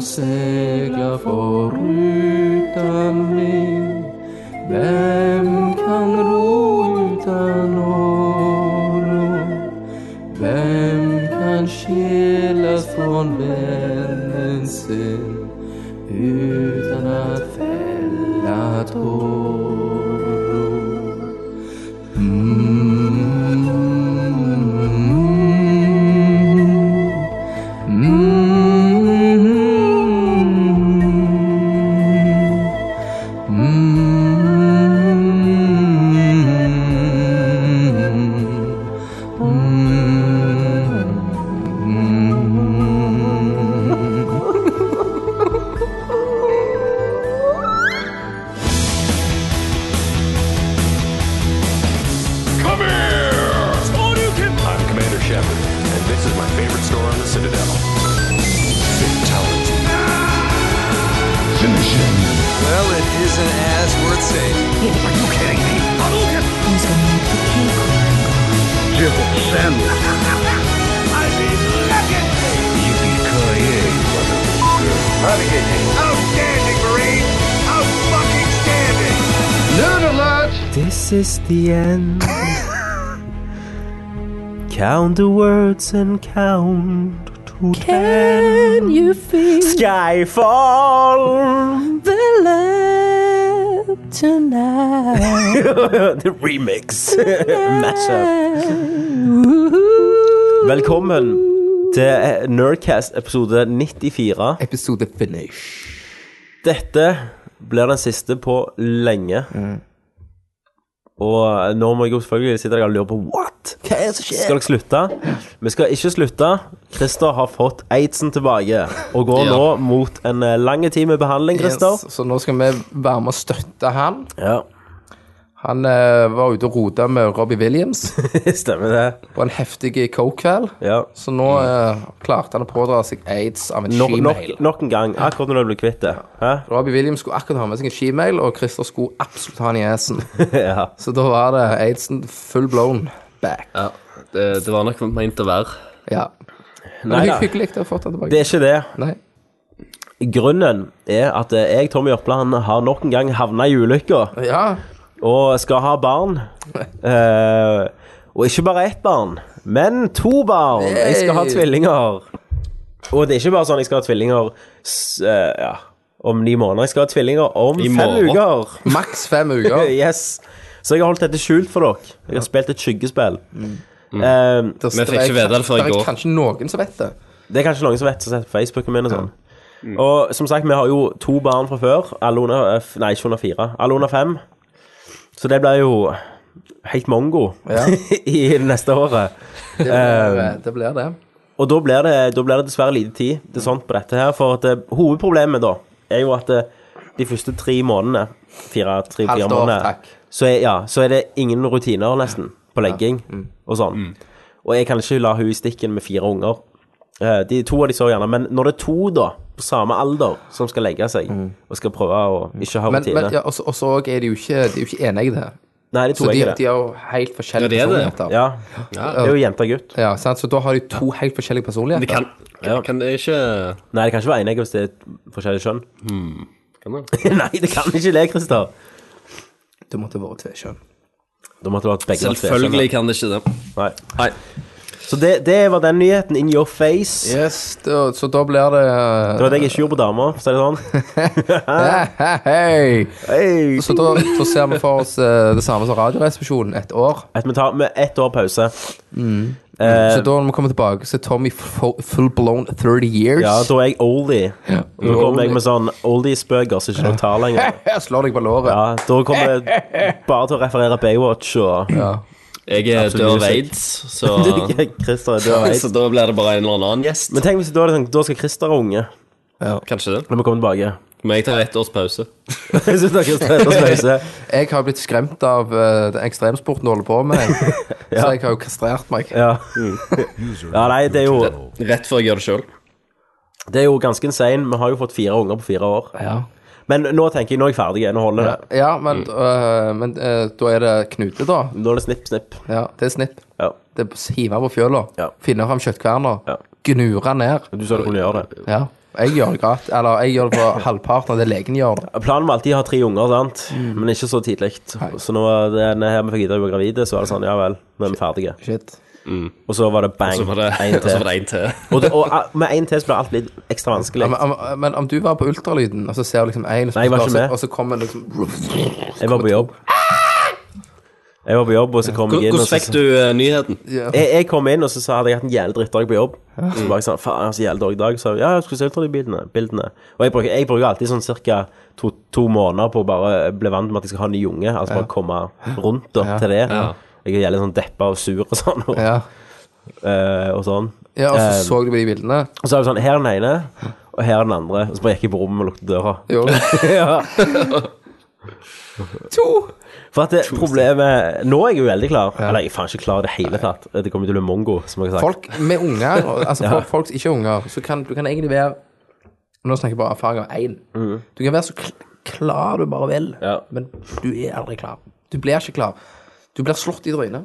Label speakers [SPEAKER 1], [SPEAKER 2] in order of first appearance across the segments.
[SPEAKER 1] segla foruten vind. Hvem kan ro uten åror? Hvem kan skilles fra vennen sin uten at fella tårer? Mm.
[SPEAKER 2] Come here! I'm Commander Shepard, and this is my favorite store on the Citadel. Fatality.
[SPEAKER 3] Well, it isn't as worth saying.
[SPEAKER 2] Are you kidding me? Hadouken! I mean, legendary! Yippee-ki-yay, motherfucker. Outstanding, Marine! Out-fucking-standing!
[SPEAKER 4] This is the end. count the words and count to ten.
[SPEAKER 5] Can you feel
[SPEAKER 4] Skyfall!
[SPEAKER 5] the love tonight?
[SPEAKER 4] The remix. Mashup. Velkommen til Nerdcast episode 94.
[SPEAKER 1] Episode finish.
[SPEAKER 4] Dette blir den siste på lenge. Mm. Og nå må jeg jo selvfølgelig sitte der og lure på what? Hva er det som skjer? Skal dere slutte? Vi skal ikke slutte. Christer har fått aidsen tilbake og går
[SPEAKER 1] Ja.
[SPEAKER 4] nå mot en eh, lang tid med behandling, Christer.
[SPEAKER 1] Yes, så nå skal vi være med og støtte han.
[SPEAKER 4] Ja,
[SPEAKER 1] Han eh, var ute og rota med Robbie Williams
[SPEAKER 4] stemmer det.
[SPEAKER 1] på en heftig coke-kveld.
[SPEAKER 4] Ja.
[SPEAKER 1] Så nå eh, klarte han å pådra seg aids av en
[SPEAKER 4] Nok, nok,
[SPEAKER 1] shemail.
[SPEAKER 4] nok en gang, akkurat når du blir kvitt det. Hæ?
[SPEAKER 1] Robbie Williams skulle akkurat ha med seg en shemail, og Christer skulle absolutt ha han i esen.
[SPEAKER 4] Ja.
[SPEAKER 1] Så da var det aidsen full blown back.
[SPEAKER 6] Ja, det, det var nok meint å være.
[SPEAKER 1] Ja. Men
[SPEAKER 4] Nei
[SPEAKER 1] det
[SPEAKER 4] da,
[SPEAKER 1] er hyggelig å ha fått han tilbake.
[SPEAKER 4] det er ikke det.
[SPEAKER 1] Nei.
[SPEAKER 4] Grunnen er at eh, jeg, Tommy Jørpeland, har nok en gang havna i ulykka.
[SPEAKER 1] Ja.
[SPEAKER 4] og skal ha barn. Eh, og ikke bare ett barn, men to barn. Jeg skal ha
[SPEAKER 1] Yay!
[SPEAKER 4] tvillinger. Og det er ikke bare sånn jeg skal ha tvillinger s- eh, ja, om ni måneder. Jeg skal ha tvillinger om
[SPEAKER 6] I
[SPEAKER 4] fem
[SPEAKER 6] morgen.
[SPEAKER 4] uker.
[SPEAKER 1] Maks fem uker.
[SPEAKER 4] Yes. Så jeg har holdt dette skjult for dere. Jeg har spilt et skyggespill. Eh,
[SPEAKER 1] Vi
[SPEAKER 6] fikk ikke vite det før i går.
[SPEAKER 1] er kanskje noen som vet det.
[SPEAKER 4] det er kanskje noen som vet som setter på Facebooken min og sånn. Og som sagt, vi har jo to barn fra før. Alle under eh, f- Nei, ikke under fire. Alle under fem. Så det blir jo helt mongo
[SPEAKER 1] Ja.
[SPEAKER 4] i det neste året.
[SPEAKER 1] Det
[SPEAKER 4] Um,
[SPEAKER 1] blir det. Blir det.
[SPEAKER 4] Og da blir det, da blir det dessverre lite tid til sånt på dette her, for at eh, hovedproblemet da er jo at eh, de første tre månedene, fire, tre, fire
[SPEAKER 1] Halvt år,
[SPEAKER 4] måneder,
[SPEAKER 1] takk.
[SPEAKER 4] så er, ja, så er det ingen rutiner nesten på legging
[SPEAKER 1] Mm.
[SPEAKER 4] og sånn. Og jeg kan ikke la hun i stikken med fire unger. Eh, De to av de så gjerne, men når det er to da, på samme alder, som skal legge seg, og skal prøve å ikke ha
[SPEAKER 1] Mm. Men,
[SPEAKER 4] rutiner.
[SPEAKER 1] men ja, også, også er de jo ikke, de er jo ikke enige der.
[SPEAKER 4] Nei, de
[SPEAKER 1] Så
[SPEAKER 4] to er
[SPEAKER 1] de,
[SPEAKER 4] ikke
[SPEAKER 1] de
[SPEAKER 4] det.
[SPEAKER 1] har jo helt forskjellige
[SPEAKER 6] Ja, de er det.
[SPEAKER 1] personligheter.
[SPEAKER 4] Ja, det er jo jente og gutt.
[SPEAKER 1] Ja, sant? Så da har de to helt forskjellige
[SPEAKER 6] Det
[SPEAKER 1] personligheter.
[SPEAKER 6] kan, kan det ikke
[SPEAKER 4] Nei, det kan ikke være enegg hvis det er forskjellig kjønn.
[SPEAKER 6] kan det?
[SPEAKER 4] Nei, det kan ikke det, Christer.
[SPEAKER 1] Det måtte vært tvekjønn.
[SPEAKER 4] Da måtte det vært begge vært
[SPEAKER 6] Selvfølgelig kan det ikke det.
[SPEAKER 4] tvekjønne. Nei.
[SPEAKER 6] Nei.
[SPEAKER 4] Så det, det var den nyheten. In your face.
[SPEAKER 1] Yes, da, så da blir det
[SPEAKER 4] Det var det jeg ikke gjorde på damer, for å si det sånn.
[SPEAKER 1] Hei, hei!
[SPEAKER 4] Hey.
[SPEAKER 1] Så da så ser vi for oss eh, det samme som Radioresepsjonen, et år.
[SPEAKER 4] At vi tar med ett år pause. Eh,
[SPEAKER 1] Mm. Så da når vi kommer tilbake, så er Tommy fu- full blown 30 years.
[SPEAKER 4] Ja, da er jeg oldie. Og Nå kommer jeg med sånn oldies-bøker som ikke dere tar lenger.
[SPEAKER 1] Jeg slår deg på låret.
[SPEAKER 4] Ja, da kommer jeg bare til å referere Baywatch og
[SPEAKER 6] Jeg er
[SPEAKER 4] Absolutt
[SPEAKER 6] død av
[SPEAKER 4] music.
[SPEAKER 6] aids, så
[SPEAKER 4] Christer er død.
[SPEAKER 6] Så da blir det bare en eller annen gjest.
[SPEAKER 4] Men tenk hvis da, er det sånn, da skal Christer være unge
[SPEAKER 6] Kanskje det.
[SPEAKER 4] når vi kommer tilbake.
[SPEAKER 6] Men jeg tar ett års pause.
[SPEAKER 4] Jeg synes det er Christer er så pause.
[SPEAKER 1] Jeg har blitt skremt av eh, den ekstremsporten du holder på med, så jeg har jo kastrert meg.
[SPEAKER 4] Ja. ja, nei, det er jo
[SPEAKER 6] Rett før jeg gjør det sjøl.
[SPEAKER 4] Det er jo ganske insane. Vi har jo fått fire unger på fire år. Men nå tenker jeg, nå er jeg ferdig. Nå holder det.
[SPEAKER 1] Ja, men, øh, men øh, da er det knute, da.
[SPEAKER 4] Nå er det snipp, snipp.
[SPEAKER 1] Ja, det er snipp.
[SPEAKER 4] Ja.
[SPEAKER 1] Det er hive på fjøla,
[SPEAKER 4] Ja.
[SPEAKER 1] finne fram kjøttkverner,
[SPEAKER 4] Ja.
[SPEAKER 1] gnure ned.
[SPEAKER 4] Du sa du kunne gjøre det.
[SPEAKER 1] Ja. Jeg gjør det gratis. Eller jeg gjør det på halvparten av det legen gjør. det.
[SPEAKER 4] Planen var alltid å ha tre unger, sant? men ikke så tidlig. Så når denne her vi fikk vite at vi var gravide, så var det sånn Ja vel, nå er vi ferdige.
[SPEAKER 1] Shit.
[SPEAKER 4] Og så var det bang.
[SPEAKER 6] Så var det
[SPEAKER 4] en
[SPEAKER 6] og så
[SPEAKER 4] til.
[SPEAKER 6] var det en til.
[SPEAKER 4] Og, det, og ah, med én til så ble alt litt ekstra vanskelig.
[SPEAKER 1] Ja, men, om, men om du var på ultralyden, og så ser du liksom én, og, så-
[SPEAKER 4] Nei, jeg var ikke
[SPEAKER 1] og så-
[SPEAKER 4] med.
[SPEAKER 1] og så kommer liksom
[SPEAKER 4] Jeg var på jobb. Jeg var på jobb, og så kom jeg inn og
[SPEAKER 6] Hvordan
[SPEAKER 4] så,
[SPEAKER 6] fikk du eh, nyheten?
[SPEAKER 4] jeg, jeg kom inn, og så sa jeg at jeg hadde hatt en jævlig drittdag på jobb. Så bare sånn, faen, jeg har så jævlig dårlig dag. Så jeg, ja, jeg skulle se ut fra de bildene. bildene. Og jeg bruker, jeg bruker alltid sånn cirka to, to måneder på å bare bli vant med at jeg skal ha en ny unge. Altså bare komme rundt og til det. Jeg er jævlig sånn deppa og sur og sånn. Og,
[SPEAKER 1] Ja,
[SPEAKER 4] eh, og sånn.
[SPEAKER 1] ja og så
[SPEAKER 4] Eh,
[SPEAKER 1] så du på de bildene.
[SPEAKER 4] og så er det sånn, her er den ene, og her er den andre. Og så bare gikk jeg på rommet og lukket døra.
[SPEAKER 1] Jo.
[SPEAKER 4] ja. For at det, problemet Nå er jeg jo veldig klar. Eller jeg er faen ikke klar i det hele tatt. Det kommer til å bli mongo, som jeg har sagt.
[SPEAKER 1] Folk med unger, og- altså
[SPEAKER 4] Ja.
[SPEAKER 1] folk, folk som ikke har unger, så kan du kan egentlig være Nå snakker jeg bare erfaring av én. Du kan være så kl klar du bare vil,
[SPEAKER 4] Mhm. Ja.
[SPEAKER 1] men du er aldri klar. Du blir ikke klar. Du blir slått i trynet.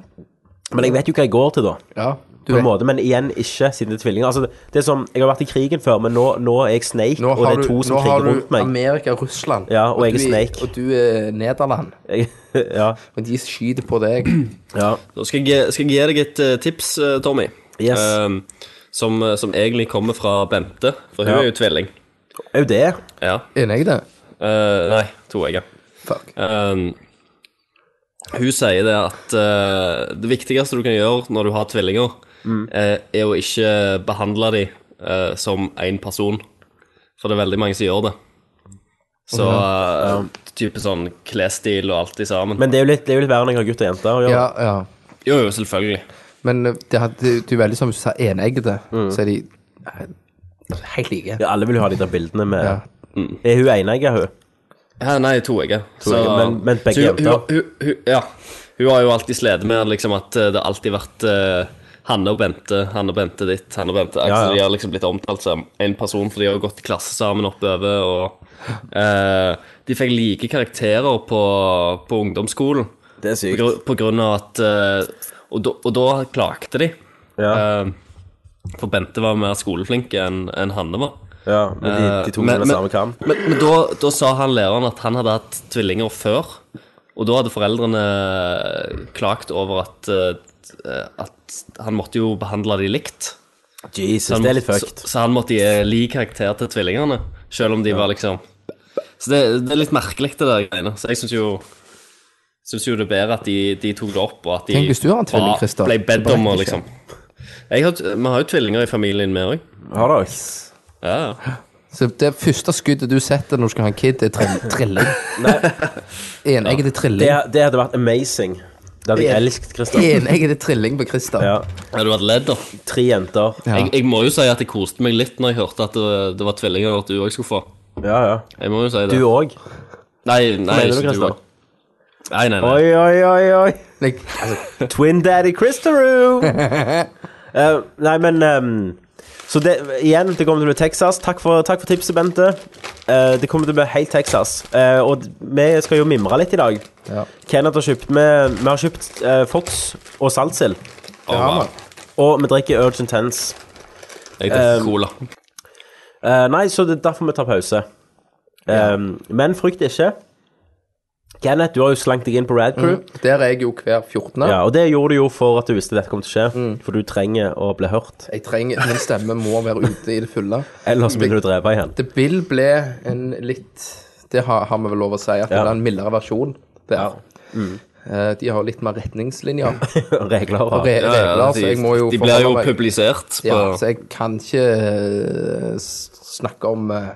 [SPEAKER 4] Men jeg vet jo hva jeg går til, da.
[SPEAKER 1] Ja, du
[SPEAKER 4] På
[SPEAKER 1] vet.
[SPEAKER 4] en måte, Men igjen ikke, siden det er tvillinger. Altså, det, det er som, Jeg har vært i krigen før, men nå, nå er jeg Snake,
[SPEAKER 1] Nå
[SPEAKER 4] og det
[SPEAKER 1] har
[SPEAKER 4] er
[SPEAKER 1] du,
[SPEAKER 4] to
[SPEAKER 1] nå
[SPEAKER 4] som
[SPEAKER 1] har
[SPEAKER 4] kriger
[SPEAKER 1] du
[SPEAKER 4] rundt meg.
[SPEAKER 1] Amerika og Russland.
[SPEAKER 4] Ja, og jeg er
[SPEAKER 1] du
[SPEAKER 4] Snake.
[SPEAKER 1] Og du er Nederland.
[SPEAKER 4] Jeg, ja,
[SPEAKER 1] Og de skyter på deg.
[SPEAKER 4] ja.
[SPEAKER 6] Da skal jeg, skal jeg gi deg et eh, tips, eh, Tommy.
[SPEAKER 4] Yes.
[SPEAKER 6] Ehm, som, eh, som egentlig kommer fra Bente, for hun
[SPEAKER 4] Ja.
[SPEAKER 6] er jo tvilling.
[SPEAKER 4] Er jo det.
[SPEAKER 6] Ja.
[SPEAKER 1] Er jeg det?
[SPEAKER 6] Eh, nei, toegga.
[SPEAKER 1] Fuck.
[SPEAKER 6] Um, hun sier det at eh, det viktigste du kan gjøre når du har tvillinger, eh, er å ikke behandle dem som én person. For det er veldig mange som gjør det. Så eh, type sånn klesstil og alt i sammen.
[SPEAKER 4] Men det er jo litt, det er jo litt verre enn jeg har gutt og jente. å gjøre.
[SPEAKER 1] Ja, ja.
[SPEAKER 6] jo, jo, selvfølgelig.
[SPEAKER 1] Men eh, det, hadde- det, det er veldig som hvis du sa eneggede, så er de eh, helt like.
[SPEAKER 4] Mm. Ja, alle vil jo ha de der bildene med
[SPEAKER 1] Ja.
[SPEAKER 4] Er hun enegga, hun?
[SPEAKER 6] Ja, nei, toegga.
[SPEAKER 4] Toegge, men- men begge
[SPEAKER 6] hun, hun,
[SPEAKER 4] jenter.
[SPEAKER 6] hun, hun, ja. hun har jo alltid slitt med liksom, at eh, det har alltid vært eh, Hanne og Bente, Hanne og Bente ditt, Hanne og Bente.
[SPEAKER 4] Ja, ja.
[SPEAKER 6] Altså, de har liksom blitt omtalt som en person, for de har jo gått i klasse sammen oppover. Og eh, de fikk like karakterer på, på ungdomsskolen
[SPEAKER 4] Det er
[SPEAKER 6] på,
[SPEAKER 4] sykt.
[SPEAKER 6] gru- på grunn av at eh, og, da- og da klagde de.
[SPEAKER 4] Ja.
[SPEAKER 6] Eh, for Bente var mer skoleflink enn enn Hanne var.
[SPEAKER 4] Ja, men de, de tok
[SPEAKER 6] Eh,
[SPEAKER 4] med samme kam.
[SPEAKER 6] Men, men da, da sa han læreren at han hadde hatt tvillinger før, og da hadde foreldrene eh, klagt over at, eh, at han måtte jo behandle de likt.
[SPEAKER 4] Jesus,
[SPEAKER 6] Han
[SPEAKER 4] det er litt
[SPEAKER 6] måtte-
[SPEAKER 4] fucked.
[SPEAKER 6] Så, så han måtte gi lik karakter til tvillingene, selv om de var liksom Så det, det er litt merkelig, det der greiene. Så jeg syns jo Synes jo det er bedre at de, de tok det opp, og at de
[SPEAKER 1] Tenk hvis du har en tvilling,
[SPEAKER 6] var-
[SPEAKER 1] Christer.
[SPEAKER 6] ble bedt
[SPEAKER 1] Det
[SPEAKER 6] om å
[SPEAKER 1] beretter
[SPEAKER 6] liksom jeg har, Vi har jo tvillinger i familien, vi òg.
[SPEAKER 4] Har dere?
[SPEAKER 6] Ja, ja.
[SPEAKER 1] Så det første skuddet du setter når du skal ha en kid, det er trill trilling. Eneggede
[SPEAKER 4] Det,
[SPEAKER 1] trilling.
[SPEAKER 4] det hadde vært amazing. Det hadde jeg elsket, Christer.
[SPEAKER 1] Eneggede trilling på Christer.
[SPEAKER 4] Ja.
[SPEAKER 6] Ja, Du hadde ledd, da.
[SPEAKER 4] Tre jenter.
[SPEAKER 1] Ja.
[SPEAKER 6] Jeg, jeg må jo si at jeg koste meg litt når jeg hørte at det, det var tvillinger at du òg skulle få.
[SPEAKER 4] Ja, ja.
[SPEAKER 6] Jeg må jo si det.
[SPEAKER 4] Du òg.
[SPEAKER 6] Nei, nei,
[SPEAKER 4] mener du,
[SPEAKER 6] ikke du
[SPEAKER 4] Christer?
[SPEAKER 6] òg. Nei, nei, nei.
[SPEAKER 4] Oi, oi, oi, oi.
[SPEAKER 1] Nei, altså,
[SPEAKER 4] Twin daddy Christeroo! Eh, nei, men ehm, Så det, igjen, det kommer til å bli Texas. Takk for, takk for tipset, Bente. Eh, det kommer til å bli helt Texas. Eh, og d- vi skal jo mimre litt i dag.
[SPEAKER 1] Ja.
[SPEAKER 4] Kenneth har kjøpt med, Vi har kjøpt eh, Fox og saltsild.
[SPEAKER 6] Å,
[SPEAKER 1] har
[SPEAKER 6] wow.
[SPEAKER 1] man.
[SPEAKER 4] Og vi drikker Urge Intense.
[SPEAKER 6] Jeg drikker cola.
[SPEAKER 4] Eh, nei, så det er derfor vi tar pause. Ehm, Men frykt ikke. Kenneth, du har jo slankt deg inn på Rad Crew.
[SPEAKER 1] der er jeg jo hver 14.
[SPEAKER 4] Mm. Ja, Mm. og det gjorde du jo for at du visste dette kom til å skje. For du trenger å bli hørt.
[SPEAKER 1] Jeg trenger, Min stemme må være ute i det fulle.
[SPEAKER 4] Ellers begynner du å drepe igjen.
[SPEAKER 1] Det vil bli en litt Det har, har vi vel lov å si, at det
[SPEAKER 4] Ja. Mm.
[SPEAKER 1] er en mildere versjon der. Eh, De har litt mer retningslinjer og
[SPEAKER 4] Regler og
[SPEAKER 1] re
[SPEAKER 6] Ja, ja,
[SPEAKER 1] regler, så
[SPEAKER 6] de,
[SPEAKER 1] altså. jeg må jo
[SPEAKER 6] de blir jo
[SPEAKER 1] forholde meg-
[SPEAKER 6] publisert på
[SPEAKER 1] Ja, så jeg kan ikke eh, s- snakke om eh,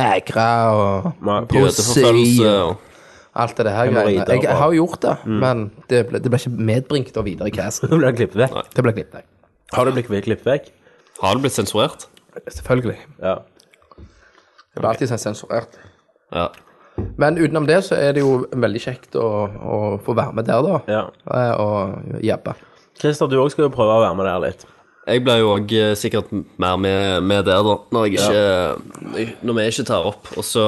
[SPEAKER 1] negre
[SPEAKER 4] Nei,
[SPEAKER 1] og pussy
[SPEAKER 6] jødeforfølgelse.
[SPEAKER 1] og
[SPEAKER 6] og-
[SPEAKER 1] alt det her
[SPEAKER 4] Hemoroider
[SPEAKER 1] greiene. Jeg,
[SPEAKER 4] og-
[SPEAKER 1] har jo gjort det, men det ble, det ble ikke medbringt og videre i casten.
[SPEAKER 4] Nå blir det klippet vekk.
[SPEAKER 1] Det ble klippet, nei.
[SPEAKER 4] Har du blitt klippet vekk?
[SPEAKER 6] Har det blitt sensurert?
[SPEAKER 1] Selvfølgelig.
[SPEAKER 4] Ja.
[SPEAKER 1] Det ble alltid sånn sensurert.
[SPEAKER 6] Ja.
[SPEAKER 1] Men utenom det så er det jo veldig kjekt å, å få være med der, da.
[SPEAKER 4] ja.
[SPEAKER 1] Eh, Og jabbe.
[SPEAKER 4] Christer, du òg skal jo prøve å være med der litt.
[SPEAKER 6] Jeg blir jo òg sikkert mer med, med der, da, når, jeg ikke, eh, når vi ikke tar opp. Og så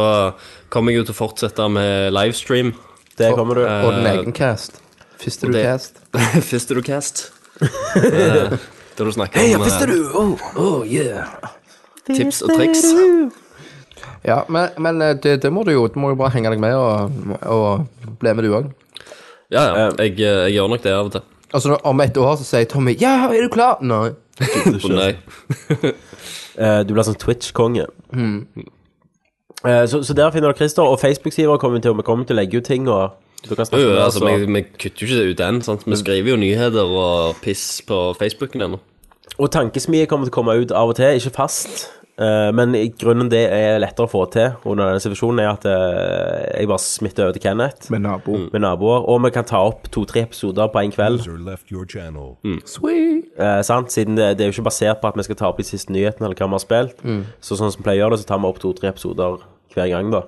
[SPEAKER 6] kommer jeg jo til å fortsette med livestream.
[SPEAKER 4] Det kommer du.
[SPEAKER 6] eh,
[SPEAKER 1] Og din egen cast. Første du
[SPEAKER 6] det-
[SPEAKER 1] cast.
[SPEAKER 6] Fister du cast? Eh, Da du snakker om eh,
[SPEAKER 1] Oh, oh yeah.
[SPEAKER 6] tips og triks.
[SPEAKER 7] Ja, men, men eh, det, det må du jo Du må jo bare henge deg med og, og bli med, du òg.
[SPEAKER 6] Ja, ja. Jeg, eh, jeg gjør nok det av og til.
[SPEAKER 7] Altså, om et år så sier Tommy 'Ja, er du klar?' Nei.
[SPEAKER 6] Å, Nei.
[SPEAKER 4] Eh, Du blir sånn Twitch-konge.
[SPEAKER 6] Hmm.
[SPEAKER 4] Eh, Så, så der finner dere Christer, og Facebook-sider kommer vi til, vi kommer til å legge ut ting. Og du kan snakke
[SPEAKER 6] Jo,
[SPEAKER 4] med oss,
[SPEAKER 6] altså,
[SPEAKER 4] og-
[SPEAKER 6] vi, vi kutter jo ikke det ut den. Sant? Vi skriver jo nyheter og piss på Facebooken ennå.
[SPEAKER 4] Og tankesmie kommer til å komme ut av og til, ikke fast. eh, men grunnen det er lettere å få til under denne situasjonen, er at eh, jeg bare smitter over til Kenneth
[SPEAKER 7] Med nabo.
[SPEAKER 4] med naboer. Og vi kan ta opp to-tre episoder på én kveld,
[SPEAKER 8] User left your channel.
[SPEAKER 7] Sweet.
[SPEAKER 4] eh, sant? siden det, det er jo ikke basert på at vi skal ta opp de siste nyhetene eller hva vi har spilt.
[SPEAKER 7] Mm.
[SPEAKER 4] Så sånn som vi pleier å gjøre det, så tar vi opp to-tre episoder hver gang, da.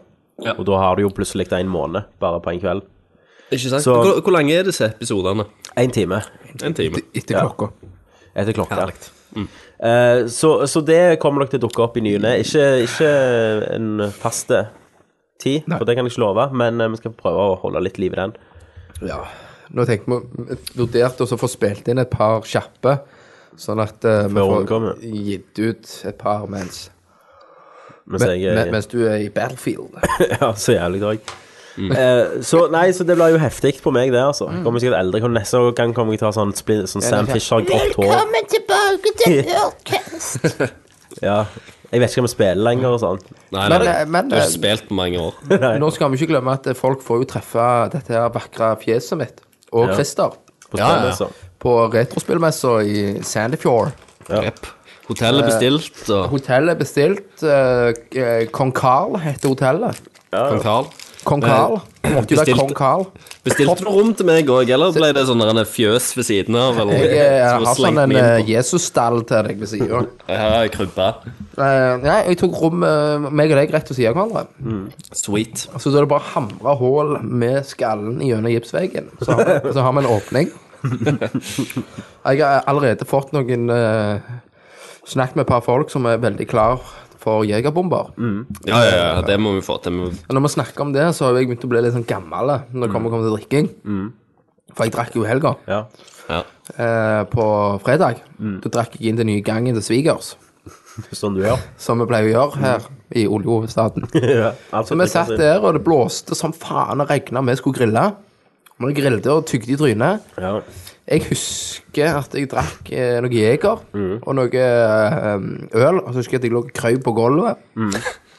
[SPEAKER 4] Og da har du jo plutselig en måned bare på én kveld.
[SPEAKER 6] Ikke sant?
[SPEAKER 4] Så-
[SPEAKER 6] Hvor, hvor lange er disse episodene?
[SPEAKER 4] Én time
[SPEAKER 6] En time.
[SPEAKER 7] Etter klokka.
[SPEAKER 4] etter klokka.
[SPEAKER 7] Mm.
[SPEAKER 4] Eh, så, så det kommer nok til å dukke opp i ny og ne. Ikke, ikke en faste tid, for det kan jeg ikke love, men eh, vi skal prøve å holde litt liv i den.
[SPEAKER 7] Ja. Nå tenker vi vi vurderte oss å få spilt inn et par kjappe, sånn at eh, vi
[SPEAKER 4] Før hun
[SPEAKER 7] får
[SPEAKER 4] kommer.
[SPEAKER 7] gitt ut et par mens,
[SPEAKER 4] Mens jeg eh,
[SPEAKER 7] men-
[SPEAKER 4] er
[SPEAKER 7] mens du er i battlefield.
[SPEAKER 4] ja, så jævlig drag. Eh, så nei, så det blir jo heftig på meg, det, altså. Kommer sikkert eldre. Kommer neste gang kommer jeg til å ha sånn, splin- sånn Sam
[SPEAKER 7] det er
[SPEAKER 4] Fisher, grått hår.
[SPEAKER 5] Velkommen tilbake til Ørkest.
[SPEAKER 4] Ja. Jeg vet ikke om jeg spiller lenger og sånn.
[SPEAKER 6] Nei,
[SPEAKER 7] Men,
[SPEAKER 6] nei,
[SPEAKER 7] eh, men,
[SPEAKER 6] du har
[SPEAKER 7] eh,
[SPEAKER 6] ikke spilt på mange år.
[SPEAKER 7] Nå skal vi ikke glemme at eh, folk får jo treffe dette her vakre fjeset mitt og
[SPEAKER 4] Ja.
[SPEAKER 7] Christer
[SPEAKER 4] På
[SPEAKER 6] Ja, ja.
[SPEAKER 4] spillet, så.
[SPEAKER 7] på retrospillmessa i Sandefjord.
[SPEAKER 6] Jep. Hotellet bestilt, og
[SPEAKER 7] Hotellet er bestilt. eh, eh, Kong Carl heter hotellet.
[SPEAKER 6] kong Karl.
[SPEAKER 7] Kong Carl. Måtte jo være
[SPEAKER 6] bestilte-
[SPEAKER 7] Kong Carl.
[SPEAKER 6] Bestilte du rom til meg òg, eller ble det sånn der en fjøs ved siden av? Eller,
[SPEAKER 7] Jeg eh,
[SPEAKER 6] som var
[SPEAKER 7] har sånn
[SPEAKER 6] slengt
[SPEAKER 7] en
[SPEAKER 6] meg
[SPEAKER 7] eh,
[SPEAKER 6] inn på?
[SPEAKER 7] Jesus-stall til deg ved sida.
[SPEAKER 6] Ja, krybbe.
[SPEAKER 7] Eh, Nei, jeg tok rom eh, meg og deg rett ved siden av hverandre.
[SPEAKER 6] Sweet.
[SPEAKER 7] Så da er det bare å hamre hull med skallen gjennom gipsveggen. Så, har- så har vi en åpning. Jeg har allerede fått noen eh, Snakk med et par folk som er veldig klar for jegerbomber.
[SPEAKER 6] Ja, ja, ja, det må vi få til. Vi-
[SPEAKER 7] Men Når vi snakker om det, så har jeg begynt å bli litt sånn gammel når det kommer, kommer til drikking. For jeg drakk jo i helga.
[SPEAKER 4] Ja.
[SPEAKER 6] Ja.
[SPEAKER 7] Eh, på fredag. Da drakk jeg inn til nye gangen til svigers,
[SPEAKER 4] Sånn du gjør.
[SPEAKER 7] som vi pleier å gjøre her i oljehovedstaden.
[SPEAKER 4] ja. Alt
[SPEAKER 7] Så vi satt eh, der, og det blåste som faen og regna. Vi skulle grille. Men jeg grilte og tygde i trynet.
[SPEAKER 4] Ja.
[SPEAKER 7] Jeg husker at jeg drakk eh, noe Jeger
[SPEAKER 4] Mm.
[SPEAKER 7] og noe eh, øl. Og så husker jeg at jeg lå og krøp på gulvet.
[SPEAKER 4] Mm.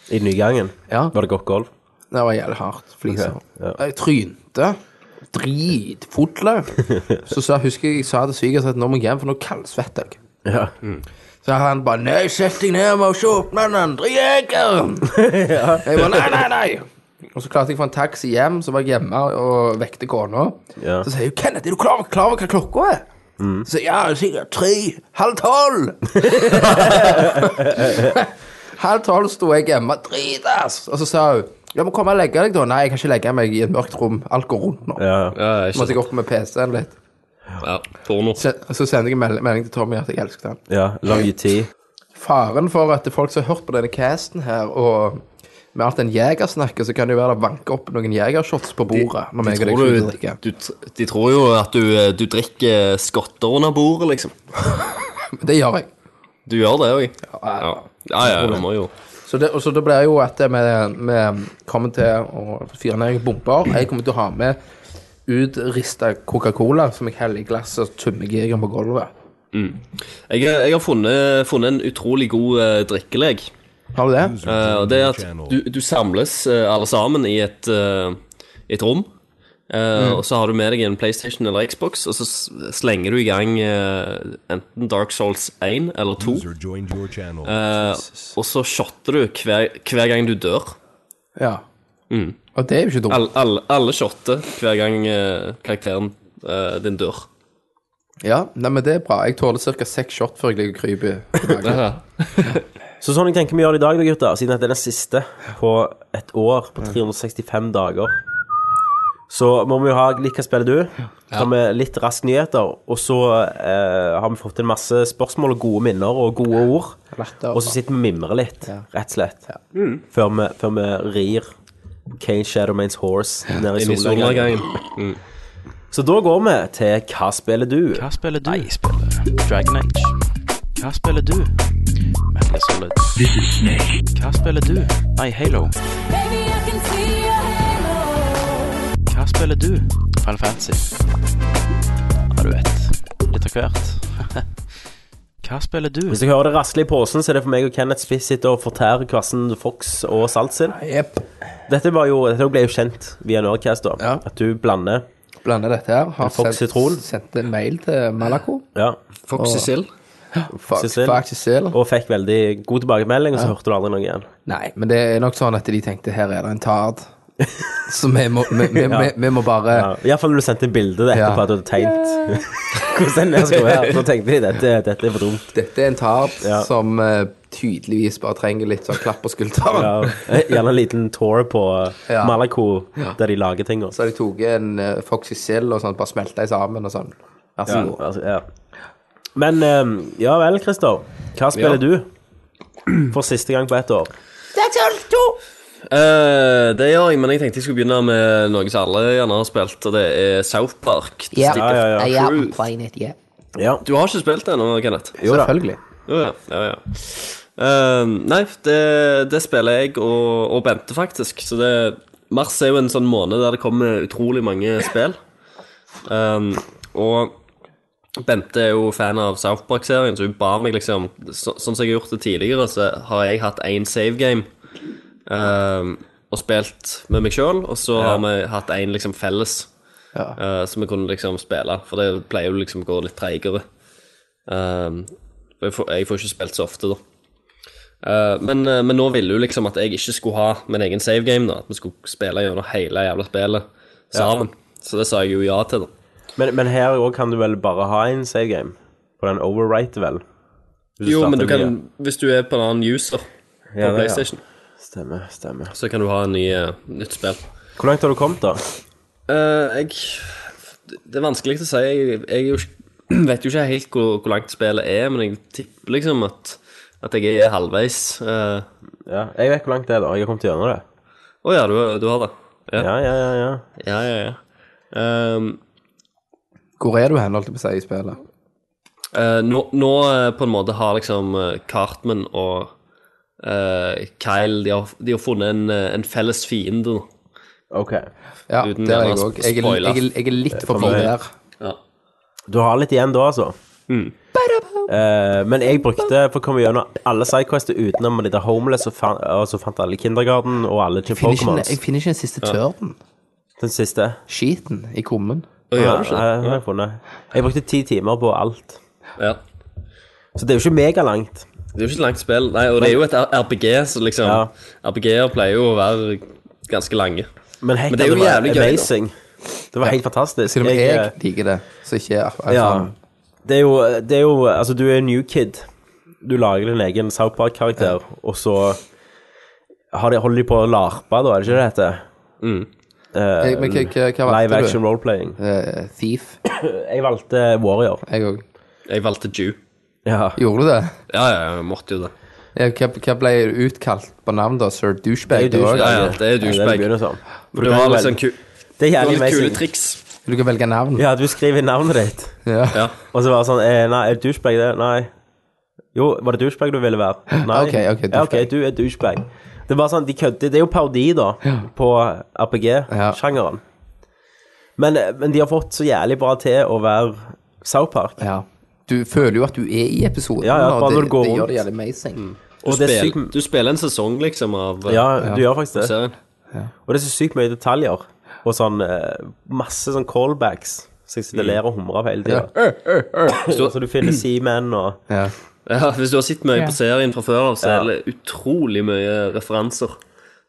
[SPEAKER 4] I nygangen.
[SPEAKER 7] Ja.
[SPEAKER 4] Var det godt golv?
[SPEAKER 7] Det var jævlig hardt. Fliser.
[SPEAKER 4] Ok, ja.
[SPEAKER 7] Jeg trynte. Dritfotle. Så sa, husker jeg jeg sa til svigers at nå må jeg hjem, for nå kaldsvetter jeg.
[SPEAKER 4] Ja.
[SPEAKER 7] Så han bare 'Nei, sett deg ned og ikke åpne den andre jegeren'. Jeg bare 'Nei, nei, nei'. Og så klarte jeg å få en taxi hjem, så var jeg hjemme og vekte kona.
[SPEAKER 4] Ja. Mm.
[SPEAKER 7] Så sier hun 'Kenneth, er du klar, klar over hva klokka er?' Så sier jeg, 'Ja, det er sikkert tre. Halv tolv'. halv tolv sto jeg hjemme og dritass. Og så sa hun 'Ja, må komme og legge deg, da'. 'Nei, jeg kan ikke legge meg i et mørkt rom. Alt går rundt nå'.
[SPEAKER 4] ja.
[SPEAKER 6] Ja,
[SPEAKER 7] Så måtte
[SPEAKER 6] ikke,
[SPEAKER 7] jeg opp med PC-en litt.
[SPEAKER 6] ja, porno.
[SPEAKER 7] Så, så sendte jeg en mel- melding til Tommy at jeg elsket han.
[SPEAKER 4] ja. Lang tid.
[SPEAKER 7] faren for at folk som har hørt på denne casten her, og med alt den jeger snakker, så kan det jo være det vanker opp noen jegershots på bordet.
[SPEAKER 6] De
[SPEAKER 7] når meg og deg
[SPEAKER 6] tror,
[SPEAKER 7] slutter
[SPEAKER 6] du,
[SPEAKER 7] å drikke.
[SPEAKER 6] du, tr- de tror jo at du, eh, du drikker skotter under bordet, liksom.
[SPEAKER 7] Det gjør jeg.
[SPEAKER 6] Du gjør det òg? Ja, ja, ja, du må jo
[SPEAKER 7] Så det, og så det blir jo at vi vi kommer til å fyre ned bomber. Jeg kommer til å ha med utrista Coca-Cola som jeg heller i glasset og tømmer jegeren på gulvet.
[SPEAKER 6] Jeg, eh, jeg har funnet, funnet en utrolig god eh, drikkelek.
[SPEAKER 7] Har du det?
[SPEAKER 8] User
[SPEAKER 6] Eh, og
[SPEAKER 8] joined
[SPEAKER 6] det er
[SPEAKER 8] your
[SPEAKER 6] at
[SPEAKER 8] channel.
[SPEAKER 6] du, du samles eh, alle sammen i et, eh, et rom. eh, Og så har du med deg en PlayStation eller Xbox, og så s- slenger du i gang eh, enten Dark Souls 1 eller 2.
[SPEAKER 8] User joined your channel.
[SPEAKER 6] eh, og så shotter du hver, hver gang du dør.
[SPEAKER 7] Ja.
[SPEAKER 6] Mm.
[SPEAKER 7] Og det er jo ikke dumt.
[SPEAKER 6] Alle, alle, alle shotter hver gang eh, karakteren eh, din dør.
[SPEAKER 7] Ja, nei, men det er bra. Jeg tåler ca. seks shot før jeg ligger og kryper. i magen.
[SPEAKER 4] Så sånn jeg tenker vi gjør det i dag, da, gutter, siden at det er den siste på et år på 365 dager, så må vi jo ha litt Hva spiller du? Så har vi litt raske nyheter, og så eh, har vi fått inn masse spørsmål og gode minner og gode ord.
[SPEAKER 7] Latter.
[SPEAKER 4] Og så sitter vi og mimrer litt, rett og slett, før, vi, før vi rir Kane Shadowmanes Horse ned i
[SPEAKER 6] Inn i
[SPEAKER 4] solnedgangen.
[SPEAKER 6] solnedgangen.
[SPEAKER 4] Så da går vi til Hva spiller du?
[SPEAKER 9] Hva spiller du? Nei, jeg spiller Dragon Age. Hva spiller du? Metal
[SPEAKER 6] er solid.
[SPEAKER 9] Hva spiller du? Nei, Halo.
[SPEAKER 10] Baby, I can see your halo.
[SPEAKER 9] Hva spiller du? Final Fantasy. Ja, du vet. Litt av hvert. Hva spiller du?
[SPEAKER 4] Hvis jeg hører det rasle i posen, så er det for meg og Kenneth Spiss sitter og fortærer kvassen Fox og Saltsin.
[SPEAKER 7] Jepp.
[SPEAKER 4] Dette, var jo, dette ble jo kjent via Nordcast, da.
[SPEAKER 7] Ja.
[SPEAKER 4] At du blander
[SPEAKER 7] Blander dette her. Har
[SPEAKER 4] Fox sitron.
[SPEAKER 7] sendt, sendt en mail til Malaco.
[SPEAKER 4] Ja.
[SPEAKER 6] Fox i sild.
[SPEAKER 4] Sissel.
[SPEAKER 7] Faktisk selv.
[SPEAKER 4] Og fikk veldig god tilbakemelding, og så hørte du aldri noe igjen.
[SPEAKER 7] Nei, men det er nok sånn at de tenkte her er det en tard. Så vi må, vi, vi, vi, vi må bare
[SPEAKER 4] Ja. Iallfall når du sendte bilde
[SPEAKER 7] Ja.
[SPEAKER 4] etterpå at du hadde tegnet hvordan den skulle være. Da tenkte de dette, dette er for dumt.
[SPEAKER 7] Dette er en tard
[SPEAKER 4] Ja.
[SPEAKER 7] som eh, tydeligvis bare trenger litt sånn klapp på skulderen.
[SPEAKER 4] Ja. Eh, Gjerne en liten tour på eh,
[SPEAKER 7] Ja.
[SPEAKER 4] Malaco, der de lager ting. Også.
[SPEAKER 7] Så har de tatt en eh, Foxy Sill og sånn, bare smelta i sammen og sånn. Vær
[SPEAKER 4] Ja,
[SPEAKER 7] så god.
[SPEAKER 4] altså, ja. Men eh, ja vel, Christer. Hva spiller du for siste gang på ett år?
[SPEAKER 6] Eh, det gjør jeg, men jeg tenkte jeg skulle begynne med noe som alle gjerne har spilt, og det er South Park.
[SPEAKER 5] Yeah,
[SPEAKER 4] Ja, ja, ja.
[SPEAKER 5] I haven't played it yet.
[SPEAKER 4] Ja.
[SPEAKER 6] Du har ikke spilt det ennå, Kenneth?
[SPEAKER 4] Jo da.
[SPEAKER 7] Selvfølgelig.
[SPEAKER 6] Jo, ja. ja, ja. Eh, nei, det, det spiller jeg og, og Bente, faktisk. Så det Mars er jo en sånn måned der det kommer utrolig mange spill. Um, og Bente er jo fan av South Park-serien, så hun ba meg liksom så, Sånn som jeg har gjort det tidligere, så har jeg hatt én save game um, og spilt med meg sjøl, og så har vi hatt én liksom felles uh, som vi kunne liksom spille, for det pleier jo liksom å gå litt treigere. Um, for jeg, får, jeg får ikke spilt så ofte, da. Eh, men, eh, men nå ville hun liksom at jeg ikke skulle ha min egen save game, da. At vi skulle spille gjennom hele jævla spillet sammen. Så det sa jeg jo ja til, da.
[SPEAKER 4] Men, men her òg kan du vel bare ha en save game? På den overwrite, vel? Hvis
[SPEAKER 6] Jo, men
[SPEAKER 4] starter
[SPEAKER 6] du
[SPEAKER 4] en
[SPEAKER 6] kan,
[SPEAKER 4] ny.
[SPEAKER 6] hvis du er på en annen user på
[SPEAKER 4] Ja, det, ja.
[SPEAKER 6] PlayStation,
[SPEAKER 4] Stemmer, stemmer.
[SPEAKER 6] så kan du ha en ny, eh, nytt spill.
[SPEAKER 4] Hvor langt har du kommet, da?
[SPEAKER 6] Eh, jeg Det er vanskelig å si. Jeg, jeg er jo, ikke- vet jo ikke helt hvor, hvor langt spillet er, men jeg tipper liksom at, at jeg er halvveis. Eh,
[SPEAKER 4] Ja, jeg vet hvor langt det er, da. Jeg har kommet gjennom det.
[SPEAKER 6] Å ja, du, du har det? Ja,
[SPEAKER 4] Ja, ja, ja. ja.
[SPEAKER 6] ja, ja. ja. Ehm,
[SPEAKER 7] Hvor er du hen, holdt jeg på å si, i spillet?
[SPEAKER 6] Eh, nå, nå eh, på en måte har liksom eh, Cartman og eh, Kyle de har, de har funnet en, eh, en felles fiende. nå.
[SPEAKER 4] OK.
[SPEAKER 7] Ja,
[SPEAKER 6] Uten
[SPEAKER 7] der er jeg
[SPEAKER 6] å
[SPEAKER 7] òg. Jeg, er-
[SPEAKER 6] spoile.
[SPEAKER 7] jeg, er- jeg er
[SPEAKER 4] Eh,
[SPEAKER 7] litt forbi der.
[SPEAKER 4] Du har litt igjen da, altså. Eh, men jeg brukte for å komme gjennom alle sidequests utenom det der Homeless, og, fan, og så fant alle Kindergarten og alle ikke
[SPEAKER 7] Finner ikke, den-
[SPEAKER 4] Pokémons.
[SPEAKER 7] jeg finner ikke den siste tørden.
[SPEAKER 4] Den siste.
[SPEAKER 7] Skiten i kummen.
[SPEAKER 6] Å, gjør du
[SPEAKER 4] Ja,
[SPEAKER 6] ikke det?
[SPEAKER 4] jeg, har jeg, funnet. jeg brukte ti timer på alt.
[SPEAKER 6] Ja.
[SPEAKER 4] Så det er jo ikke megalangt.
[SPEAKER 6] Det er jo ikke et langt spill. Nei, og det er jo et RPG, så liksom
[SPEAKER 4] Ja.
[SPEAKER 6] RPG-er pleier jo å være ganske lange.
[SPEAKER 4] Men, helt,
[SPEAKER 6] Men det er jo
[SPEAKER 4] var
[SPEAKER 6] jævlig gøy, da.
[SPEAKER 4] Amazing. Det var helt fantastisk.
[SPEAKER 7] Til og med
[SPEAKER 4] Jeg,
[SPEAKER 7] jeg
[SPEAKER 4] eh,
[SPEAKER 7] liker det. Så ikke jeg, altså,
[SPEAKER 4] Ja. Det er jo, det er jo Altså, du er new kid. Du lager din egen South Park-karakter, og så har de, holder de på å larpe, da, er det ikke det det heter?
[SPEAKER 7] Jeg- Men hva- hva- hva
[SPEAKER 4] Live
[SPEAKER 7] valgte
[SPEAKER 4] action
[SPEAKER 7] du?
[SPEAKER 4] roleplaying.
[SPEAKER 7] Eh, Thief.
[SPEAKER 4] Jeg valgte Warrior.
[SPEAKER 7] Jeg òg.
[SPEAKER 6] Jeg valgte Jew.
[SPEAKER 4] Ja.
[SPEAKER 7] Gjorde du det?
[SPEAKER 6] Ja, ja, jeg måtte jo det.
[SPEAKER 7] Ja, hva, hva ble du utkalt på navn, da? Sir Douchebag?
[SPEAKER 4] Det er jo
[SPEAKER 7] du også?
[SPEAKER 6] Ja, ja, det er
[SPEAKER 4] det
[SPEAKER 6] douchebag.
[SPEAKER 4] det begynner som. For
[SPEAKER 6] Det
[SPEAKER 4] du kan
[SPEAKER 6] var
[SPEAKER 4] vel-
[SPEAKER 6] liksom ku, det
[SPEAKER 4] Det er
[SPEAKER 6] var
[SPEAKER 4] jævlig
[SPEAKER 6] litt kule
[SPEAKER 4] amazing.
[SPEAKER 6] triks.
[SPEAKER 7] Du kan velge navn.
[SPEAKER 4] Ja, du skriver navnet ditt,
[SPEAKER 7] Ja.
[SPEAKER 6] Ja.
[SPEAKER 4] og så bare sånn eh, Nei, er det douchebag det? Nei. Jo, var det douchebag du ville være? Nei.
[SPEAKER 7] Ok, ok,
[SPEAKER 4] ja,
[SPEAKER 7] douchebag.
[SPEAKER 4] ok, du er douchebag. Det er bare sånn, de kødder. Det er jo parodi, da, på RPG-sjangeren. Men, eh, men de har fått så jævlig bra til å være South Park.
[SPEAKER 7] Ja. Du føler jo at du er i episoden,
[SPEAKER 4] Ja, ja,
[SPEAKER 7] og
[SPEAKER 4] bare
[SPEAKER 7] det,
[SPEAKER 4] når du går
[SPEAKER 7] det gjør
[SPEAKER 4] rundt. Mm.
[SPEAKER 7] det jævlig amazing.
[SPEAKER 6] Du,
[SPEAKER 4] Og det er
[SPEAKER 6] spiller,
[SPEAKER 4] sykt-
[SPEAKER 6] du spiller en sesong, liksom, av eh,
[SPEAKER 4] Ja, du gjør faktisk det.
[SPEAKER 6] serien.
[SPEAKER 4] Og det er så sykt mye detaljer. Og sånn eh, masse sånn callbacks. Så jeg sitter
[SPEAKER 6] Mm.
[SPEAKER 4] og ler og humrer av hele tida. Så du finner Seaman og
[SPEAKER 7] Ja.
[SPEAKER 6] Ja, hvis du har sett mye på serien fra før av, så er det utrolig mye referanser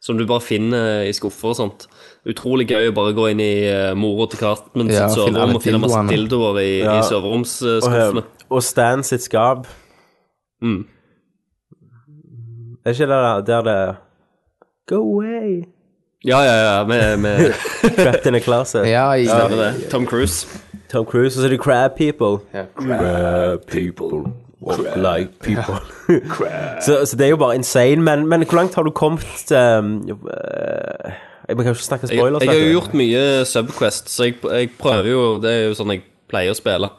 [SPEAKER 6] som du bare finner i skuffer og sånt. Utrolig gøy å bare gå inn i eh, mora til Cartman
[SPEAKER 7] Ja,
[SPEAKER 6] sitt
[SPEAKER 7] finne
[SPEAKER 6] soverom
[SPEAKER 7] alle
[SPEAKER 6] og finne masse
[SPEAKER 7] dildoene.
[SPEAKER 6] dildoer i, i
[SPEAKER 4] Og,
[SPEAKER 6] soveromsskuffene.
[SPEAKER 4] og Stan sitt skap.
[SPEAKER 6] Mm.
[SPEAKER 4] Er det ikke det der, der det Go away!
[SPEAKER 6] Ja, ja, ja, med, med
[SPEAKER 4] Trapped in a closet.
[SPEAKER 7] ja, i,
[SPEAKER 6] hva er det? Tom Cruise.
[SPEAKER 4] Tom Cruise, og så er det crab people. Crab people. Like people. så, så det er jo bare insane. Men, men hvor langt har du kommet um, eh, Jeg kan jo ikke snakke
[SPEAKER 6] Jeg,
[SPEAKER 4] spoilers.
[SPEAKER 6] jeg har
[SPEAKER 4] vet du.
[SPEAKER 6] jo gjort mye Subquest, så jeg, jeg prøver jo Det er jo sånn jeg pleier å spille.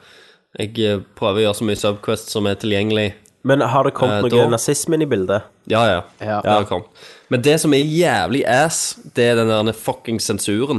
[SPEAKER 6] Jeg eh, prøver å gjøre så mye Subquest som er tilgjengelig
[SPEAKER 4] Men har det kommet
[SPEAKER 6] Eh,
[SPEAKER 4] noe
[SPEAKER 6] da-
[SPEAKER 4] nazisme inn i bildet?
[SPEAKER 6] Ja, ja.
[SPEAKER 9] Ja.
[SPEAKER 6] Der kom. Men det som er jævlig ass, det er den der fucking sensuren.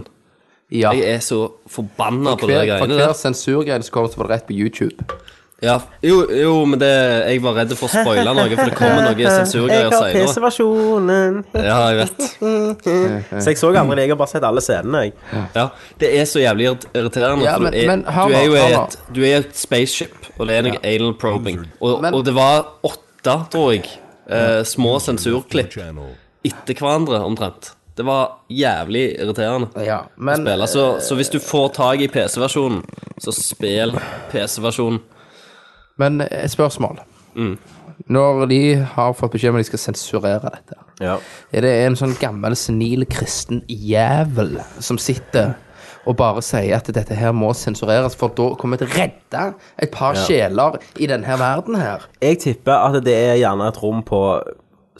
[SPEAKER 7] Ja.
[SPEAKER 6] Jeg er så forbanna på de
[SPEAKER 7] Hver, for
[SPEAKER 6] greiene
[SPEAKER 7] hver
[SPEAKER 6] der.
[SPEAKER 7] sensurgreie som kommer, så var det rett på YouTube.
[SPEAKER 6] Ja. Jo, jo, men det, jeg var redd for å spoile noe, for det kommer noe sensurgreier seinere.
[SPEAKER 4] PC-versjonen.
[SPEAKER 6] Ja, jeg vet.
[SPEAKER 4] Så jeg så aldri det. Jeg har bare sett alle scenene, jeg.
[SPEAKER 6] Ja, det er så jævlig irrit- irriterende.
[SPEAKER 7] Ja,
[SPEAKER 6] for
[SPEAKER 7] men-
[SPEAKER 6] du, er,
[SPEAKER 7] men hør
[SPEAKER 6] du
[SPEAKER 7] nå,
[SPEAKER 6] er jo
[SPEAKER 7] hør nå.
[SPEAKER 6] et, du er et spaceship, og det er noe anal probing. Og,
[SPEAKER 7] Men-
[SPEAKER 6] og det var åtte, tror jeg, eh, små sensurklipp
[SPEAKER 8] channel.
[SPEAKER 6] etter hverandre omtrent. Det var jævlig irriterende.
[SPEAKER 7] Ja, men eh,
[SPEAKER 6] Spill, altså, så hvis du får tak i PC-versjonen, så spill PC-versjonen.
[SPEAKER 7] Men et spørsmål.
[SPEAKER 6] Mm.
[SPEAKER 7] Når de har fått beskjed om at de skal sensurere dette,
[SPEAKER 4] Ja.
[SPEAKER 7] er det en sånn gammel, senil kristen jævel som sitter og bare sier at dette her må sensureres, for da kommer vi til å redde et par sjeler i denne verden her?
[SPEAKER 4] Jeg tipper at det er gjerne et rom på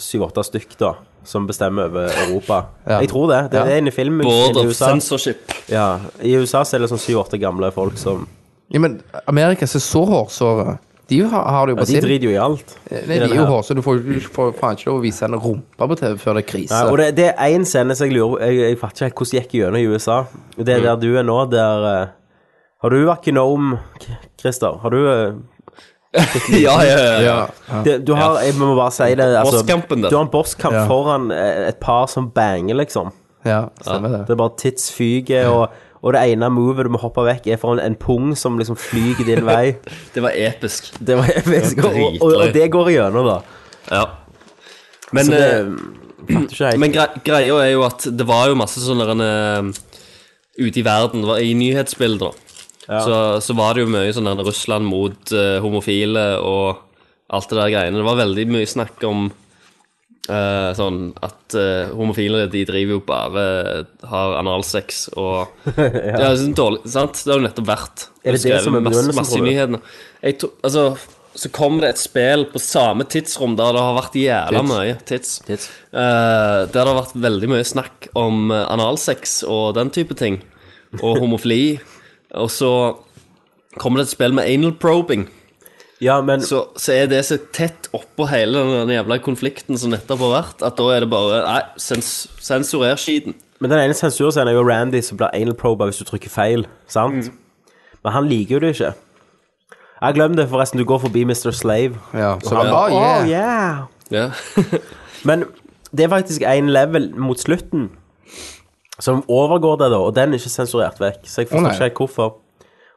[SPEAKER 4] syv-åtte stykk, da, som bestemmer over Europa.
[SPEAKER 7] Ja.
[SPEAKER 4] Jeg tror det. Det
[SPEAKER 7] Ja.
[SPEAKER 4] er en i film
[SPEAKER 6] Board
[SPEAKER 4] i
[SPEAKER 6] of
[SPEAKER 4] USA.
[SPEAKER 6] censorship.
[SPEAKER 4] Ja. I USA så er det sånn syv-åtte gamle folk som
[SPEAKER 7] Ja, men Amerika som er så hårsåre. De har, har det jo
[SPEAKER 4] ja,
[SPEAKER 7] på
[SPEAKER 4] De
[SPEAKER 7] sin.
[SPEAKER 4] driter jo i alt. i
[SPEAKER 7] Nei, de
[SPEAKER 4] denne
[SPEAKER 7] Eh, er jo
[SPEAKER 4] her.
[SPEAKER 7] hårsåre. Du får du får faen ikke lov å vise en rumpe på TV før det er krise.
[SPEAKER 4] Ja, og det, det er én scene som jeg lurer Jeg, jeg fatter ikke helt hvordan det gikk gjennom i USA. Det er der du er nå, der eh, Har du vært gnom, K- Christer? Har du eh,
[SPEAKER 6] Ja, ja, ja, ja.
[SPEAKER 4] det, Du har Jeg må bare si det. Altså,
[SPEAKER 6] Bosskampen der.
[SPEAKER 4] du har en bosskamp
[SPEAKER 7] Ja.
[SPEAKER 4] foran eh, et par som banger, liksom.
[SPEAKER 7] ja stemmer det.
[SPEAKER 4] Det er bare tits fyker, og, og det ene movet du må hoppe vekk, er foran en pung som liksom flyger din vei.
[SPEAKER 6] Det var episk.
[SPEAKER 4] Det var episk. Og, og, og,
[SPEAKER 6] dritløy.
[SPEAKER 4] det går igjennom, da.
[SPEAKER 6] Ja. Men
[SPEAKER 4] Så det
[SPEAKER 6] eh,
[SPEAKER 4] fatter ikke helt.
[SPEAKER 6] Men gre greia er jo at det var jo masse sånne derene, eh, ute i verden, det var- i nyhetsbilder, så, så var det jo mye sånn der Russland mot eh, homofile og alt det der greiene. Det var veldig mye snakk om eh, sånn at eh, homofile de driver jo bare eh, har analsex og Det er sånn dårlig, sant? Det har jo nettopp vært
[SPEAKER 4] Er det det
[SPEAKER 6] skrevet
[SPEAKER 4] som er
[SPEAKER 6] masse,
[SPEAKER 4] begrunnelsen,
[SPEAKER 6] masse
[SPEAKER 4] tror
[SPEAKER 6] i
[SPEAKER 4] du?
[SPEAKER 6] nyhetene. Jeg to, altså, så kom det et spill på samme tidsrom der det har vært jævla mye tids.
[SPEAKER 4] Tids.
[SPEAKER 6] Eh, der det har vært veldig mye snakk om eh, analsex og den type ting. Og homofili. og så kommer det et spill med anal probing.
[SPEAKER 4] Ja, men
[SPEAKER 6] Så, så er det så tett oppå hele den jævla konflikten som nettopp har vært, at da er det bare Nei, sens, sensurer skiten.
[SPEAKER 4] Men den ene sensurscenen er jo Randy som blir anal proba hvis du trykker feil, sant?
[SPEAKER 6] Mm.
[SPEAKER 4] Men han liker jo det ikke. Jeg glem det, forresten. Du går forbi Mr. Slave.
[SPEAKER 7] Ja, så,
[SPEAKER 4] Han,
[SPEAKER 7] oh, yeah.
[SPEAKER 4] «Åh, yeah.
[SPEAKER 6] Ja.
[SPEAKER 4] Men det er faktisk en level mot slutten som overgår det, da, og den er ikke sensurert vekk. Så jeg
[SPEAKER 7] Å,
[SPEAKER 4] forstår
[SPEAKER 7] nei.
[SPEAKER 4] ikke helt hvorfor.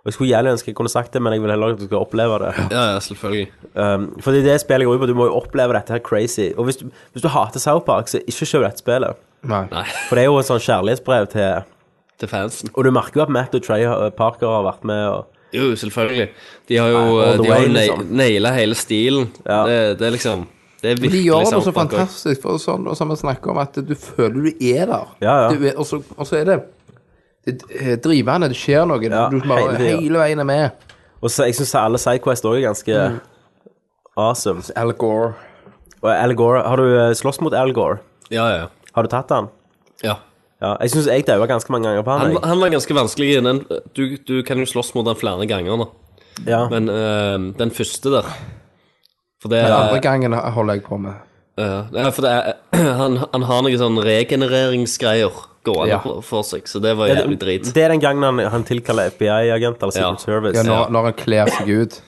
[SPEAKER 4] Og Jeg skulle gjerne ønske jeg kunne sagt det, men jeg vil heller at du skal oppleve det.
[SPEAKER 6] ja, ja, selvfølgelig.
[SPEAKER 4] Um, fordi det spillet går ut på, du må jo oppleve dette her crazy. Og hvis du, hvis du hater South Park, så ikke kjøp dette spillet.
[SPEAKER 7] Nei.
[SPEAKER 4] For det er jo et sånn kjærlighetsbrev til
[SPEAKER 6] Til fansen.
[SPEAKER 4] Og du merker jo at Matt og Trey uh, Parker har vært med og
[SPEAKER 6] Jo, selvfølgelig. De har jo,
[SPEAKER 4] All the
[SPEAKER 6] de
[SPEAKER 4] way,
[SPEAKER 6] har jo nei-
[SPEAKER 4] liksom.
[SPEAKER 6] naila hele stilen.
[SPEAKER 4] Ja.
[SPEAKER 6] Det, det er liksom Det er
[SPEAKER 7] De
[SPEAKER 6] virkelig sånn
[SPEAKER 7] gjør det
[SPEAKER 6] South
[SPEAKER 7] så
[SPEAKER 6] Park også.
[SPEAKER 7] fantastisk, for sånn, og som vi snakker om, at du føler du er der.
[SPEAKER 4] Ja, ja.
[SPEAKER 7] Du er, og, så, og så er det det- eh, drivende, det skjer noe.
[SPEAKER 4] Ja,
[SPEAKER 7] du bare
[SPEAKER 4] hele tiden.
[SPEAKER 7] hele, veien er med.
[SPEAKER 4] Og så, jeg syns alle Sidequest òg er ganske
[SPEAKER 7] Mm.
[SPEAKER 4] awesome.
[SPEAKER 7] Al Gore.
[SPEAKER 4] Og Al Gore, har du eh, slåss mot Al Gore?
[SPEAKER 6] Ja, ja,
[SPEAKER 4] Har du tatt han?
[SPEAKER 6] ja.
[SPEAKER 4] Ja, jeg syns jeg daua ganske mange ganger på han.
[SPEAKER 6] Han,
[SPEAKER 4] jeg.
[SPEAKER 6] han var ganske vanskelig. Den, du, du kan jo slåss mot den flere ganger, da.
[SPEAKER 4] Ja.
[SPEAKER 6] Men eh, den første der For det
[SPEAKER 7] Den
[SPEAKER 6] er
[SPEAKER 7] andre gangen holder jeg på med.
[SPEAKER 6] eh, nei, For det er han, han har noen sånn regenereringsgreier gående
[SPEAKER 7] Ja.
[SPEAKER 6] på- for seg, så det var jævlig drit.
[SPEAKER 4] Det er den gangen han, han tilkaller FBI-agent eller Secret
[SPEAKER 6] Ja.
[SPEAKER 4] Service.
[SPEAKER 7] Ja,
[SPEAKER 4] Ja,
[SPEAKER 7] når, når han kler seg ut.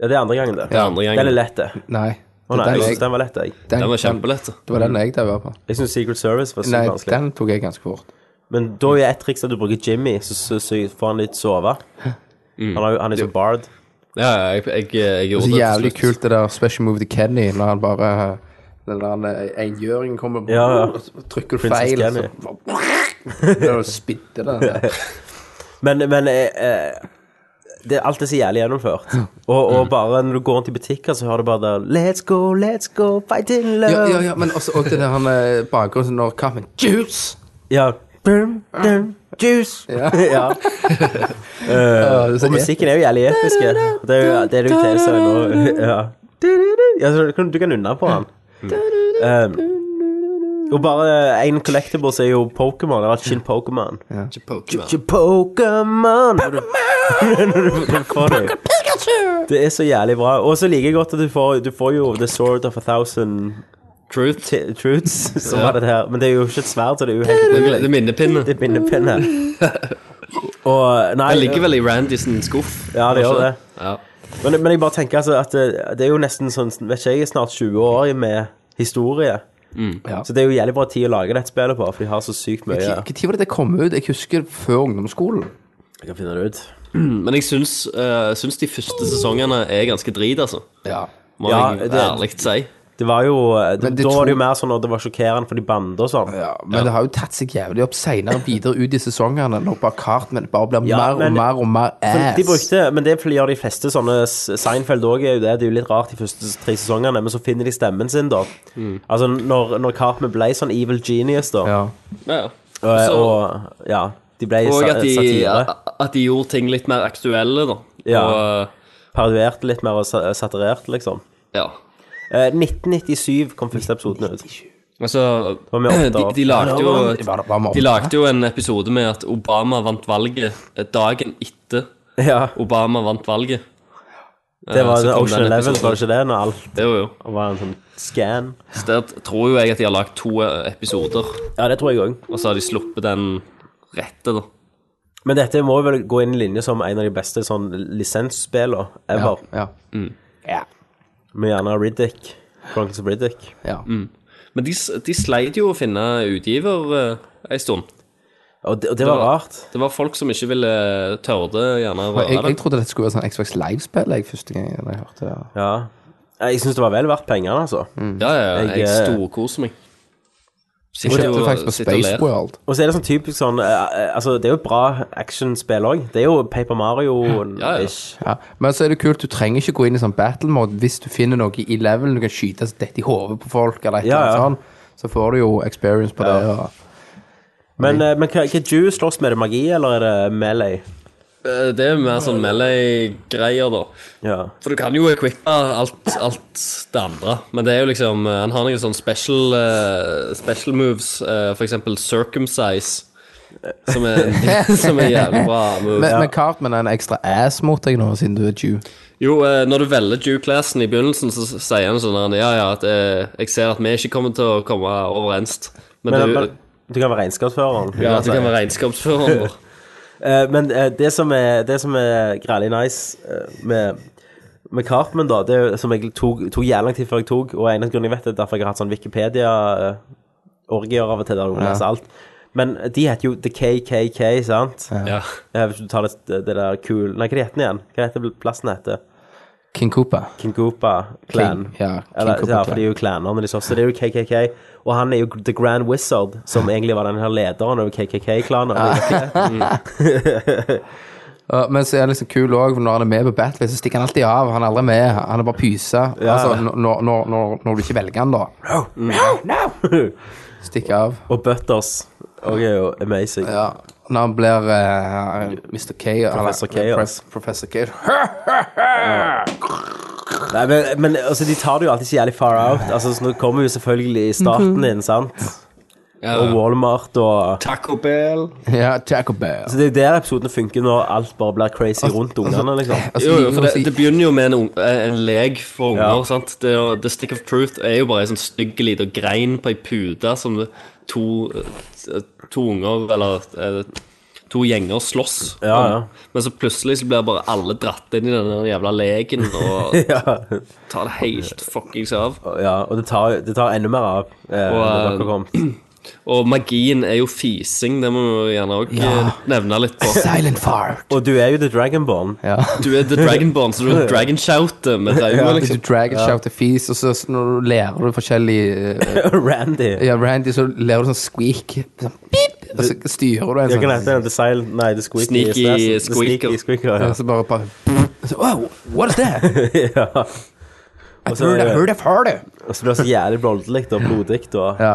[SPEAKER 4] det er andre gangen, det.
[SPEAKER 6] Det er andre gangen.
[SPEAKER 4] Den er lett, det.
[SPEAKER 7] Nei.
[SPEAKER 4] Å nei,
[SPEAKER 7] den
[SPEAKER 4] jeg
[SPEAKER 7] jeg-
[SPEAKER 4] syns den var lett, jeg.
[SPEAKER 7] den-
[SPEAKER 6] Den var
[SPEAKER 7] den-
[SPEAKER 6] kjempelett.
[SPEAKER 7] Det var den jeg daua på.
[SPEAKER 4] Jeg syns Secret Service var
[SPEAKER 7] Nei,
[SPEAKER 4] sykt vanskelig.
[SPEAKER 7] den tok jeg ganske fort.
[SPEAKER 4] Men da er et triks at du bruker Jimmy, så, så, så får han litt sove.
[SPEAKER 6] Mm.
[SPEAKER 4] Han, har, jo- han er jo så bard.
[SPEAKER 6] Ja, ja, jeg, jeg, jeg gjorde
[SPEAKER 7] Så
[SPEAKER 6] det. til
[SPEAKER 7] jævlig
[SPEAKER 6] slutt.
[SPEAKER 7] kult det der Special Move to Kenny, når han bare eh, den der engjøringen kommer på,
[SPEAKER 4] Ja, ja.
[SPEAKER 7] og så trykker du
[SPEAKER 4] Princess
[SPEAKER 7] feil, og
[SPEAKER 4] Kenny.
[SPEAKER 7] så bare- og spytter det.
[SPEAKER 4] Men, men eh, eh, det, alt er så jævlig gjennomført. Og,
[SPEAKER 7] Mm.
[SPEAKER 4] og bare når du går rundt i butikker, så hører du bare der Let's go, let's go, fight in love.
[SPEAKER 7] Ja, ja, ja, men også, også det der han eh, bakgrunnen når kaffen Juice!
[SPEAKER 4] Ja. Dum, dum, juice. Ja.
[SPEAKER 7] Ja, det er så
[SPEAKER 4] Og musikken er jo jævlig episk. Det er jo det er jo TV-serien nå. Ja. Ja, så du kan- du kan unne på han. Um, og bare én collectibles er jo Pokémon. Eller Shin Pokémon.
[SPEAKER 6] Ikke Pokémon.
[SPEAKER 4] Pokémon! Når du- når du får det.
[SPEAKER 5] Pikachu!
[SPEAKER 4] Det er så jævlig bra. Og så liker jeg godt at du får, du får jo The Sword of a Thousand
[SPEAKER 6] Truth.
[SPEAKER 4] T- Truths, som
[SPEAKER 6] Ja.
[SPEAKER 4] var det her. Men det er jo ikke et sverd, så det er jo
[SPEAKER 6] Det
[SPEAKER 4] helt
[SPEAKER 6] er det er minnepinne.
[SPEAKER 4] Det er minnepinne. Og nei
[SPEAKER 6] Den ligger vel i Randy sin skuff.
[SPEAKER 4] Ja, det gjør det.
[SPEAKER 6] Ja.
[SPEAKER 4] Men, men jeg bare tenker altså at det, det er jo nesten sånn Vet ikke, jeg er snart 20 år med historie.
[SPEAKER 6] Mm.
[SPEAKER 7] Ja.
[SPEAKER 4] Så det er jo jævlig bra tid å lage dette spillet på, for de har så sykt mye
[SPEAKER 7] Når var det det kom ut? Jeg husker før ungdomsskolen.
[SPEAKER 4] Jeg kan finne det ut.
[SPEAKER 6] Men jeg syns, eh, syns de første sesongene er ganske drit, altså.
[SPEAKER 7] Ja.
[SPEAKER 6] Må
[SPEAKER 4] Ja,
[SPEAKER 6] jeg
[SPEAKER 4] det-
[SPEAKER 6] ærlig si.
[SPEAKER 4] Det var jo eh, det,
[SPEAKER 7] Men de
[SPEAKER 4] Da var det
[SPEAKER 7] tror-
[SPEAKER 4] jo mer sånn at det var sjokkerende for de bander og sånn.
[SPEAKER 7] ja men det har jo tatt seg jævlig opp seinere videre ut i sesongene når bare Cartman bare blir
[SPEAKER 4] Ja,
[SPEAKER 7] mer
[SPEAKER 4] men-
[SPEAKER 7] og mer og mer
[SPEAKER 4] Men
[SPEAKER 7] ass.
[SPEAKER 4] De brukte, men det gjør de fleste sånne S- Seinfeld òg, er jo det. Det er jo litt rart de første tre sesongene, men så finner de stemmen sin, da.
[SPEAKER 6] Mm.
[SPEAKER 4] Altså, når, når Cartman ble sånn evil genius, da,
[SPEAKER 7] ja.
[SPEAKER 6] Ja, ja.
[SPEAKER 4] og,
[SPEAKER 6] Så-
[SPEAKER 4] og ja, de ble
[SPEAKER 6] Og
[SPEAKER 4] sa-
[SPEAKER 6] at de,
[SPEAKER 4] satire.
[SPEAKER 6] at de gjorde ting litt mer aktuelle, da.
[SPEAKER 4] Ja.
[SPEAKER 6] Og, eh,
[SPEAKER 4] Parodierte litt mer og sa- satirerte, liksom.
[SPEAKER 6] ja.
[SPEAKER 4] Eh, 1997 kom første episoden ut.
[SPEAKER 6] Altså,
[SPEAKER 4] var med åtte år.
[SPEAKER 6] de, de, lagde
[SPEAKER 7] Var
[SPEAKER 6] jo,
[SPEAKER 7] det- var det- var det med
[SPEAKER 6] de
[SPEAKER 7] åtte?
[SPEAKER 6] lagde jo en episode med at Obama vant valget eh, dagen etter
[SPEAKER 4] Ja,
[SPEAKER 6] Obama vant valget. Eh,
[SPEAKER 4] det var
[SPEAKER 6] så kom
[SPEAKER 4] Ocean
[SPEAKER 6] den
[SPEAKER 4] Eleven,
[SPEAKER 6] episoden.
[SPEAKER 4] var det ikke det? Når alt
[SPEAKER 6] Det var jo.
[SPEAKER 4] var en sånn scan.
[SPEAKER 6] Så der tror jo jeg at de har lagd to eh, episoder,
[SPEAKER 4] Ja, det tror jeg òg.
[SPEAKER 6] og så har de sluppet den rette, da.
[SPEAKER 4] Men dette må vel gå inn i linje som en av de beste sånn lisensspillene
[SPEAKER 7] Ja.
[SPEAKER 4] ever.
[SPEAKER 7] ja.
[SPEAKER 4] Med gjerne Riddick. Chronicles of Riddick.
[SPEAKER 7] ja.
[SPEAKER 6] Men de, s- de sleit jo å finne utgiver eh, ei stund.
[SPEAKER 4] Og det, og det var
[SPEAKER 6] var-
[SPEAKER 4] rart.
[SPEAKER 6] Det var folk som ikke ville tørre det, gjerne
[SPEAKER 7] Men Jeg,
[SPEAKER 6] røre
[SPEAKER 7] jeg
[SPEAKER 6] det.
[SPEAKER 7] trodde dette skulle være sånn Xbox Live-spill jeg, første gang jeg hørte det.
[SPEAKER 4] Ja. Eh, Jeg syns det var vel verdt pengene, altså.
[SPEAKER 6] Ja, ja,
[SPEAKER 4] Jeg,
[SPEAKER 6] jeg
[SPEAKER 4] eh,
[SPEAKER 6] storkoser meg.
[SPEAKER 7] Jeg
[SPEAKER 6] Sitter
[SPEAKER 7] kjøpte
[SPEAKER 6] og-
[SPEAKER 7] faktisk på
[SPEAKER 6] sitter og ler.
[SPEAKER 7] Space World.
[SPEAKER 4] Og så er det sånn typisk sånn eh, eh, Altså, det er jo et bra actionspill òg. Det er jo Paper Mario-ish.
[SPEAKER 6] Ja, ja.
[SPEAKER 7] Ja. Men så er det kult, du trenger ikke gå inn i sånn battle mode hvis du finner noe i levelen du kan skyte så dette i hodet på folk, eller et
[SPEAKER 4] Ja,
[SPEAKER 7] eller
[SPEAKER 4] ja.
[SPEAKER 7] annet sånt. Så får du jo experience på det. Og,
[SPEAKER 4] Men, eh, men hva, hva Jew slåss med? Er det magi, eller er det melee?
[SPEAKER 6] Eh, Det er mer sånn melee-greier, da.
[SPEAKER 4] Ja.
[SPEAKER 6] For du kan jo equippe alt, alt det andre, men det er jo liksom eh, Han har noen sånne special, eh, special moves, eh, for eksempel circumcise, som er, som er jævlig bra move.
[SPEAKER 7] men, men Cartman er en ekstra ass mot deg nå, siden du er Jew.
[SPEAKER 6] Jo, eh, når du velger Jew-classen i begynnelsen, så s- sier han sånn her, Ja, ja, at eh, jeg ser at vi ikke kommer til å komme overens, men,
[SPEAKER 4] Men,
[SPEAKER 6] du
[SPEAKER 4] men du kan være regnskapsføreren. kan
[SPEAKER 6] ja, du
[SPEAKER 4] jeg
[SPEAKER 6] kan
[SPEAKER 4] si.
[SPEAKER 6] være regnskapsføreren vår.
[SPEAKER 4] Eh, men eh, det som er, det som er grælig nice eh, med, med Cartman, da, det er jo- som jeg tok, tok jævlig lang tid før jeg tok, og en av grunnene jeg vet det, er derfor jeg har hatt sånn Wikipedia-orgier av og til der du leser alt. Men de heter jo The KKK, sant?
[SPEAKER 6] Ja.
[SPEAKER 4] Eh, Hvis du tar det, det der kul... Nei, hva heter den igjen? Hva heter plassen heter?
[SPEAKER 7] King Cooper.
[SPEAKER 4] Kinkupa Clan.
[SPEAKER 7] King- ja, King
[SPEAKER 4] Eller,
[SPEAKER 7] Koopa
[SPEAKER 4] ja,
[SPEAKER 7] Clan.
[SPEAKER 4] for de er jo klaner, men de slåss. Så det er jo KKK. Og han er jo The Grand Wizard, som egentlig var den her lederen over KKK-klanen.
[SPEAKER 7] Ah. Uh, men så er det liksom kul også, når han er med på battle, så stikker han alltid av. Han er aldri med. Han er bare pyse. Altså, når, når, når, når du ikke velger han, da. Mm. Stikker av.
[SPEAKER 4] Og Butters og er jo amazing.
[SPEAKER 7] Ja. Når han blir eh, Mr. K
[SPEAKER 4] Professor K,
[SPEAKER 7] Prof-
[SPEAKER 4] altså.
[SPEAKER 7] Professor K.
[SPEAKER 4] Nei, men, men altså, de tar det jo alltid så jævlig far out. Altså, så Nå kommer jo selvfølgelig
[SPEAKER 7] Mhm.
[SPEAKER 4] starten inn, sant? Og Walmart og
[SPEAKER 6] Taco Bell.
[SPEAKER 7] Ja, Taco Bell.
[SPEAKER 4] Så Det er jo der episodene funker, når alt bare blir crazy rundt ungene, liksom.
[SPEAKER 7] Altså,
[SPEAKER 6] Jo, jo,
[SPEAKER 7] de-
[SPEAKER 6] for
[SPEAKER 7] de-
[SPEAKER 6] det, det begynner jo med en, ung- eh, en lek for unger.
[SPEAKER 4] Ja.
[SPEAKER 6] sant? Det, er jo- the Stick of Truth er jo bare en sånn stygg liten grein på ei pute som det- to, eh, to unger, eller eh, to gjenger, slåss.
[SPEAKER 4] Ja, ja.
[SPEAKER 6] om. Men så plutselig så blir bare alle dratt inn i den jævla leken og
[SPEAKER 4] Ja,
[SPEAKER 6] tar det helt fuckings av.
[SPEAKER 4] ja og det tar, det tar enda mer av. Eh, når
[SPEAKER 6] eh,
[SPEAKER 4] dere kom.
[SPEAKER 6] Og magien er jo fising, det må vi jo gjerne òg nevne litt på.
[SPEAKER 7] Silent fart.
[SPEAKER 4] Og du er jo The Dragonborn.
[SPEAKER 7] Ja.
[SPEAKER 6] Du er the dragonborn, så du er dragonshouter med
[SPEAKER 7] Ja,
[SPEAKER 6] raume, liksom.
[SPEAKER 7] du dragon shout the fees, og så så når du lærer du forskjellige eh,
[SPEAKER 4] Randy.
[SPEAKER 7] Ja, Randy, så lærer du sånn squeak. Sånn pip, og så styrer du en
[SPEAKER 4] Jeg kan
[SPEAKER 7] sånn
[SPEAKER 4] hete den The Silent Nei, The Squeaky
[SPEAKER 6] Sneaky
[SPEAKER 4] Assassin. The
[SPEAKER 6] Squeaker.
[SPEAKER 4] Sneaky Squeaker,
[SPEAKER 7] Ja, så bare, bare så, Wow, what is that?
[SPEAKER 4] ja. ja.
[SPEAKER 7] I
[SPEAKER 4] så-
[SPEAKER 7] heard, I heard I've heard it.
[SPEAKER 4] Og så blir det så jævlig bloddelig og blodig, da.
[SPEAKER 7] Ja.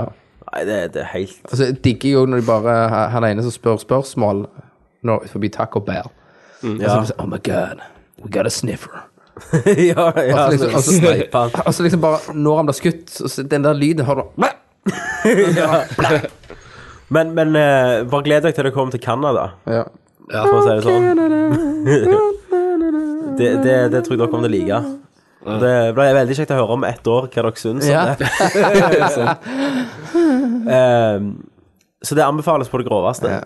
[SPEAKER 4] Nei, det, det er helt
[SPEAKER 7] Og så digger jeg jo når de bare Han ene som spør spørsmål når, forbi Taco Bell.
[SPEAKER 4] Mm, Ja,
[SPEAKER 7] Og så, oh my god, we got a sniffer.
[SPEAKER 4] ja, ja
[SPEAKER 7] Og så
[SPEAKER 4] så-
[SPEAKER 7] liksom- og så-
[SPEAKER 4] sniper han.
[SPEAKER 7] Og så liksom bare når han blir skutt, så, så den der lyden hører du
[SPEAKER 4] Men, men eh, Sånn, bare gled deg til du kommer til Canada,
[SPEAKER 7] ja.
[SPEAKER 4] for å si det sånn. Det, det, det tror jeg dere kommer til å like. Og Det blir veldig kjekt å høre om ett år hva dere syns om
[SPEAKER 7] Ja.
[SPEAKER 4] det. Ehm, så det anbefales på det groveste.
[SPEAKER 7] Ja.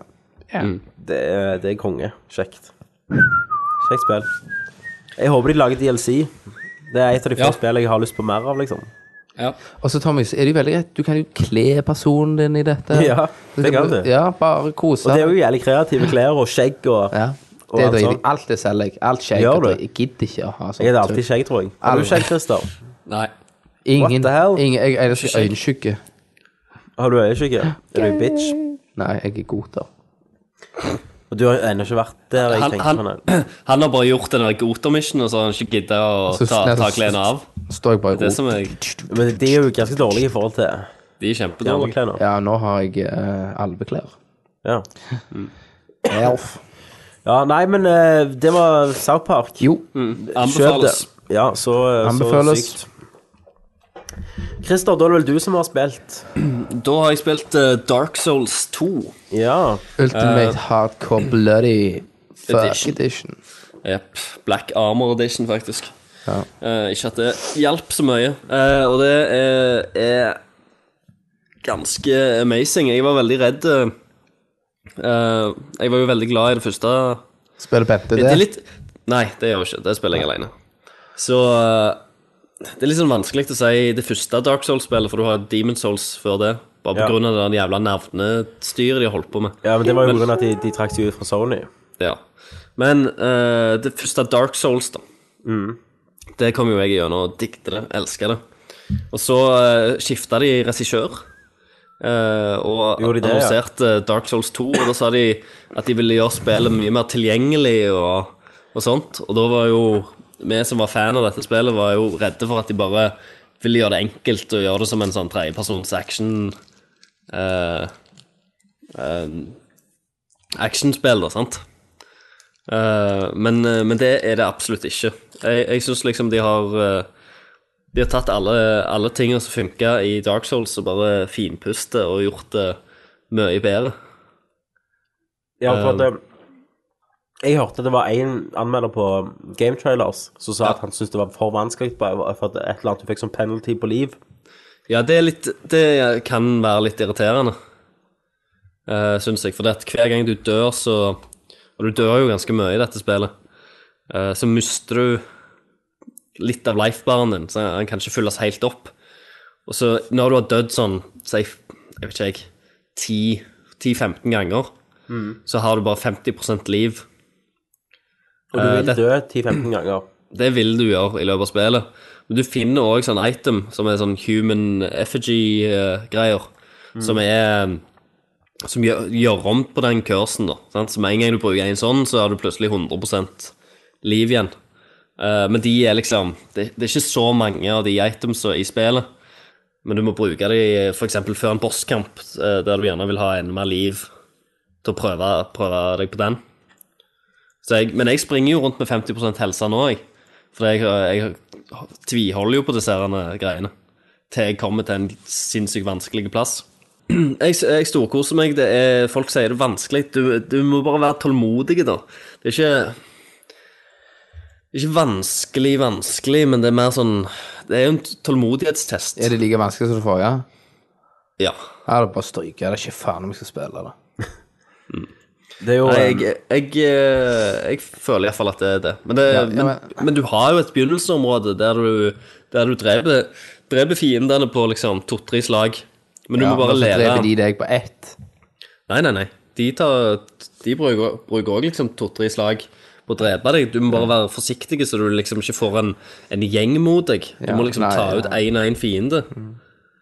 [SPEAKER 9] Ja.
[SPEAKER 6] Mm.
[SPEAKER 4] Det, er- det er konge. Kjekt. Kjekt spill. Jeg håper de lager DLC. Det er et av de få
[SPEAKER 6] Ja.
[SPEAKER 4] spillene jeg har lyst på mer av, liksom.
[SPEAKER 6] Ja.
[SPEAKER 7] Og så, Thomas, er det jo veldig greit. Du kan jo kle personen din i dette.
[SPEAKER 4] Ja, det kan du.
[SPEAKER 7] Ja, bare kose.
[SPEAKER 4] Og det er jo jævlig kreative klær og skjegg og
[SPEAKER 7] ja.
[SPEAKER 4] og alt
[SPEAKER 7] det driter jeg
[SPEAKER 4] sånt.
[SPEAKER 7] Alt det selger jeg. Alt skjegg.
[SPEAKER 4] Gjør
[SPEAKER 7] og
[SPEAKER 4] du?
[SPEAKER 7] drit. Jeg gidder ikke å ha sånn sånt.
[SPEAKER 4] Jeg er alltid skjegg, tror jeg. Er du skjegg, Christer?
[SPEAKER 6] Nei.
[SPEAKER 7] Ingen,
[SPEAKER 4] What the hell?
[SPEAKER 7] ingen jeg, jeg er ikke øyenskygge.
[SPEAKER 4] Har du øyeskygge? Er du en bitch?
[SPEAKER 7] Nei, jeg er goter.
[SPEAKER 4] Og du har jo ennå ikke vært der. Jeg
[SPEAKER 6] Han,
[SPEAKER 4] tenkte
[SPEAKER 6] han,
[SPEAKER 4] sånn her.
[SPEAKER 6] han har bare gjort den der Goter-mission, og så har han ikke giddet å
[SPEAKER 7] Så-
[SPEAKER 6] ta,
[SPEAKER 7] nei, så-
[SPEAKER 6] ta klærne av.
[SPEAKER 7] Står jeg bare i
[SPEAKER 6] Det
[SPEAKER 7] ro.
[SPEAKER 6] som jeg,
[SPEAKER 4] Men de er jo ganske dårlige i forhold til
[SPEAKER 6] De er
[SPEAKER 4] de andre
[SPEAKER 6] kjempedårlige.
[SPEAKER 4] klærne.
[SPEAKER 7] Ja, nå har jeg eh, alveklær.
[SPEAKER 4] Ja.
[SPEAKER 7] Elf.
[SPEAKER 4] ja, nei, men eh, det var South Park.
[SPEAKER 7] Jo.
[SPEAKER 4] Kjøp
[SPEAKER 6] Mm.
[SPEAKER 4] det.
[SPEAKER 6] Anbefales.
[SPEAKER 4] Ja, så, eh, så
[SPEAKER 7] Anbefales.
[SPEAKER 4] sykt. Christer, da er det vel du som har spilt?
[SPEAKER 6] Da har jeg spilt eh, Dark Souls 2.
[SPEAKER 4] Ja.
[SPEAKER 7] Ultimate Hardcore Bloody Fuck
[SPEAKER 6] Eh. Edition.
[SPEAKER 7] Edition.
[SPEAKER 6] Jep. Black Armor Edition, faktisk.
[SPEAKER 7] Ja.
[SPEAKER 6] Eh, ikke at det hjalp så mye. Eh, og det er, er ganske amazing. Jeg var veldig redd eh, eh, Jeg var jo veldig glad i det første.
[SPEAKER 7] Spiller Bente
[SPEAKER 6] Det,
[SPEAKER 7] det?
[SPEAKER 6] er litt Nei, det gjør jeg ikke. Det spiller jeg alene. Så eh, det er litt sånn vanskelig å si det første Dark Souls-spillet, for du har Demon Souls før det. Bare på
[SPEAKER 4] Ja.
[SPEAKER 6] grunn av det der jævla navnestyret de har holdt på med.
[SPEAKER 4] ja, men det var jo pga. at de, de trakk seg ut fra Sony.
[SPEAKER 6] Ja. Men eh, det første Dark Souls, da.
[SPEAKER 4] Mm.
[SPEAKER 6] Det kom jo jeg gjennom og dikte det. Elska det. Og så uh, skifta de regissør. eh, og
[SPEAKER 4] Gjorde de det, ja?
[SPEAKER 6] annonserte eh, Dark Souls 2, og da sa de at de ville gjøre spillet mye mer tilgjengelig og, og sånt. Og da var jo vi som var fan av dette spillet, var jo redde for at de bare ville gjøre det enkelt og gjøre det som en sånn tredjepersons action eh, eh, Actionspill, da, sant? Eh, men, men det er det absolutt ikke. Jeg, jeg syns liksom de har eh, De har tatt alle, alle tingene som funka i Dark Souls, og bare finpustet og gjort det mye bedre.
[SPEAKER 4] Ja, for at eh, Jeg hørte det var en anmelder på Game Trailers som sa at han syntes det var for vanskelig bare for at et eller annet du fikk som penalty på liv.
[SPEAKER 6] Ja, det, er litt, det kan være litt irriterende, uh, syns jeg. For det at hver gang du dør, så Og du dør jo ganske mye i dette spillet. eh, så mister du litt av lifebaren din, så den kan ikke fylles helt opp. Og så når du har dødd sånn, si, jeg vet ikke jeg, 10 10-15 ganger, så har du bare 50 liv.
[SPEAKER 4] Og du
[SPEAKER 6] Eh,
[SPEAKER 4] vil
[SPEAKER 6] det-
[SPEAKER 4] dø 10-15 ganger.
[SPEAKER 6] Det vil du gjøre i løpet av spillet. Men du finner òg sånn item som er sånn human effigy-greier. Som er eh, Som gjør, gjør om på den kursen, da. Sant? Så med en gang du bruker en sånn, så har du plutselig 100 liv igjen. Eh, men de er liksom det, det er ikke så mange av de itemsa i spillet. Men du må bruke de f.eks. før en bosskamp, eh, der du gjerne vil ha enda mer liv, til å prøve, prøve deg på den. Så jeg, men jeg springer jo rundt med 50 helse nå, jeg. For jeg, jeg tviholder jo på disse herne greiene til jeg kommer til en sinnssykt vanskelig plass. Jeg, jeg storkoser meg. Det er, folk sier det er vanskelig. Du, du må bare være tålmodig, da. Det er ikke det er ikke vanskelig, vanskelig, men det er mer sånn Det er jo en tålmodighetstest.
[SPEAKER 7] Er det like vanskelig som det forrige?
[SPEAKER 6] Ja.
[SPEAKER 7] Ja, det er bare å stryke. Det er ikke faen om jeg skal spille det.
[SPEAKER 4] Det er jo
[SPEAKER 6] Nei,
[SPEAKER 7] um,
[SPEAKER 4] eh,
[SPEAKER 6] jeg, jeg, eh, jeg føler iallfall at det er det. Men, det,
[SPEAKER 7] Ja, ja,
[SPEAKER 6] men, men du har jo et begynnelsesområde der du, der du dreper, dreper fiendene på liksom to-tre slag. Men du
[SPEAKER 7] Ja,
[SPEAKER 6] må bare
[SPEAKER 7] men så
[SPEAKER 6] lære
[SPEAKER 7] dreper de deg på ett.
[SPEAKER 6] Nei, nei, nei. De, tar, de bruker bruker òg liksom to-tre slag på å drepe deg. Du må bare være forsiktig, så du liksom ikke får en, en gjeng mot deg. Du
[SPEAKER 7] Ja,
[SPEAKER 6] må liksom
[SPEAKER 7] nei,
[SPEAKER 6] ta
[SPEAKER 7] ja.
[SPEAKER 6] ut én og én fiende.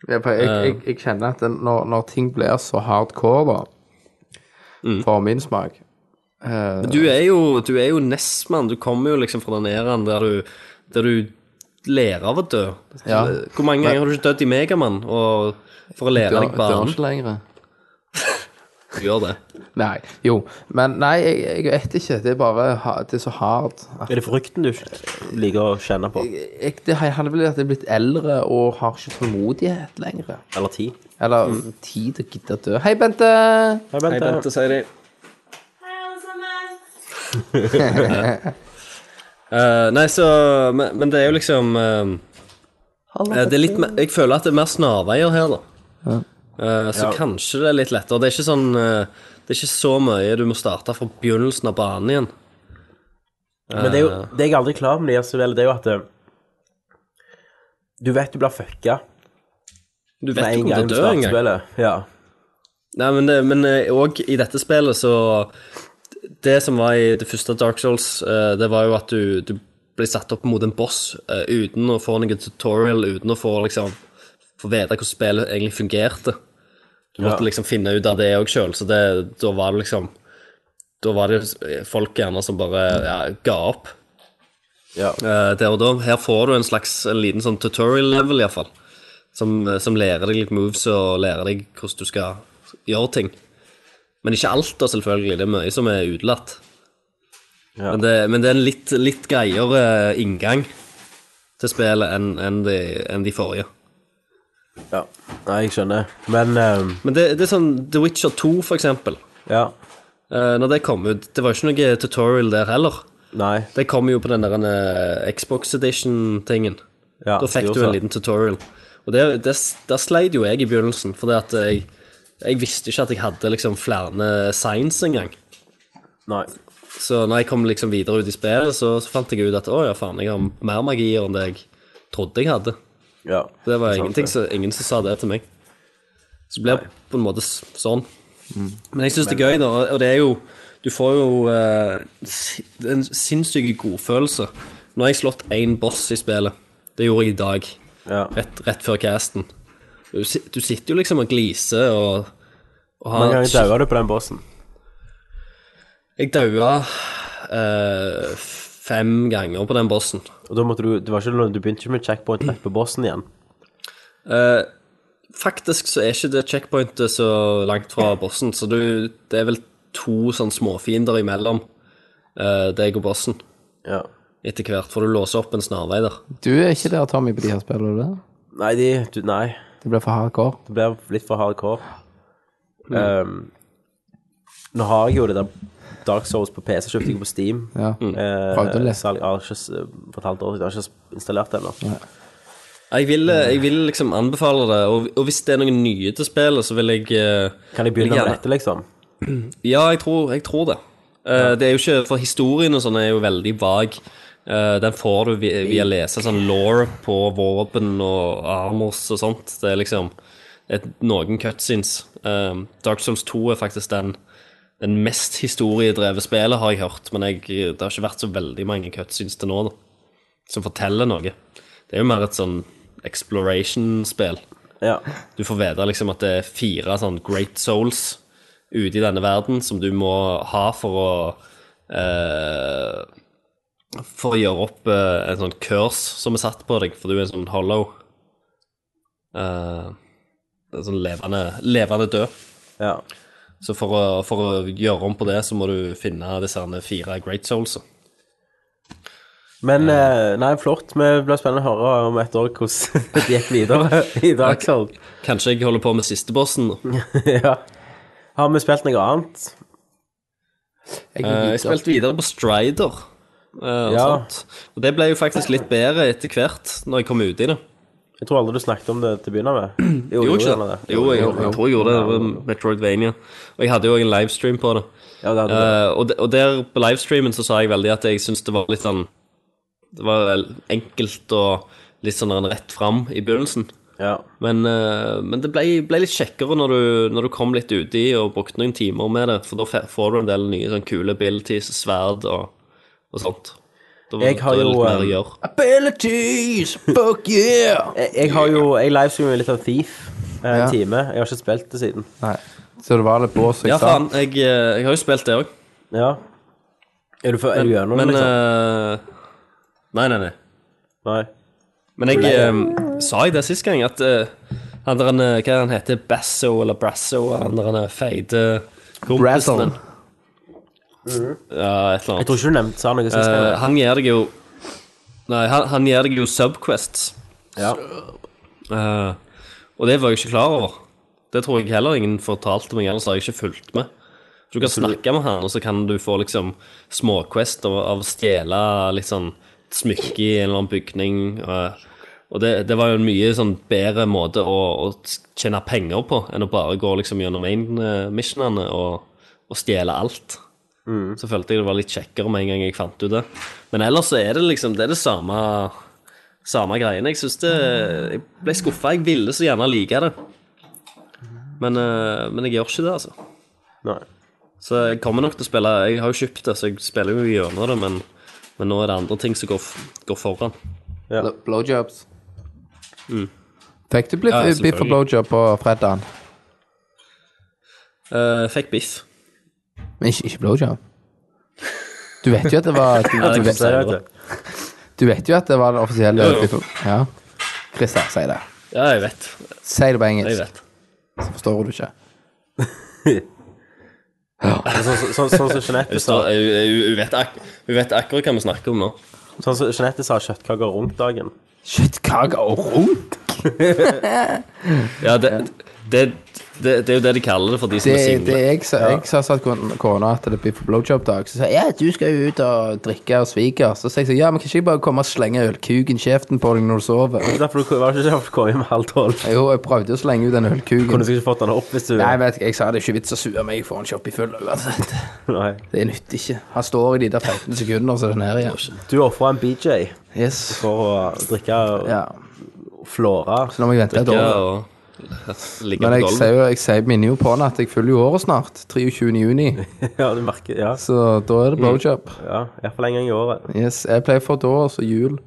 [SPEAKER 7] Ja, for jeg, jeg,
[SPEAKER 6] Eh.
[SPEAKER 7] jeg kjenner at den- når, når ting blir så hardcore, da, for min smak eh,
[SPEAKER 6] Mm. Du er jo, du er jo nestmann. Du kommer jo liksom fra den æraen der du, der du lærer av å dø.
[SPEAKER 7] Ja.
[SPEAKER 6] Hvor mange ganger har du ikke dødd i Megamann og- for å lære
[SPEAKER 7] dør,
[SPEAKER 6] deg
[SPEAKER 7] dør
[SPEAKER 6] banen?
[SPEAKER 7] ikke lenger.
[SPEAKER 6] Du gjør det.
[SPEAKER 7] Nei, jo. Men nei, jeg, jeg vet ikke. Det er bare ha- det er så hardt. at
[SPEAKER 4] Er det frykten du ikke liker å kjenne på?
[SPEAKER 7] Jeg, det handler vel om at jeg er blitt eldre og har ikke tålmodighet lenger.
[SPEAKER 4] Eller ti?
[SPEAKER 7] Eller
[SPEAKER 6] Mm.
[SPEAKER 7] tid til å gidde å dø. Hei, Bente!
[SPEAKER 4] Hei, Bente.
[SPEAKER 6] sier de. Eh, nei, så men, men det er jo liksom eh, eh, Det er litt mer Jeg føler at det er mer snarveier her, da. Eh, så kanskje det er litt lettere. Det er ikke sånn eh, Det er ikke så mye du må starte fra begynnelsen av banen igjen.
[SPEAKER 4] Men det, er jo, det jeg aldri er klar over med de her spillene, det er jo at eh, Du vet du blir fucka
[SPEAKER 6] Du
[SPEAKER 4] med
[SPEAKER 6] vet
[SPEAKER 4] en
[SPEAKER 6] jo
[SPEAKER 4] gang du
[SPEAKER 6] hvor du dør
[SPEAKER 4] starter
[SPEAKER 6] en gang.
[SPEAKER 4] spillet. Ja.
[SPEAKER 6] Nei, men det- men òg i dette spillet, så Det som var i det første Dark Souls, eh, det var jo at du, du ble satt opp mot en boss eh, uten å få noen tutorial, uten å få liksom Få vite hvordan spillet egentlig fungerte. Du måtte liksom finne ut av det òg sjøl, så det, da var det liksom Da var det folk gjerne som bare ja, ga opp
[SPEAKER 4] Ja.
[SPEAKER 6] eh, der og da. Her får du en slags en liten sånn tutorial level, iallfall. Som, eh, som lærer deg litt moves og lærer deg hvordan du skal gjøre ting. Men ikke alt, da, selvfølgelig. Det er mye som er utelatt. Men, det, men det er en litt, litt greiere eh, inngang til spillet enn enn de, enn de forrige.
[SPEAKER 4] ja. Nei, jeg skjønner. Men eh,
[SPEAKER 6] Men det, det er sånn The Witcher 2, for eksempel.
[SPEAKER 4] Ja.
[SPEAKER 6] Eh, når det kom ut, det var jo ikke noe tutorial der heller.
[SPEAKER 4] Nei.
[SPEAKER 6] Det kom jo på den der eh, Xbox Edition-tingen.
[SPEAKER 4] Ja,
[SPEAKER 6] da
[SPEAKER 4] det
[SPEAKER 6] fikk du
[SPEAKER 4] gjorde
[SPEAKER 6] en
[SPEAKER 4] det.
[SPEAKER 6] liten tutorial. Og det, det, der sleit jo jeg i begynnelsen, fordi at jeg, jeg visste ikke at jeg hadde liksom flere signs engang.
[SPEAKER 4] Nei.
[SPEAKER 6] Så når jeg kom liksom videre ut i spillet, så, så fant jeg ut at å ja, faen, jeg har mer magier enn det jeg trodde jeg hadde.
[SPEAKER 4] Ja.
[SPEAKER 6] Det var
[SPEAKER 4] Sant
[SPEAKER 6] ingenting,
[SPEAKER 4] det.
[SPEAKER 6] så, ingen som sa det til meg. Så det blir på en måte s- sånn.
[SPEAKER 4] Mm.
[SPEAKER 6] Men jeg syns det er gøy, da. Og det er jo Du får jo eh, si- en sinnssyk godfølelse. Nå har jeg slått én boss i spillet. Det gjorde jeg i dag.
[SPEAKER 4] Ja.
[SPEAKER 6] Rett, rett før casten. Du, si- du sitter jo liksom og gliser og, og har
[SPEAKER 4] Mange ganger daua du på den bossen.
[SPEAKER 6] Jeg daua eh, fem ganger på den bossen.
[SPEAKER 4] Og da måtte du Det var ikke noe Du begynte ikke med checkpoint rett på bossen igjen.
[SPEAKER 6] Eh, faktisk så er ikke det checkpointet så langt fra bossen, så du, det er vel to sånn småfiender imellom eh, deg og bossen
[SPEAKER 4] Ja.
[SPEAKER 6] etter hvert, for du låser opp en snarvei der.
[SPEAKER 7] Du er ikke der, Tommy, på de her spillene. du er.
[SPEAKER 4] Nei, de du, Nei.
[SPEAKER 7] Det blir for hardcore.
[SPEAKER 4] Det blir litt for hardcore.
[SPEAKER 6] Mm.
[SPEAKER 4] Um, nå har jeg jo det der Dark Souls på PC, kjøpte jeg på Steam.
[SPEAKER 7] Ja.
[SPEAKER 6] Mm.
[SPEAKER 4] Eh,
[SPEAKER 7] Prøvde det.
[SPEAKER 4] salg- jeg har ikke s- for et halvt år siden. Jeg har ikke installert det ennå.
[SPEAKER 6] Jeg vil, jeg vil liksom anbefale det, og, og hvis det er noen nye til spillet, så vil jeg eh,
[SPEAKER 4] Kan jeg begynne
[SPEAKER 6] vil
[SPEAKER 4] med
[SPEAKER 6] gjerne-
[SPEAKER 4] dette, liksom?
[SPEAKER 6] Ja, jeg tror, jeg tror det. Eh, Det er jo ikke, For historien og sånn er jo veldig vag. Eh, Den får du via, via lese sånn law på våpen og armors og sånt. Det er liksom et, noen cutscenes. Eh, Dark Souls 2 er faktisk den, den mest historiedrevet spillet, har jeg hørt. Men jeg, det har ikke vært så veldig mange cutscenes til nå da, som forteller noe. Det er jo mer et sånn exploration-spill.
[SPEAKER 4] Ja.
[SPEAKER 6] Du får vite liksom at det er fire sånn great souls ute i denne verden som du må ha for å eh, For å gjøre opp eh, en sånn curse som er satt på deg, for du er en sånn hollow eh, En sånn levende, levende død.
[SPEAKER 4] ja.
[SPEAKER 6] Så for å, for å gjøre om på det, så må du finne disse herne fire great souls.
[SPEAKER 4] Men eh, nei, flott. Vi blir spennende å høre om et år hvordan det gikk videre i Dark Souls.
[SPEAKER 6] Kanskje jeg holder på med siste bossen nå.
[SPEAKER 4] ja. Har vi spilt noe annet?
[SPEAKER 7] Jeg,
[SPEAKER 6] Eh,
[SPEAKER 7] liker-
[SPEAKER 6] jeg spilte videre på Strider. eh, og,
[SPEAKER 4] Ja.
[SPEAKER 6] sånt. og det ble jo faktisk litt bedre etter hvert, når jeg kom ut i det.
[SPEAKER 4] Jeg tror aldri du snakket om det til å begynne med. Jo,
[SPEAKER 6] Gjorde
[SPEAKER 4] du
[SPEAKER 6] ikke
[SPEAKER 4] gjerne
[SPEAKER 6] det? Jo, jeg, jeg tror jeg gjorde det. det. var Metroidvania. Og jeg hadde jo en livestream på det.
[SPEAKER 4] Ja, det hadde du.
[SPEAKER 6] Eh, og, de, og der på livestreamen så sa jeg veldig at jeg syntes det var litt sånn Det var vel enkelt og litt sånn rett fram i begynnelsen.
[SPEAKER 4] ja.
[SPEAKER 6] Men, eh, men det ble, ble litt kjekkere når du, når du kom litt uti og brukte noen timer med det, for da fe- får du en del nye sånn kule abilities, sverd og, og sånt. Da,
[SPEAKER 4] Jeg har
[SPEAKER 6] da er det
[SPEAKER 4] jo,
[SPEAKER 6] litt mer å
[SPEAKER 4] eh,
[SPEAKER 6] gjøre.
[SPEAKER 7] Abilities! Fuck yeah!
[SPEAKER 4] Jeg, jeg har jo Jeg livestreamer litt av Thief eh, en
[SPEAKER 7] Ja.
[SPEAKER 4] time. Jeg har ikke spilt det siden.
[SPEAKER 7] Nei. Så det var litt bås,
[SPEAKER 6] Ja,
[SPEAKER 7] jeg sa.
[SPEAKER 6] faen. Jeg, eh, jeg har jo spilt det òg.
[SPEAKER 4] Ja. Er du, for, er du gjennom det,
[SPEAKER 6] Men
[SPEAKER 4] liksom?
[SPEAKER 6] eh, Nei, nei, nei.
[SPEAKER 4] Nei.
[SPEAKER 6] Men jeg eh, sa jeg det sist gang, at eh, han der, eh, hva han heter, Basso eller Brasso, han der han er feite
[SPEAKER 7] Brazzle.
[SPEAKER 6] kompisen din.
[SPEAKER 4] Mhm.
[SPEAKER 6] Ja, et
[SPEAKER 4] Jeg
[SPEAKER 6] eller annet.
[SPEAKER 4] tror ikke du nevnte sa noe sist.
[SPEAKER 6] Eh,
[SPEAKER 4] gang.
[SPEAKER 6] han gir deg jo Nei, han, han gir deg jo subquests.
[SPEAKER 4] ja.
[SPEAKER 6] Eh, og det var jeg ikke klar over. Det tror jeg heller ingen fortalte meg, ellers har jeg ikke fulgt med. Du kan snakke med han, og så kan du få liksom småquest av, av å stjele litt sånn smykke i en eller annen bygning. Og, og det, det var jo en mye sånn bedre måte å, å tjene penger på enn å bare gå liksom gjennom main-missionene og, og stjele alt. Så følte jeg det var litt kjekkere med en gang jeg fant ut det. Men ellers så er det liksom det er det samme, samme greiene. Jeg synes det Jeg ble skuffa. Jeg ville så gjerne like det. Men, eh, men jeg gjør ikke det, altså.
[SPEAKER 4] Nei.
[SPEAKER 6] Så jeg kommer nok til å spille Jeg har jo kjøpt det, så jeg spiller jo gjennom det, men, men nå er det andre ting som går, f- går foran.
[SPEAKER 7] Bl- Blowjobs. Fikk du blitt
[SPEAKER 6] Mm. Ja,
[SPEAKER 7] ja, biff og
[SPEAKER 6] selvfølgelig.
[SPEAKER 7] blowjob på fredagen?
[SPEAKER 6] Eh, fikk biff.
[SPEAKER 7] Men ikke, ikke blowjob. Du vet jo at det var
[SPEAKER 6] det
[SPEAKER 7] Du, du,
[SPEAKER 6] er
[SPEAKER 7] vet,
[SPEAKER 6] ikke
[SPEAKER 4] det.
[SPEAKER 7] du vet jo at det var den offisielle
[SPEAKER 6] Jo, jo.
[SPEAKER 7] biffen. Ja. Christer, si det.
[SPEAKER 6] Ja, jeg vet.
[SPEAKER 7] Si det på
[SPEAKER 6] Jeg
[SPEAKER 7] engelsk,
[SPEAKER 6] vet.
[SPEAKER 7] så forstår du ikke.
[SPEAKER 4] Sånn som så, så, som Jeanette
[SPEAKER 6] Hun
[SPEAKER 4] sa,
[SPEAKER 6] står- hun- hun- hun vet, ak hun vet akkurat hva vi snakker om nå.
[SPEAKER 4] sånn som Jeanette sa kjøttkaker rundt dagen.
[SPEAKER 7] Kjøttkaker og runk!
[SPEAKER 6] Ja, det, det, det, det er jo det de kaller det for de som
[SPEAKER 7] Det,
[SPEAKER 6] er
[SPEAKER 7] det
[SPEAKER 6] single.
[SPEAKER 7] jeg sa, jeg sa sa til kon- kona at det blir på blowjob-dag. Så sa jeg ja, du skal jo ut og drikke og sviker. Så sa jeg så, ja, men kan ikke jeg bare komme og slenge ølkuken i kjeften på deg når du sover?
[SPEAKER 4] Det er Derfor du var det ikke derfor du kom hjem halv tolv.
[SPEAKER 7] Jo, jeg prøvde jo å slenge ut den ølkuken.
[SPEAKER 4] Kunne du ikke fått den opp hvis du
[SPEAKER 7] Nei, vet ikke, jeg sa det er ikke vits å sue meg foran Shopee full uansett.
[SPEAKER 4] Nei.
[SPEAKER 7] Det nytter ikke. Han står i de der 15 sekunder, så er det ned igjen.
[SPEAKER 4] Du ofra en BJ
[SPEAKER 7] Yes.
[SPEAKER 4] for å drikke
[SPEAKER 7] Ja,
[SPEAKER 4] flåra.
[SPEAKER 7] så nå må jeg vente et
[SPEAKER 6] Ja,
[SPEAKER 7] år.
[SPEAKER 6] og ligge
[SPEAKER 7] Men
[SPEAKER 6] på
[SPEAKER 7] jeg
[SPEAKER 6] gulvet.
[SPEAKER 7] sier jo, jeg sier, minner jo på henne at jeg fyller jo året snart. 23. juni.
[SPEAKER 4] Ja, du merker Ja,
[SPEAKER 7] Så da er det blowjob.
[SPEAKER 4] ja iallfall en gang i året.
[SPEAKER 7] Yes, jeg pleier å få da, og så jul.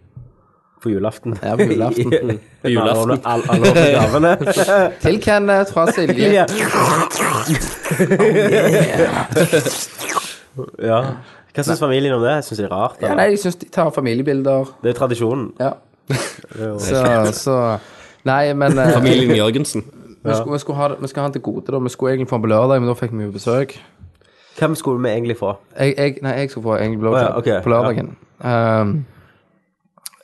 [SPEAKER 4] På julaften.
[SPEAKER 7] Ja, på julaften.
[SPEAKER 4] På
[SPEAKER 6] julaften.
[SPEAKER 4] Alle alle åpner gavene.
[SPEAKER 7] Til Kenneth fra Silje.
[SPEAKER 4] Ja. ja. Hva syns familien om det? Syns de det er rart?
[SPEAKER 7] Ja,
[SPEAKER 4] eller?
[SPEAKER 7] nei, jeg syns de tar familiebilder.
[SPEAKER 4] Det er tradisjonen.
[SPEAKER 7] Ja. Så, så Nei, men eh,
[SPEAKER 6] Familien Jørgensen.
[SPEAKER 7] vi, skulle, vi, skulle ha, det- vi skal ha den til gode, da. Vi skulle egentlig få den på lørdag, men da fikk vi jo besøk.
[SPEAKER 4] Hvem skulle vi egentlig få?
[SPEAKER 7] jeg, jeg, Nei, jeg skal få en blowjob
[SPEAKER 4] Å ja, ok,
[SPEAKER 7] på lørdagen. Um,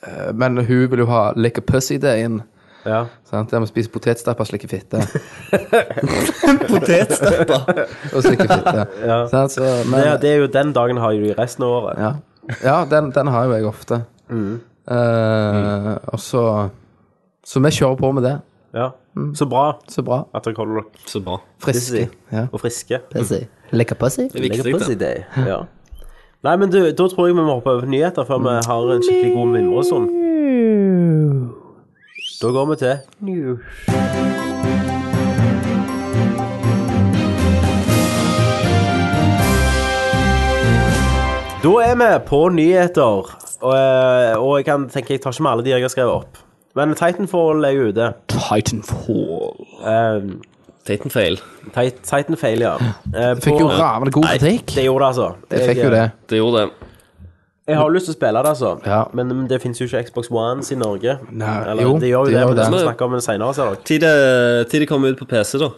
[SPEAKER 7] eh, men hun vil jo ha lick a pussy-dagen.
[SPEAKER 4] Ja.
[SPEAKER 7] Sant? Der vi spiser potetstapper og slikker fitte. potetstapper? og slikker fitte. Sant? Så, men,
[SPEAKER 4] Det, det er jo den dagen har jo de resten av året.
[SPEAKER 7] ja, ja den, den har jo jeg ofte.
[SPEAKER 4] Mm.
[SPEAKER 7] Eh, Og så Så vi kjører på med det.
[SPEAKER 4] Ja.
[SPEAKER 7] Mm.
[SPEAKER 4] Så bra
[SPEAKER 7] Så bra.
[SPEAKER 4] at dere holder dere
[SPEAKER 6] Så bra.
[SPEAKER 7] Friske. Ja.
[SPEAKER 4] og friske.
[SPEAKER 7] Lick a pussy?
[SPEAKER 6] Det er viktig, det.
[SPEAKER 4] Ja. Nei, men du, da tror jeg vi må hoppe over til nyheter før vi har en skikkelig god mimresund. Da går vi til Da er vi på nyheter, og, eh, og jeg kan tenke jeg tar ikke med alle de jeg har skrevet opp. Men Titanfall er jo ute.
[SPEAKER 7] Titanfall.
[SPEAKER 4] Um,
[SPEAKER 6] Titanfail.
[SPEAKER 4] Titanfall, ja. Eh,
[SPEAKER 7] Fikk jo
[SPEAKER 4] på-
[SPEAKER 7] ravende god
[SPEAKER 4] Nei,
[SPEAKER 7] kritikk.
[SPEAKER 4] Det gjorde det, altså.
[SPEAKER 7] Jeg fikk jo
[SPEAKER 4] eh,
[SPEAKER 7] det.
[SPEAKER 6] Det gjorde det.
[SPEAKER 4] Jeg har jo lyst til å spille det, altså.
[SPEAKER 7] Ja.
[SPEAKER 4] Men, men det finnes jo ikke Xbox Ones i Norge.
[SPEAKER 7] Nei,
[SPEAKER 4] Eller,
[SPEAKER 7] jo,
[SPEAKER 4] det gjør jo
[SPEAKER 7] det
[SPEAKER 4] det,
[SPEAKER 7] gjør
[SPEAKER 4] men det
[SPEAKER 7] det.
[SPEAKER 4] skal vi snakke om det senere, ser dere.
[SPEAKER 6] Tid det- tid det kommer ut på PC, da.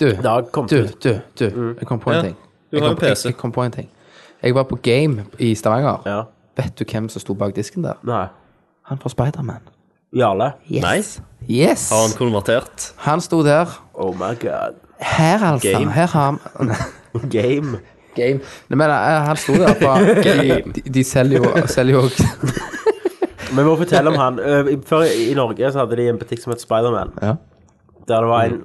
[SPEAKER 7] Du,
[SPEAKER 4] Det har kommet
[SPEAKER 7] Du,
[SPEAKER 4] ut.
[SPEAKER 7] du, du,
[SPEAKER 4] Mm.
[SPEAKER 7] jeg kom på en
[SPEAKER 6] Ja,
[SPEAKER 7] ting.
[SPEAKER 6] du har
[SPEAKER 7] jeg,
[SPEAKER 6] jo
[SPEAKER 7] kom, jeg,
[SPEAKER 6] PC.
[SPEAKER 7] jeg kom på en ting. Jeg var på Game i Stavanger.
[SPEAKER 4] Ja.
[SPEAKER 7] Vet du hvem som sto bak disken der?
[SPEAKER 4] Nei.
[SPEAKER 7] Han fra Spiderman.
[SPEAKER 4] Jarle.
[SPEAKER 7] Yes.
[SPEAKER 6] Nei.
[SPEAKER 7] Yes!
[SPEAKER 6] Har han konvertert?
[SPEAKER 7] Han sto der.
[SPEAKER 4] Oh my god.
[SPEAKER 7] Her, altså.
[SPEAKER 6] Game.
[SPEAKER 7] Her har han
[SPEAKER 4] Game.
[SPEAKER 7] Game. Nei, men eh, han sto der på de, de selger jo selger jo
[SPEAKER 4] Vi må fortelle om han. Eh, i- Før i i Norge så hadde de en butikk som het Spiderman.
[SPEAKER 7] Ja.
[SPEAKER 4] Der det var en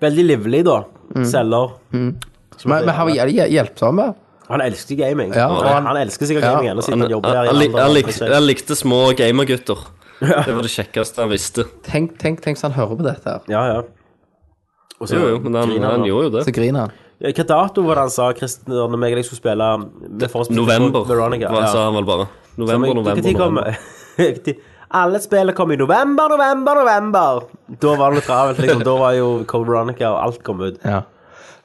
[SPEAKER 4] veldig livlig, da, selger. Som
[SPEAKER 7] Mm. Men
[SPEAKER 4] heter
[SPEAKER 7] men han var
[SPEAKER 4] Jarle.
[SPEAKER 7] jævlig hjel- hjelpsom. da.
[SPEAKER 4] han elsker gaming.
[SPEAKER 7] Ja, og
[SPEAKER 4] han,
[SPEAKER 7] han-
[SPEAKER 4] han elsker sikkert
[SPEAKER 7] Ja,
[SPEAKER 4] gaming ennå, siden
[SPEAKER 6] Han,
[SPEAKER 4] han,
[SPEAKER 6] han,
[SPEAKER 4] jobber der. i
[SPEAKER 6] han, lik-
[SPEAKER 4] Arendal,
[SPEAKER 6] han,
[SPEAKER 4] da,
[SPEAKER 6] likte,
[SPEAKER 4] PlayStation.
[SPEAKER 6] han likte små gamergutter. Det var det kjekkeste han visste.
[SPEAKER 7] Tenk, tenk, tenk så han hører på dette her.
[SPEAKER 4] Ja, ja. Og så
[SPEAKER 6] Jo, jo, men han,
[SPEAKER 4] griner
[SPEAKER 6] han
[SPEAKER 4] nå.
[SPEAKER 6] gjorde jo det.
[SPEAKER 7] Så griner han.
[SPEAKER 4] Ja, Hva dato var det han sa, Kristen, når meg og deg skulle spille um, med forholdsvis-
[SPEAKER 6] November,
[SPEAKER 4] Veronica,
[SPEAKER 6] hva
[SPEAKER 4] ja.
[SPEAKER 6] sa han vel bare. November, november,
[SPEAKER 4] Når kom,
[SPEAKER 6] november.
[SPEAKER 4] Alle spillene kom i november, november, november! Da var det litt travelt, liksom. Da var jo Cole Veronica og alt kom ut.
[SPEAKER 7] Ja.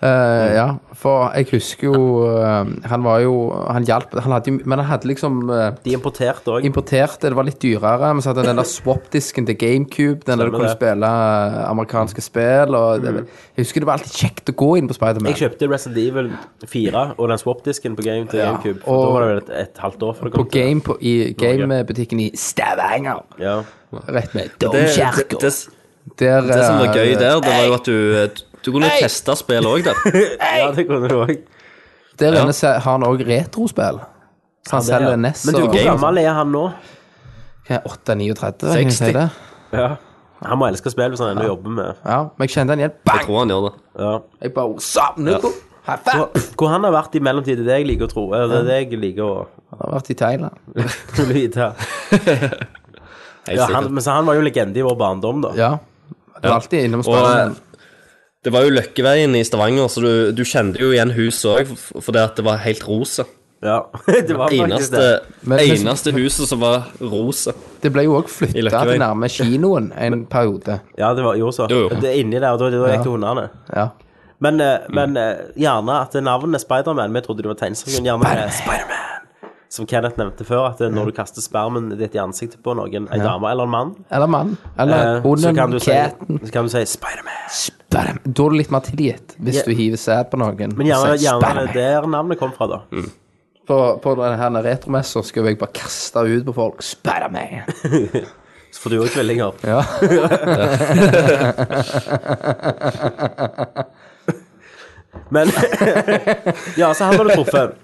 [SPEAKER 7] Eh, ja, for jeg husker jo eh, Han var jo Han hjalp han hadde, jo- Men han hadde liksom eh,
[SPEAKER 4] De importerte òg.
[SPEAKER 7] importerte, det var litt dyrere. Men så hadde den der swap-disken til GameCube, den der du
[SPEAKER 4] Stemmer
[SPEAKER 7] kunne
[SPEAKER 4] det. Mm.
[SPEAKER 7] spille eh, amerikanske spill. Og det, Jeg husker det var alltid kjekt å gå inn på
[SPEAKER 4] Jeg
[SPEAKER 7] Spiderman.
[SPEAKER 4] kjøpte Resident Evil 4 og den swap-disken på Game til
[SPEAKER 7] Ja,
[SPEAKER 4] GameCube.
[SPEAKER 7] og-
[SPEAKER 4] da var det vel et, et halvt år før det
[SPEAKER 7] På
[SPEAKER 4] kom. til-
[SPEAKER 7] game på, I gamebutikken i Stavanger.
[SPEAKER 4] Ja.
[SPEAKER 7] Rett med eh,
[SPEAKER 6] Det, det,
[SPEAKER 7] Domkirka.
[SPEAKER 6] det, det som var gøy der, det var jo at du, eh, Du kunne teste spill òg der.
[SPEAKER 4] Ja, det kunne du òg.
[SPEAKER 7] Der inne se- har han òg retrospill. Så han
[SPEAKER 4] det,
[SPEAKER 7] selger
[SPEAKER 4] ja.
[SPEAKER 7] NES
[SPEAKER 4] Men du,
[SPEAKER 7] E og
[SPEAKER 4] hvor gammel er han nå?
[SPEAKER 7] Hva er 839? kan jeg si
[SPEAKER 6] 60.
[SPEAKER 7] det?
[SPEAKER 4] Ja. Han må elske spill hvis han ennå jobber med
[SPEAKER 7] Ja, men jeg kjente han igjen.
[SPEAKER 6] Jeg
[SPEAKER 7] Bang!
[SPEAKER 6] tror han gjør det.
[SPEAKER 4] ja.
[SPEAKER 7] Jeg bare savner ja. High five!
[SPEAKER 4] Hvor- Hvor han har vært i mellomtiden, det er det jeg liker å tro. Eller det er det jeg liker å
[SPEAKER 7] Han har vært i Thailand.
[SPEAKER 4] å vite.
[SPEAKER 6] Helt
[SPEAKER 4] Ja,
[SPEAKER 6] sikkert.
[SPEAKER 4] han, men så han var jo legende i vår barndom, da.
[SPEAKER 7] Ja. Du er alltid innom
[SPEAKER 6] Og eh,
[SPEAKER 7] spillet.
[SPEAKER 6] det var jo Løkkeveien i Stavanger, så du, du kjente jo igjen huset òg, fordi at det var helt rosa.
[SPEAKER 4] Ja. Det var faktisk
[SPEAKER 6] Eneste,
[SPEAKER 4] det.
[SPEAKER 7] Men-
[SPEAKER 6] eneste huset som var rosa.
[SPEAKER 7] Det ble jo òg flytta til
[SPEAKER 6] Løkkeveien.
[SPEAKER 7] nærme kinoen en periode.
[SPEAKER 4] Ja, det var jo så.
[SPEAKER 6] Jo, jo.
[SPEAKER 4] Det er inni der, og da, da gikk det hundene.
[SPEAKER 7] Ja.
[SPEAKER 4] Men, eh,
[SPEAKER 6] Mm.
[SPEAKER 4] men eh, gjerne at navnet Spiderman Vi trodde det var tegneserien. Gjerne eh, Spiderman. Som Kenneth nevnte før, at eh, når du kaster spermen ditt i ansiktet på noen, ei dame eller en mann,
[SPEAKER 7] Eller mann.
[SPEAKER 4] eh,
[SPEAKER 7] Eller
[SPEAKER 4] så, kan
[SPEAKER 7] hunden.
[SPEAKER 4] du si,
[SPEAKER 7] Caten.
[SPEAKER 4] så kan du si Spiderman.
[SPEAKER 7] Bam. Da er du litt mer tilgitt hvis
[SPEAKER 4] Ja.
[SPEAKER 7] du hiver sæd på noen.
[SPEAKER 4] Men gjerne,
[SPEAKER 7] Så-
[SPEAKER 4] gjerne
[SPEAKER 7] Bam.
[SPEAKER 4] det er der navnet kom fra, da.
[SPEAKER 7] På, på denne retromessa skulle jeg bare kaste ut på folk. Spiderman!
[SPEAKER 4] Så får du òg tvillinger.
[SPEAKER 7] Ja.
[SPEAKER 4] Men Ja, så han har du truffet.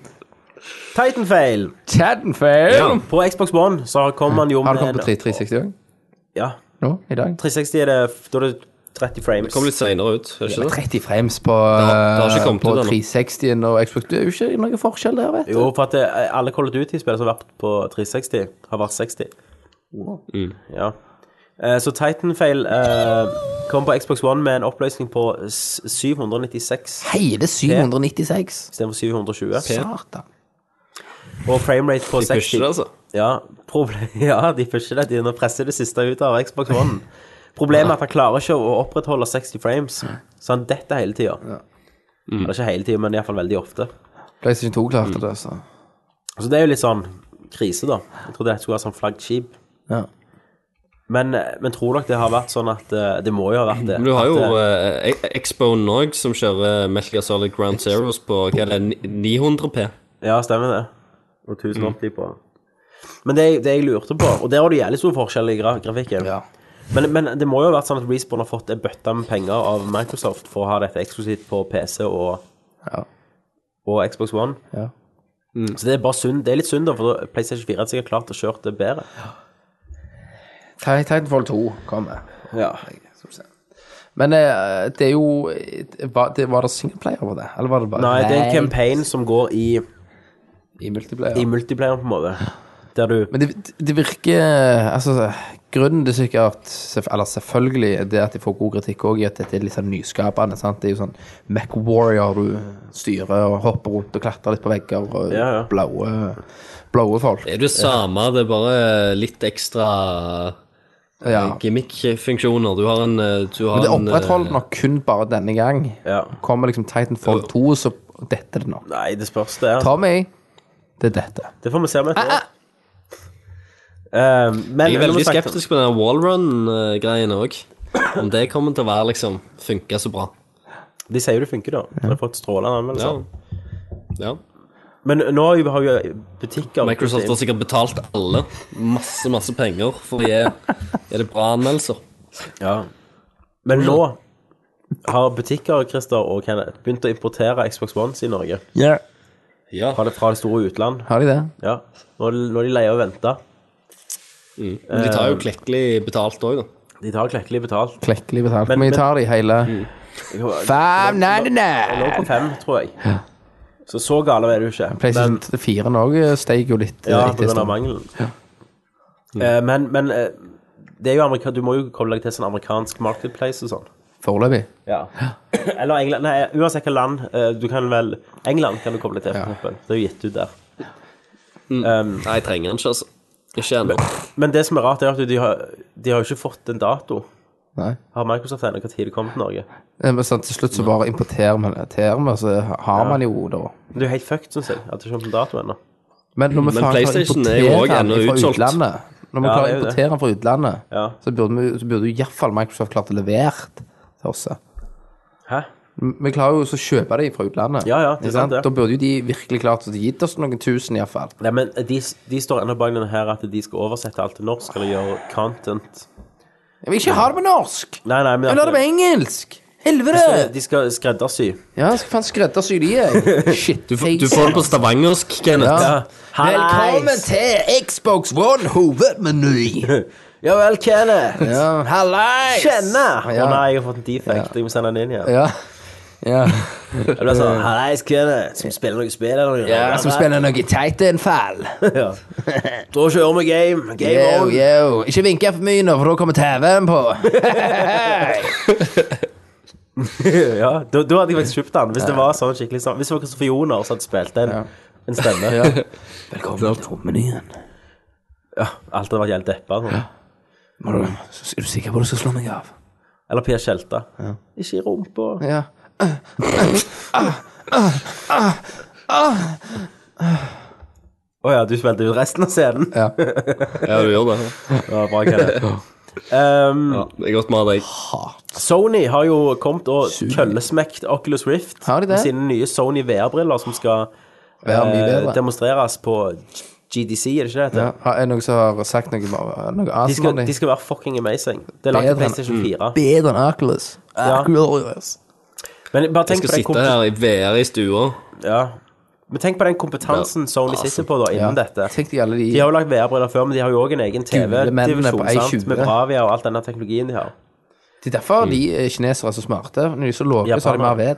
[SPEAKER 4] Titanfail.
[SPEAKER 7] Chadenfail!
[SPEAKER 4] På Xbox One så kommer han jo
[SPEAKER 7] Har du kommet
[SPEAKER 4] en-
[SPEAKER 7] på 360 òg?
[SPEAKER 4] Ja.
[SPEAKER 7] Nå, i dag?
[SPEAKER 4] 360 er det Da er det 30 frames.
[SPEAKER 6] Kom litt seinere ut, er det ikke det?
[SPEAKER 7] 30 frames på, eh,
[SPEAKER 6] har- det har ikke kommet
[SPEAKER 7] på
[SPEAKER 6] ut ennå.
[SPEAKER 7] 360-en og Xbox. Det er jo ikke noen forskjell der, vet du.
[SPEAKER 4] Jo, for at det, alle Call of Duty-spill som har vært på 360, har vært 60.
[SPEAKER 6] Mm.
[SPEAKER 4] Ja. Eh, Så Titanfail eh, kom på Xbox One med en oppløsning på s- 796
[SPEAKER 7] Hele 796.
[SPEAKER 4] istedenfor 720.
[SPEAKER 7] Satan.
[SPEAKER 4] Og framerate på 60.
[SPEAKER 6] Pusher det, altså.
[SPEAKER 4] Ja, proble- ja, de pusher det. De nå presser det siste ut av Xbox One. Problemet er at han klarer ikke å opprettholde 60 frames, så han detter hele tida. Eller ikke hele tida, men iallfall veldig ofte.
[SPEAKER 7] PlayStation 2 klarte det, altså. så.
[SPEAKER 4] Så det er jo litt sånn krise, da. Jeg trodde dette skulle være sånn flaggskip.
[SPEAKER 7] Ja.
[SPEAKER 4] Men, eh, men tror dere det har vært sånn at eh, Det må jo ha vært det.
[SPEAKER 6] Men du har jo
[SPEAKER 4] at, eh,
[SPEAKER 6] eh, Ex- Expone òg, som kjører Metal Gear Solid Ground Zeros på hva er det, ni- 900P.
[SPEAKER 4] Ja, stemmer det. Og 1080 på. Men det, det jeg lurte på, og der har du jævlig stor forskjell i gra grafikken
[SPEAKER 7] Ja.
[SPEAKER 4] men, men det må jo ha vært sånn at Respawn har fått en bøtte med penger av Microsoft for å ha dette eksklusivt på PC og,
[SPEAKER 7] Ja.
[SPEAKER 4] og Xbox One.
[SPEAKER 7] Ja.
[SPEAKER 6] Mm.
[SPEAKER 4] Så det er bare synd. Det er litt synd, da, for da PlayStation 4 hadde sikkert klart å kjøre det bedre.
[SPEAKER 7] Ti- Titanfall 2 kommer.
[SPEAKER 4] Ja.
[SPEAKER 7] Men eh, det er jo eh, var det, var det singleplayer på det? Eller var det bare
[SPEAKER 4] Nei, det er en campaign som går i,
[SPEAKER 7] i multiplayer?
[SPEAKER 4] i multiplayer, på en måte. Der du
[SPEAKER 7] Men det, det virker Altså, grunnen til sikkert selvf- Eller selvfølgelig er det at de får god kritikk òg, i at dette er litt sånn nyskapende. sant? Det er jo sånn MacWarrior du styrer og hopper rundt og klatrer litt på vegger og
[SPEAKER 4] Ja, ja.
[SPEAKER 7] blaue blaue folk.
[SPEAKER 6] Det er det samme, det er bare litt ekstra eh,
[SPEAKER 7] Ja.
[SPEAKER 6] gimmick-funksjoner. Du har en eh, du har
[SPEAKER 7] Men det
[SPEAKER 6] en, eh,
[SPEAKER 7] opprettholder nok kun bare denne gang.
[SPEAKER 4] Ja.
[SPEAKER 7] Kommer liksom Titanfall 2, så detter det nå.
[SPEAKER 4] Nei, det spørs, det. er-
[SPEAKER 7] Tommy, det er dette.
[SPEAKER 4] Det får vi se om et år. Eh, men
[SPEAKER 6] Ah, Jeg
[SPEAKER 4] når
[SPEAKER 6] er
[SPEAKER 4] vi
[SPEAKER 6] veldig
[SPEAKER 4] snakket-
[SPEAKER 6] skeptisk på den wallrun-greien òg. eh, Om det kommer til å være liksom funke så bra.
[SPEAKER 4] De sier jo det funker, da. De har fått strålende
[SPEAKER 6] Ja.
[SPEAKER 4] anmeldelser.
[SPEAKER 6] sånn. ja.
[SPEAKER 4] Men nå har jo- har jo butikker
[SPEAKER 6] Microsoft har sikkert betalt alle masse, masse penger for å gi Er det bra anmeldelser.
[SPEAKER 4] ja. Men nå har butikker Christer og Kenneth begynt å importere Xbox Ones i Norge.
[SPEAKER 6] Ja.
[SPEAKER 4] Fra det, fra det store utland.
[SPEAKER 7] Har de det?
[SPEAKER 4] Ja. Nå, er de- nå er de leie å vente.
[SPEAKER 6] Mm. Men de tar jo klekkelig betalt òg, da.
[SPEAKER 4] De tar klekkelig betalt.
[SPEAKER 7] Klekkelig betalt.
[SPEAKER 4] Men-
[SPEAKER 7] Men vi
[SPEAKER 4] men- Mm.
[SPEAKER 7] tar de hele
[SPEAKER 4] Jeg
[SPEAKER 7] 599!
[SPEAKER 4] lå på fem, tror jeg. Så så gale er det jo ikke.
[SPEAKER 7] PlayStation 4 òg steg jo litt. eh,
[SPEAKER 4] Ja,
[SPEAKER 7] etter
[SPEAKER 4] på grunn
[SPEAKER 7] stund.
[SPEAKER 4] av mangelen. Eh, men men eh, det er jo amerika du må jo koble deg til sånn amerikansk marketplace og sånn.
[SPEAKER 7] Foreløpig.
[SPEAKER 4] Ja. Eller England Nei, uansett hvilket land. eh, du kan vel England kan du koble deg til, for eksempel. Det er jo gitt ut der.
[SPEAKER 6] Nei, jeg trenger den ikke, altså. Ikke ennå.
[SPEAKER 4] Men det som er rart, er at de har, de har jo ikke fått en dato.
[SPEAKER 7] Nei.
[SPEAKER 4] Har Microsoft ennå når det kommer til Norge?
[SPEAKER 7] Ja, Men sånn, til slutt så bare importerer man det, ter man, så har man jo da.
[SPEAKER 4] Men Det er jo helt fucked, syns jeg, at det ikke kommer en dato ennå.
[SPEAKER 7] Men
[SPEAKER 4] Mm,
[SPEAKER 7] når vi
[SPEAKER 6] Men
[SPEAKER 7] faen klarer å
[SPEAKER 6] PlayStation er jo
[SPEAKER 7] importere
[SPEAKER 6] også
[SPEAKER 7] den
[SPEAKER 6] ennå
[SPEAKER 7] fra
[SPEAKER 6] utsolgt.
[SPEAKER 7] utlandet, når vi
[SPEAKER 4] Ja,
[SPEAKER 7] klarer
[SPEAKER 4] det er
[SPEAKER 7] å
[SPEAKER 4] jo det.
[SPEAKER 7] importere den fra utlandet,
[SPEAKER 4] Ja.
[SPEAKER 7] så burde, vi, så burde jo iallfall Microsoft klart å levere til oss.
[SPEAKER 4] Hæ?
[SPEAKER 7] Vi klarer jo også å kjøpe de fra utlandet.
[SPEAKER 4] Ja, ja, det er
[SPEAKER 7] Ikke
[SPEAKER 4] sant det.
[SPEAKER 7] Da burde jo de virkelig klart å gitt oss noen tusen, iallfall.
[SPEAKER 4] Nei, men de, de står ennå bak denne her at de skal oversette alt til norsk eller gjøre content.
[SPEAKER 7] Jeg vil ikke ha det på norsk!
[SPEAKER 4] Nei, nei, men
[SPEAKER 7] Jeg vil ha det på engelsk! Helvete!
[SPEAKER 4] De skal skreddersy.
[SPEAKER 7] Ja, skal faen skreddersy de er. Shit.
[SPEAKER 6] Du, får- du får det på stavangersk, Kenneth.
[SPEAKER 7] Ja.
[SPEAKER 4] Ah.
[SPEAKER 7] Velkommen
[SPEAKER 4] Hallais!
[SPEAKER 7] til Xbox One hovedmeny.
[SPEAKER 4] Ja vel, Kenneth!
[SPEAKER 7] Ja, hallais!
[SPEAKER 4] Kjenne! Å
[SPEAKER 7] Ja.
[SPEAKER 4] nei, jeg har fått en defect. Jeg må sende den inn igjen.
[SPEAKER 7] Ja. ja.
[SPEAKER 4] Det blir sånn Hallais, Kenneth, som spiller noe spill eller noe?
[SPEAKER 7] ja som spiller noe Titanfall.
[SPEAKER 4] Ja. Da kjører vi game. Game
[SPEAKER 7] Yo,
[SPEAKER 4] on.
[SPEAKER 7] yo. Ikke vinke for mye nå, for da kommer TV-en på.
[SPEAKER 4] Ja, da, da hadde jeg faktisk kjøpt den. Hvis det var sånn skikkelig sånn Hvis det var Kristoffer Joner som hadde spilt en, en stemme.
[SPEAKER 7] Ja. Velkommen til hovedmenyen.
[SPEAKER 4] Ja, alt hadde vært helt deppa. Sånn.
[SPEAKER 7] Må du- Er du sikker på at du skal slå meg av?
[SPEAKER 4] Eller Per Skjelta. Ikke i rumpa.
[SPEAKER 7] Ja.
[SPEAKER 4] Å ja, du spilte ut resten av scenen?
[SPEAKER 7] ja.
[SPEAKER 6] Ja, du gjør det.
[SPEAKER 4] Ja, bra, Kenneth. Um,
[SPEAKER 6] Ja, det er godt vi har deg.
[SPEAKER 4] Sony har jo kommet og køllesmekt Oculus Rift
[SPEAKER 7] Har de det?
[SPEAKER 4] med sine nye Sony VR-briller som skal
[SPEAKER 7] Vær mye
[SPEAKER 4] eh,
[SPEAKER 7] bedre.
[SPEAKER 4] demonstreres på G- GDC, er det ikke det? det?
[SPEAKER 7] Ja. Er det noen som har sagt noe, noe
[SPEAKER 4] De,
[SPEAKER 7] awesome
[SPEAKER 4] skal,
[SPEAKER 7] om det?
[SPEAKER 4] de skal være fucking amazing. Det er lagt til
[SPEAKER 7] Bedre enn- Mm.
[SPEAKER 4] PlayStation 4.
[SPEAKER 7] Bedre enn Oculus.
[SPEAKER 4] Ja.
[SPEAKER 7] Oculus.
[SPEAKER 4] Men bare tenk
[SPEAKER 6] Jeg skal
[SPEAKER 4] på den,
[SPEAKER 6] sitte
[SPEAKER 4] kompe
[SPEAKER 6] her i VR i stua.
[SPEAKER 4] ja. Men tenk på den kompetansen Sony sitter på da innen
[SPEAKER 7] Ja.
[SPEAKER 4] dette.
[SPEAKER 7] Tenk deg alle de
[SPEAKER 4] De har jo lagt VR-briller før, men de har jo òg en egen
[SPEAKER 7] mennene på
[SPEAKER 4] TV-divisjon
[SPEAKER 7] A20.
[SPEAKER 4] sant? med Bravia og all denne teknologien de har.
[SPEAKER 7] Det er derfor de eh, kinesere er så smarte. Når de er så lave, så har de mer
[SPEAKER 4] Japanere.
[SPEAKER 7] ved.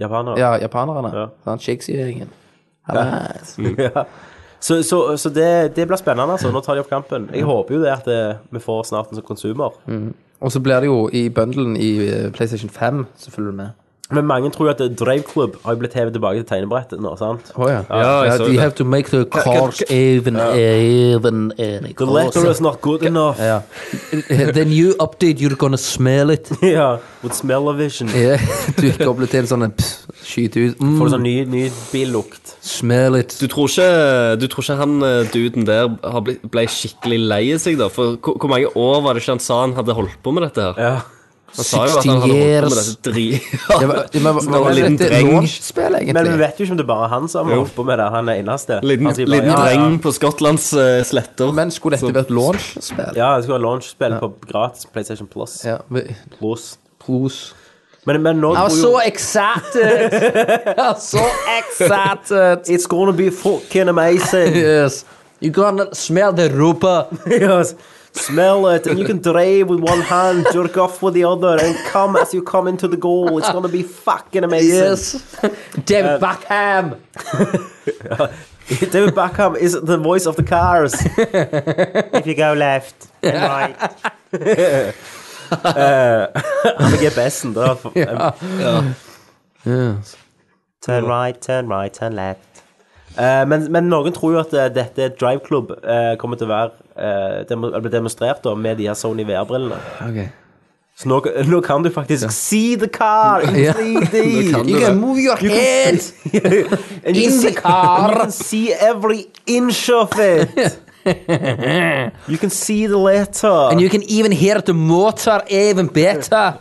[SPEAKER 4] Japanere.
[SPEAKER 7] Ja, japanerne.
[SPEAKER 4] Ja.
[SPEAKER 7] Sånn, Shakespeare-gjengen.
[SPEAKER 4] Ja. Så, så, så det, det blir spennende, altså. Nå tar de opp kampen.
[SPEAKER 7] Mm.
[SPEAKER 4] Jeg håper jo det at eh, vi får snart en sånn konsumer.
[SPEAKER 7] Og så blir det jo i bundlen i eh, PlayStation 5, så følger du med.
[SPEAKER 4] Men mange tror jo at eh, Drive Club har jo blitt hevet tilbake til tegnebrettet nå, sant?
[SPEAKER 7] Å ja.
[SPEAKER 6] jeg så
[SPEAKER 7] de
[SPEAKER 6] det.
[SPEAKER 7] have to make the cars even, even, even
[SPEAKER 4] The letter is not good enough.
[SPEAKER 7] Ja. The new update, you're gonna smell it.
[SPEAKER 4] Ja, With smell of vision.
[SPEAKER 7] Ja, du kobler til en sånn en pss, skyter ut.
[SPEAKER 4] Får du
[SPEAKER 7] Mm,
[SPEAKER 4] sånn ny, ny billukt.
[SPEAKER 7] smell it.
[SPEAKER 6] Du tror ikke, du tror ikke han eh, duden der har blitt, ble skikkelig lei seg, da? For hvor, hvor mange år var det ikke han sa han hadde holdt på med dette her?
[SPEAKER 4] Ja.
[SPEAKER 6] Han sa jo at han hadde holdt på med dette dri...
[SPEAKER 7] Det var, det var,
[SPEAKER 6] Så det var en
[SPEAKER 7] det
[SPEAKER 6] liten
[SPEAKER 7] et
[SPEAKER 6] dreng.
[SPEAKER 7] launch-spill,
[SPEAKER 4] Men vi
[SPEAKER 7] egentlig.
[SPEAKER 4] vet jo ikke om det er bare han som har holdt på med det. Han er eneste.
[SPEAKER 6] Liten,
[SPEAKER 4] han sier bare,
[SPEAKER 6] liten
[SPEAKER 4] ja, ja.
[SPEAKER 6] dreng på Skottlands eh, sletter.
[SPEAKER 7] Men skulle dette vært launch-spill?
[SPEAKER 4] Ja, det skulle være launchspill på gratis PlayStation Plus.
[SPEAKER 7] Ja, vi-
[SPEAKER 4] Plus.
[SPEAKER 7] Pros.
[SPEAKER 4] Men, men nå tror jo
[SPEAKER 7] excited! I'm so excited!
[SPEAKER 4] It's gonna be fucking amazing.
[SPEAKER 7] eh, Yes. You gonna smell the rupa.
[SPEAKER 4] Yes. Smell it, and you can drive with one hand, jerk off with the other, and come as you come into the goal. It's gonna be fucking amazing.
[SPEAKER 7] David Buckham.
[SPEAKER 4] David Beckham is the voice of the cars. If you go left and right. Uh, Han er GPS-en, da. Turn right, turn right, turn left. Eh, men, men noen tror jo at eh, dette Drive Club eh, kommer til å være eh, demo, eller bli demonstrert da, med de her Sony VR-brillene.
[SPEAKER 7] Okay.
[SPEAKER 4] Så nå, nå kan du faktisk see the car in
[SPEAKER 7] Ja.
[SPEAKER 4] 3D!
[SPEAKER 7] You can move your head.
[SPEAKER 4] And you
[SPEAKER 7] In
[SPEAKER 4] can
[SPEAKER 7] the
[SPEAKER 4] see-
[SPEAKER 7] car.
[SPEAKER 4] You can see every inch of it. you can see the letter.
[SPEAKER 7] And you can even hear the motor even better.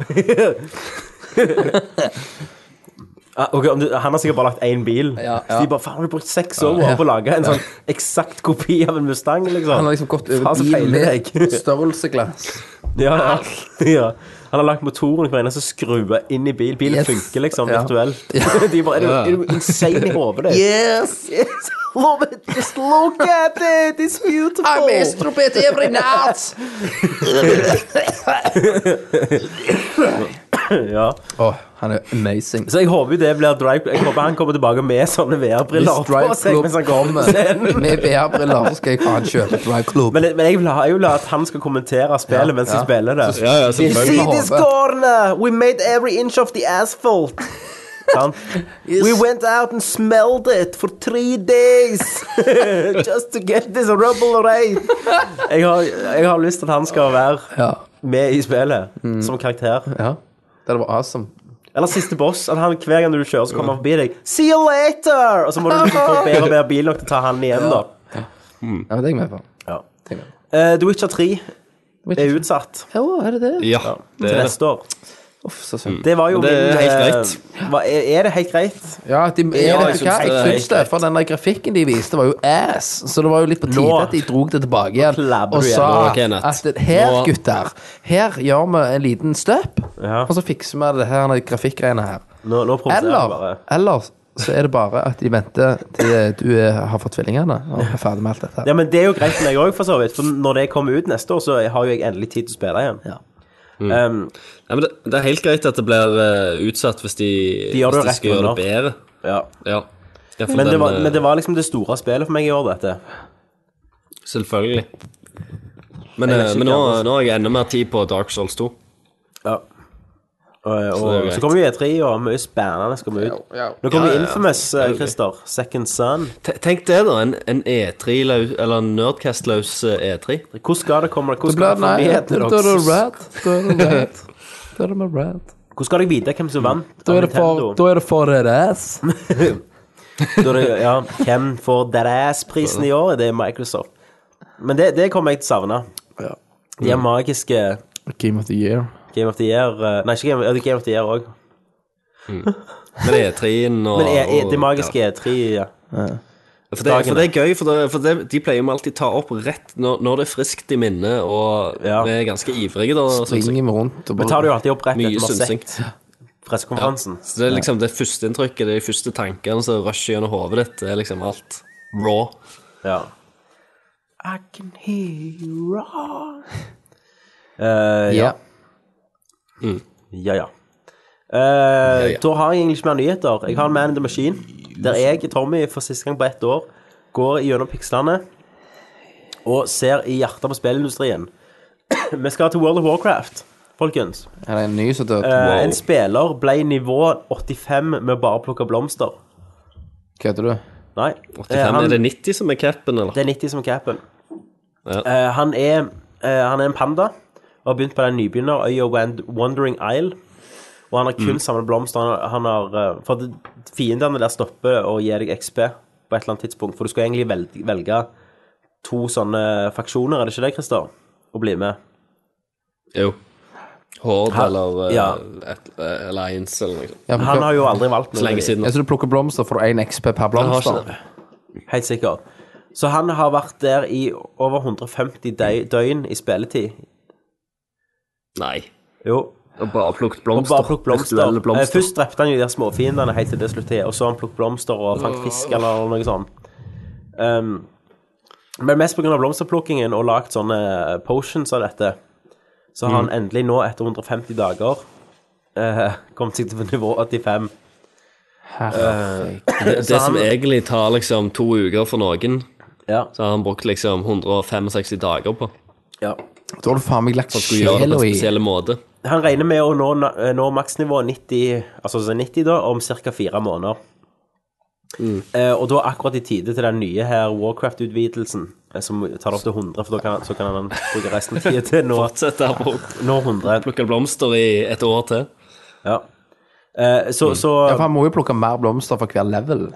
[SPEAKER 4] Ah, ok, om du, han har sikkert bare lagt én bil.
[SPEAKER 7] Ja, ja.
[SPEAKER 4] Så de bare Faen, har du brukt seks år på å lage en sånn eksakt kopi av en Mustang, liksom?
[SPEAKER 7] Han har liksom gått over
[SPEAKER 4] Faen, så
[SPEAKER 7] bilen
[SPEAKER 4] feiler jeg.
[SPEAKER 7] med størrelseglass.
[SPEAKER 4] ja, ja. ja. Han har lagt motoren i hver eneste skrue inn i bil. Bilen
[SPEAKER 7] Yes.
[SPEAKER 4] funker liksom
[SPEAKER 7] Ja.
[SPEAKER 4] virtuelt. de bare, er, du, er du insane i hodet ditt?
[SPEAKER 7] Yes!
[SPEAKER 4] Yes, love it. Just look at it. It's beautiful.
[SPEAKER 7] I masturbate every night!
[SPEAKER 4] Ja.
[SPEAKER 7] Åh, han er amazing.
[SPEAKER 4] Så jeg håper jo det blir drive Jeg håper han kommer tilbake med sånne VR-briller
[SPEAKER 7] Hvis Drive
[SPEAKER 4] på seg mens han går på
[SPEAKER 7] Club
[SPEAKER 4] scenen.
[SPEAKER 7] med VR-briller, så skal jeg faen kjøpe Drive Club.
[SPEAKER 4] Men, men jeg vil ha, jeg vil ha at han skal kommentere spillet
[SPEAKER 7] Ja,
[SPEAKER 4] mens
[SPEAKER 7] ja.
[SPEAKER 4] de spiller det.
[SPEAKER 6] Ja, ja, selvfølgelig.
[SPEAKER 4] See this corner! We made every inch of the asphalt. Sant? We went out and smelled it for three days just to get this rubble away. Jeg har, jeg har lyst til at han skal være
[SPEAKER 7] Ja.
[SPEAKER 4] med i spillet
[SPEAKER 7] Mm.
[SPEAKER 4] som karakter.
[SPEAKER 7] ja. Det var awesome.
[SPEAKER 4] Eller siste boss. At han, hver gang du kjører, så kommer han forbi deg. See you later! Og så må du liksom få bedre og bedre bil nok til å ta han igjen, da.
[SPEAKER 7] Ja, men det er jeg med på.
[SPEAKER 4] Ja.
[SPEAKER 7] Det er jeg med på.
[SPEAKER 4] Eh, The Witcher 3 er utsatt
[SPEAKER 7] Ja, er det det?
[SPEAKER 6] Ja, det
[SPEAKER 4] til
[SPEAKER 6] er det.
[SPEAKER 4] neste år.
[SPEAKER 7] Uff, så synd.
[SPEAKER 4] Det var jo
[SPEAKER 6] Men det er
[SPEAKER 4] min,
[SPEAKER 6] helt
[SPEAKER 4] eh,
[SPEAKER 6] greit.
[SPEAKER 4] hva- er, er det helt greit?
[SPEAKER 7] Ja, de, er
[SPEAKER 6] Ja,
[SPEAKER 7] det,
[SPEAKER 6] jeg syns
[SPEAKER 7] hva?
[SPEAKER 6] det er
[SPEAKER 7] jeg
[SPEAKER 6] helt
[SPEAKER 7] syns det, for den der grafikken de viste, var jo ass. Så det var jo litt på tide
[SPEAKER 4] Nå-
[SPEAKER 7] at de dro det tilbake igjen
[SPEAKER 4] klabber du
[SPEAKER 7] og
[SPEAKER 4] igjen
[SPEAKER 7] sa
[SPEAKER 6] nå, Kenneth.
[SPEAKER 7] at her,
[SPEAKER 6] Nå-
[SPEAKER 7] gutter, her gjør vi en liten støp.
[SPEAKER 4] Ja.
[SPEAKER 7] Og så fikser vi det her, de grafikkgreiene her.
[SPEAKER 4] Nå, nå provoserer jeg
[SPEAKER 7] Eller,
[SPEAKER 4] bare.
[SPEAKER 7] eller så er det bare at de venter til eh, du er, har fått tvillingene og er ferdig med alt dette.
[SPEAKER 4] Ja, men det er jo greit for meg òg, for så vidt. For når det kommer ut neste år, så har jo jeg endelig tid til å spille igjen.
[SPEAKER 6] Mm.
[SPEAKER 4] Um,
[SPEAKER 6] Ja, men det, det er helt greit at det blir eh, utsatt hvis de,
[SPEAKER 4] De gjør det
[SPEAKER 6] hvis
[SPEAKER 4] rett
[SPEAKER 6] de skal gjøre det bedre.
[SPEAKER 4] ja.
[SPEAKER 6] Ja. Ja, for
[SPEAKER 4] men, det
[SPEAKER 6] den,
[SPEAKER 4] var,
[SPEAKER 6] eh,
[SPEAKER 4] men det var liksom det store spillet for meg i år, dette.
[SPEAKER 6] Selvfølgelig. Men,
[SPEAKER 4] Jeg vet
[SPEAKER 6] eh,
[SPEAKER 4] ikke
[SPEAKER 6] men nå,
[SPEAKER 4] hva det-
[SPEAKER 6] nå har jeg enda mer tid på Dark Souls 2.
[SPEAKER 4] Ja. Og,
[SPEAKER 6] Så det er
[SPEAKER 4] og,
[SPEAKER 6] greit.
[SPEAKER 4] så kommer jo E3, og mye spennende skal vi ut. Nå
[SPEAKER 6] Ja,
[SPEAKER 4] kommer
[SPEAKER 6] ja, ja.
[SPEAKER 4] Infamous, eh,
[SPEAKER 6] Selvfølgelig.
[SPEAKER 4] Christer. Second Son.
[SPEAKER 6] Te- Tenk det, da. En, en E3, -løs- eller en Nerdcast-løs eh, E3.
[SPEAKER 4] Hvordan skal det komme? Hvordan
[SPEAKER 7] Det blir
[SPEAKER 4] skal,
[SPEAKER 7] nei,
[SPEAKER 4] dere få
[SPEAKER 7] da er det
[SPEAKER 4] nyheten deres?
[SPEAKER 7] red, da er det red, da er det med red.
[SPEAKER 4] Hvordan skal dere vite hvem som vant?
[SPEAKER 7] Da
[SPEAKER 4] av
[SPEAKER 7] er det for,
[SPEAKER 4] Nintendo?
[SPEAKER 7] da er det for red ass.
[SPEAKER 4] Da er det- ja, hvem får Deadass-prisen i år? Det er Microsoft. Men det, det kommer jeg til å savne.
[SPEAKER 7] Ja.
[SPEAKER 4] De er magiske
[SPEAKER 7] Game of the year.
[SPEAKER 4] Game of the Year eh, Nei, ikke Game, ja, det er Game of the Year òg.
[SPEAKER 6] Men E3-en og
[SPEAKER 4] Men e, e, det
[SPEAKER 6] og-
[SPEAKER 4] magiske er tre ja.
[SPEAKER 6] ja. for, det, for det er gøy, for, det, for det, de pleier jo alltid ta opp rett når, når det er friskt i minnet, og
[SPEAKER 4] Ja.
[SPEAKER 6] vi er ganske ivrige, da. sånn sett.
[SPEAKER 7] Springer vi rundt og
[SPEAKER 4] Vi tar det
[SPEAKER 7] bare
[SPEAKER 4] jo alltid opp rett
[SPEAKER 6] Mye
[SPEAKER 4] etter
[SPEAKER 6] synsing.
[SPEAKER 4] Marseille. Pressekonferansen.
[SPEAKER 6] Så det er liksom det førsteinntrykket, det er de første tankene som rusher gjennom hodet ditt. Det er liksom alt raw.
[SPEAKER 4] Ja. I can hear you roar. Eh, ja. Mm.
[SPEAKER 7] ja.
[SPEAKER 4] Ja, ja. Eh,
[SPEAKER 6] ja.
[SPEAKER 4] Da har jeg egentlig ikke mer nyheter. Jeg har en Man in the Machine, der jeg, Tommy, for siste gang på ett år, går gjennom pikslene og ser i hjertet på spillindustrien. Vi skal til World of Warcraft, folkens.
[SPEAKER 7] Er det en ny som dør?
[SPEAKER 4] Eh, En spiller ble nivå 85 med å bare plukke blomster.
[SPEAKER 7] Kødder du?
[SPEAKER 4] Nei.
[SPEAKER 6] 85,
[SPEAKER 4] eh, han,
[SPEAKER 6] Er det 90 som er capen, eller?
[SPEAKER 4] det er 90 som er capen.
[SPEAKER 6] Ja.
[SPEAKER 4] Eh, han, er, eh, han er en panda og har begynt på den nybegynnerøya Wand- Wandering Isle. Og han har
[SPEAKER 6] Mm.
[SPEAKER 4] kun samlet blomster. Han har, han har, eh, for det- fiendene der stopper og gir deg XP på et eller annet tidspunkt. For du skal egentlig velge, velge to sånne faksjoner, er det ikke det, Christer? Å bli med.
[SPEAKER 6] Jo. Horde
[SPEAKER 4] Ha-
[SPEAKER 6] eller eh,
[SPEAKER 4] ja.
[SPEAKER 6] et, eh, Alliance eller noe sånt.
[SPEAKER 7] Ja, men
[SPEAKER 4] Han
[SPEAKER 7] hva-
[SPEAKER 4] har jo aldri valgt noe.
[SPEAKER 6] Så lenge siden.
[SPEAKER 7] Ja, så du plukker blomster, får du én XP per
[SPEAKER 6] Jeg har
[SPEAKER 7] blomster?
[SPEAKER 6] ikke det.
[SPEAKER 4] Helt sikkert. Så han har vært der i over 150 dø- døgn i spilletid.
[SPEAKER 6] Nei.
[SPEAKER 4] Jo,
[SPEAKER 6] Og bare plukket
[SPEAKER 4] Og
[SPEAKER 6] blomster.
[SPEAKER 4] bare plukke blomster.
[SPEAKER 6] Virtuelle blomster.
[SPEAKER 4] Eh, Først drepte han jo de der småfiendene helt til det sluttet, og så har han plukket blomster og fant fisk eller noe sånt. Um, men mest pga. blomsterplukkingen og lagd sånne eh, potions av dette, så har
[SPEAKER 6] Mm.
[SPEAKER 4] han endelig nå, etter 150 dager, eh, kommet seg til nivå 85.
[SPEAKER 7] Herregud.
[SPEAKER 6] det,
[SPEAKER 4] Så
[SPEAKER 6] det
[SPEAKER 4] han-
[SPEAKER 6] som egentlig tar liksom to uker for noen,
[SPEAKER 4] Ja.
[SPEAKER 6] så har han brukt liksom 165 dager på.
[SPEAKER 4] ja.
[SPEAKER 7] Da har du faen meg lagt
[SPEAKER 6] Han skulle gjøre det på
[SPEAKER 7] sjela
[SPEAKER 6] en
[SPEAKER 7] i
[SPEAKER 6] spesiell måte.
[SPEAKER 4] Han regner med å nå, eh, nå maksnivået 90, altså så 90 da, om ca. fire måneder.
[SPEAKER 7] Mm.
[SPEAKER 4] Eh, og da akkurat i tide til den nye her Warcraft-utvidelsen, eh, som tar det opp til 100, for da kan, så kan han bruke resten av tida til å nå,
[SPEAKER 6] Fortsette her på å
[SPEAKER 4] nå 100.
[SPEAKER 6] plukke blomster i et år til.
[SPEAKER 4] Ja. Eh, så, så
[SPEAKER 7] Mm. Ja, for Han må jo plukke mer blomster for hver level.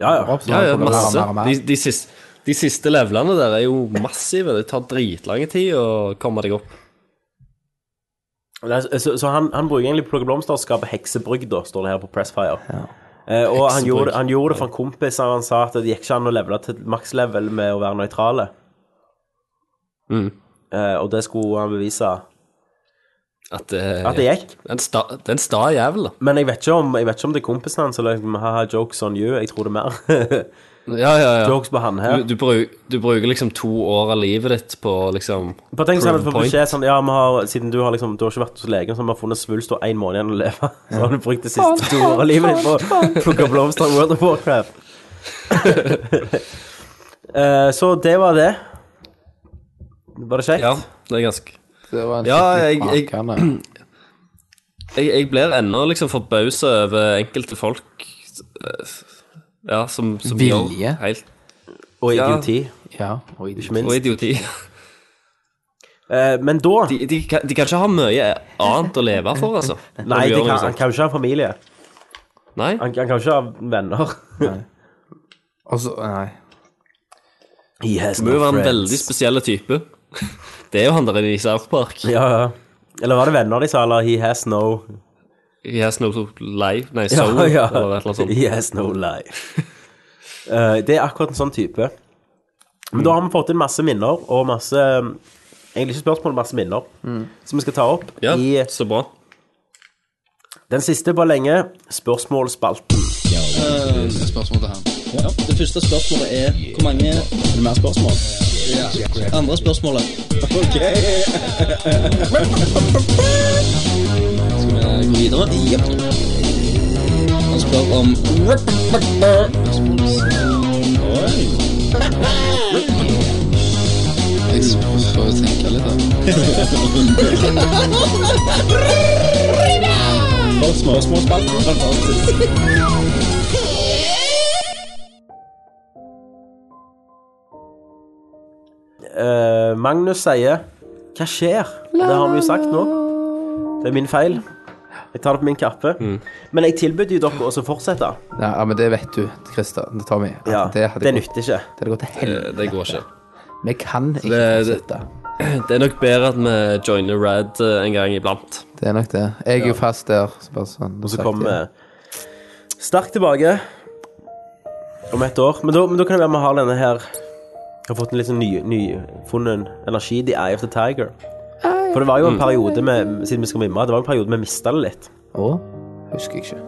[SPEAKER 4] Ja, ja.
[SPEAKER 7] Så
[SPEAKER 6] Ja,
[SPEAKER 7] han
[SPEAKER 6] ja,
[SPEAKER 7] plukker
[SPEAKER 6] masse.
[SPEAKER 7] mer og mer.
[SPEAKER 6] De, de, siste, de siste levelene der er jo massive. Det tar dritlang tid å komme deg opp.
[SPEAKER 4] Nei, Så, så, så han, han bruker egentlig plukke blomster og skape heksebrygd, da, står det her på Pressfire. Eh, og han
[SPEAKER 6] Heksebrygd.
[SPEAKER 4] gjorde, han gjorde det for en kompis, og han sa at det gikk ikke an å levele til makslevel med å være nøytrale.
[SPEAKER 6] Mm.
[SPEAKER 4] Eh, og det skulle han bevise
[SPEAKER 6] At det,
[SPEAKER 4] at det gikk.
[SPEAKER 6] Det er en sta, det er en sta jævel, da.
[SPEAKER 4] Men jeg vet ikke om, jeg vet ikke om det er kompisen hans eller liksom, haha, jokes on you. Jeg tror det er mer.
[SPEAKER 6] Ja, ja, ja.
[SPEAKER 4] jokes på han her.
[SPEAKER 6] Du, du, bruk, du bruker liksom to år av livet ditt på å liksom
[SPEAKER 4] Bare tenk sånn at
[SPEAKER 6] prove
[SPEAKER 4] for
[SPEAKER 6] point.
[SPEAKER 4] beskjed sånn, ja, vi har, siden du har liksom, du har ikke vært hos legen, så har vi har funnet svulst og én måned igjen å leve. Så har du brukt det siste to året av livet ditt på å plukke blomster i World of Warcraft. Eh, så det var det. Var det kjekt?
[SPEAKER 6] Ja, det er ganske
[SPEAKER 7] Det var en
[SPEAKER 6] Ja,
[SPEAKER 7] skikkelig
[SPEAKER 6] jeg- jeg-
[SPEAKER 7] bakende.
[SPEAKER 6] Jeg, jeg blir ennå liksom forbausa over enkelte folk eh, Ja, som, som
[SPEAKER 7] Vilje.
[SPEAKER 6] gjør helt
[SPEAKER 4] Og
[SPEAKER 6] Ja.
[SPEAKER 4] idioti,
[SPEAKER 7] Ja, og
[SPEAKER 4] ikke
[SPEAKER 6] Og
[SPEAKER 4] minst.
[SPEAKER 6] idioti.
[SPEAKER 4] Eh, men da
[SPEAKER 6] De, de, kan- de kan ikke ha mye annet å leve for, altså. når
[SPEAKER 4] Nei,
[SPEAKER 6] du
[SPEAKER 4] de
[SPEAKER 6] gjør
[SPEAKER 4] kan,
[SPEAKER 6] noe
[SPEAKER 4] han
[SPEAKER 6] sånt.
[SPEAKER 4] kan jo ikke ha familie.
[SPEAKER 6] Nei?
[SPEAKER 4] Han, han kan jo ikke ha venner.
[SPEAKER 7] Og så, nei.
[SPEAKER 4] He has
[SPEAKER 6] Du må jo være en veldig spesiell type. Det er jo han der i South Park.
[SPEAKER 4] Ja, ja. Eller var det venner de sa, eller He has no
[SPEAKER 6] He has no life Nei, soul, eller et eller annet sånt.
[SPEAKER 4] He has no life. Eh, det er akkurat en sånn type. Men da har vi fått inn masse minner, og masse Egentlig ikke spørsmål, masse minner, som vi skal ta opp
[SPEAKER 6] Ja,
[SPEAKER 4] i
[SPEAKER 6] så bra.
[SPEAKER 4] Den siste på lenge, spørsmålsspalten.
[SPEAKER 11] spørsmål til han. Det første spørsmålet er hvor mange Er det mer spørsmål? Andre spørsmålet. Ok. Skal vi gå videre? Jepp. Han spør om Oi. Jeg får jo tenke litt, da.
[SPEAKER 4] Eh,
[SPEAKER 11] Spørsmål. Spørsmålsspalten. Fantastisk.
[SPEAKER 4] Eh, Magnus sier Hva skjer? Det har vi jo sagt nå. Det er min feil. Jeg tar det på min kappe.
[SPEAKER 6] Mm.
[SPEAKER 4] Men jeg tilbød jo dere også å fortsette.
[SPEAKER 7] Ja, ja, men det vet du, Christer. Det tar vi.
[SPEAKER 4] Ja,
[SPEAKER 7] det,
[SPEAKER 4] det,
[SPEAKER 7] hadde gått,
[SPEAKER 4] nytter ikke.
[SPEAKER 7] det hadde gått til
[SPEAKER 6] Eh,
[SPEAKER 7] helvete.
[SPEAKER 6] Det går ikke.
[SPEAKER 7] Vi kan ikke
[SPEAKER 6] det-
[SPEAKER 7] fortsette.
[SPEAKER 6] Det er nok bedre at vi joiner Rad eh, en gang iblant.
[SPEAKER 7] Det er nok det. Jeg er jo fast der. Så bare sånn,
[SPEAKER 4] Og så kommer sterkt tilbake om ett år. Men da, men da kan det være vi har denne her Jeg har fått en litt sånn ny- nyfunnet energi. The Eye of the Tiger. For det var jo en periode med, siden vi skal mimre, det var en periode vi mista det litt.
[SPEAKER 7] Å? Husker jeg ikke.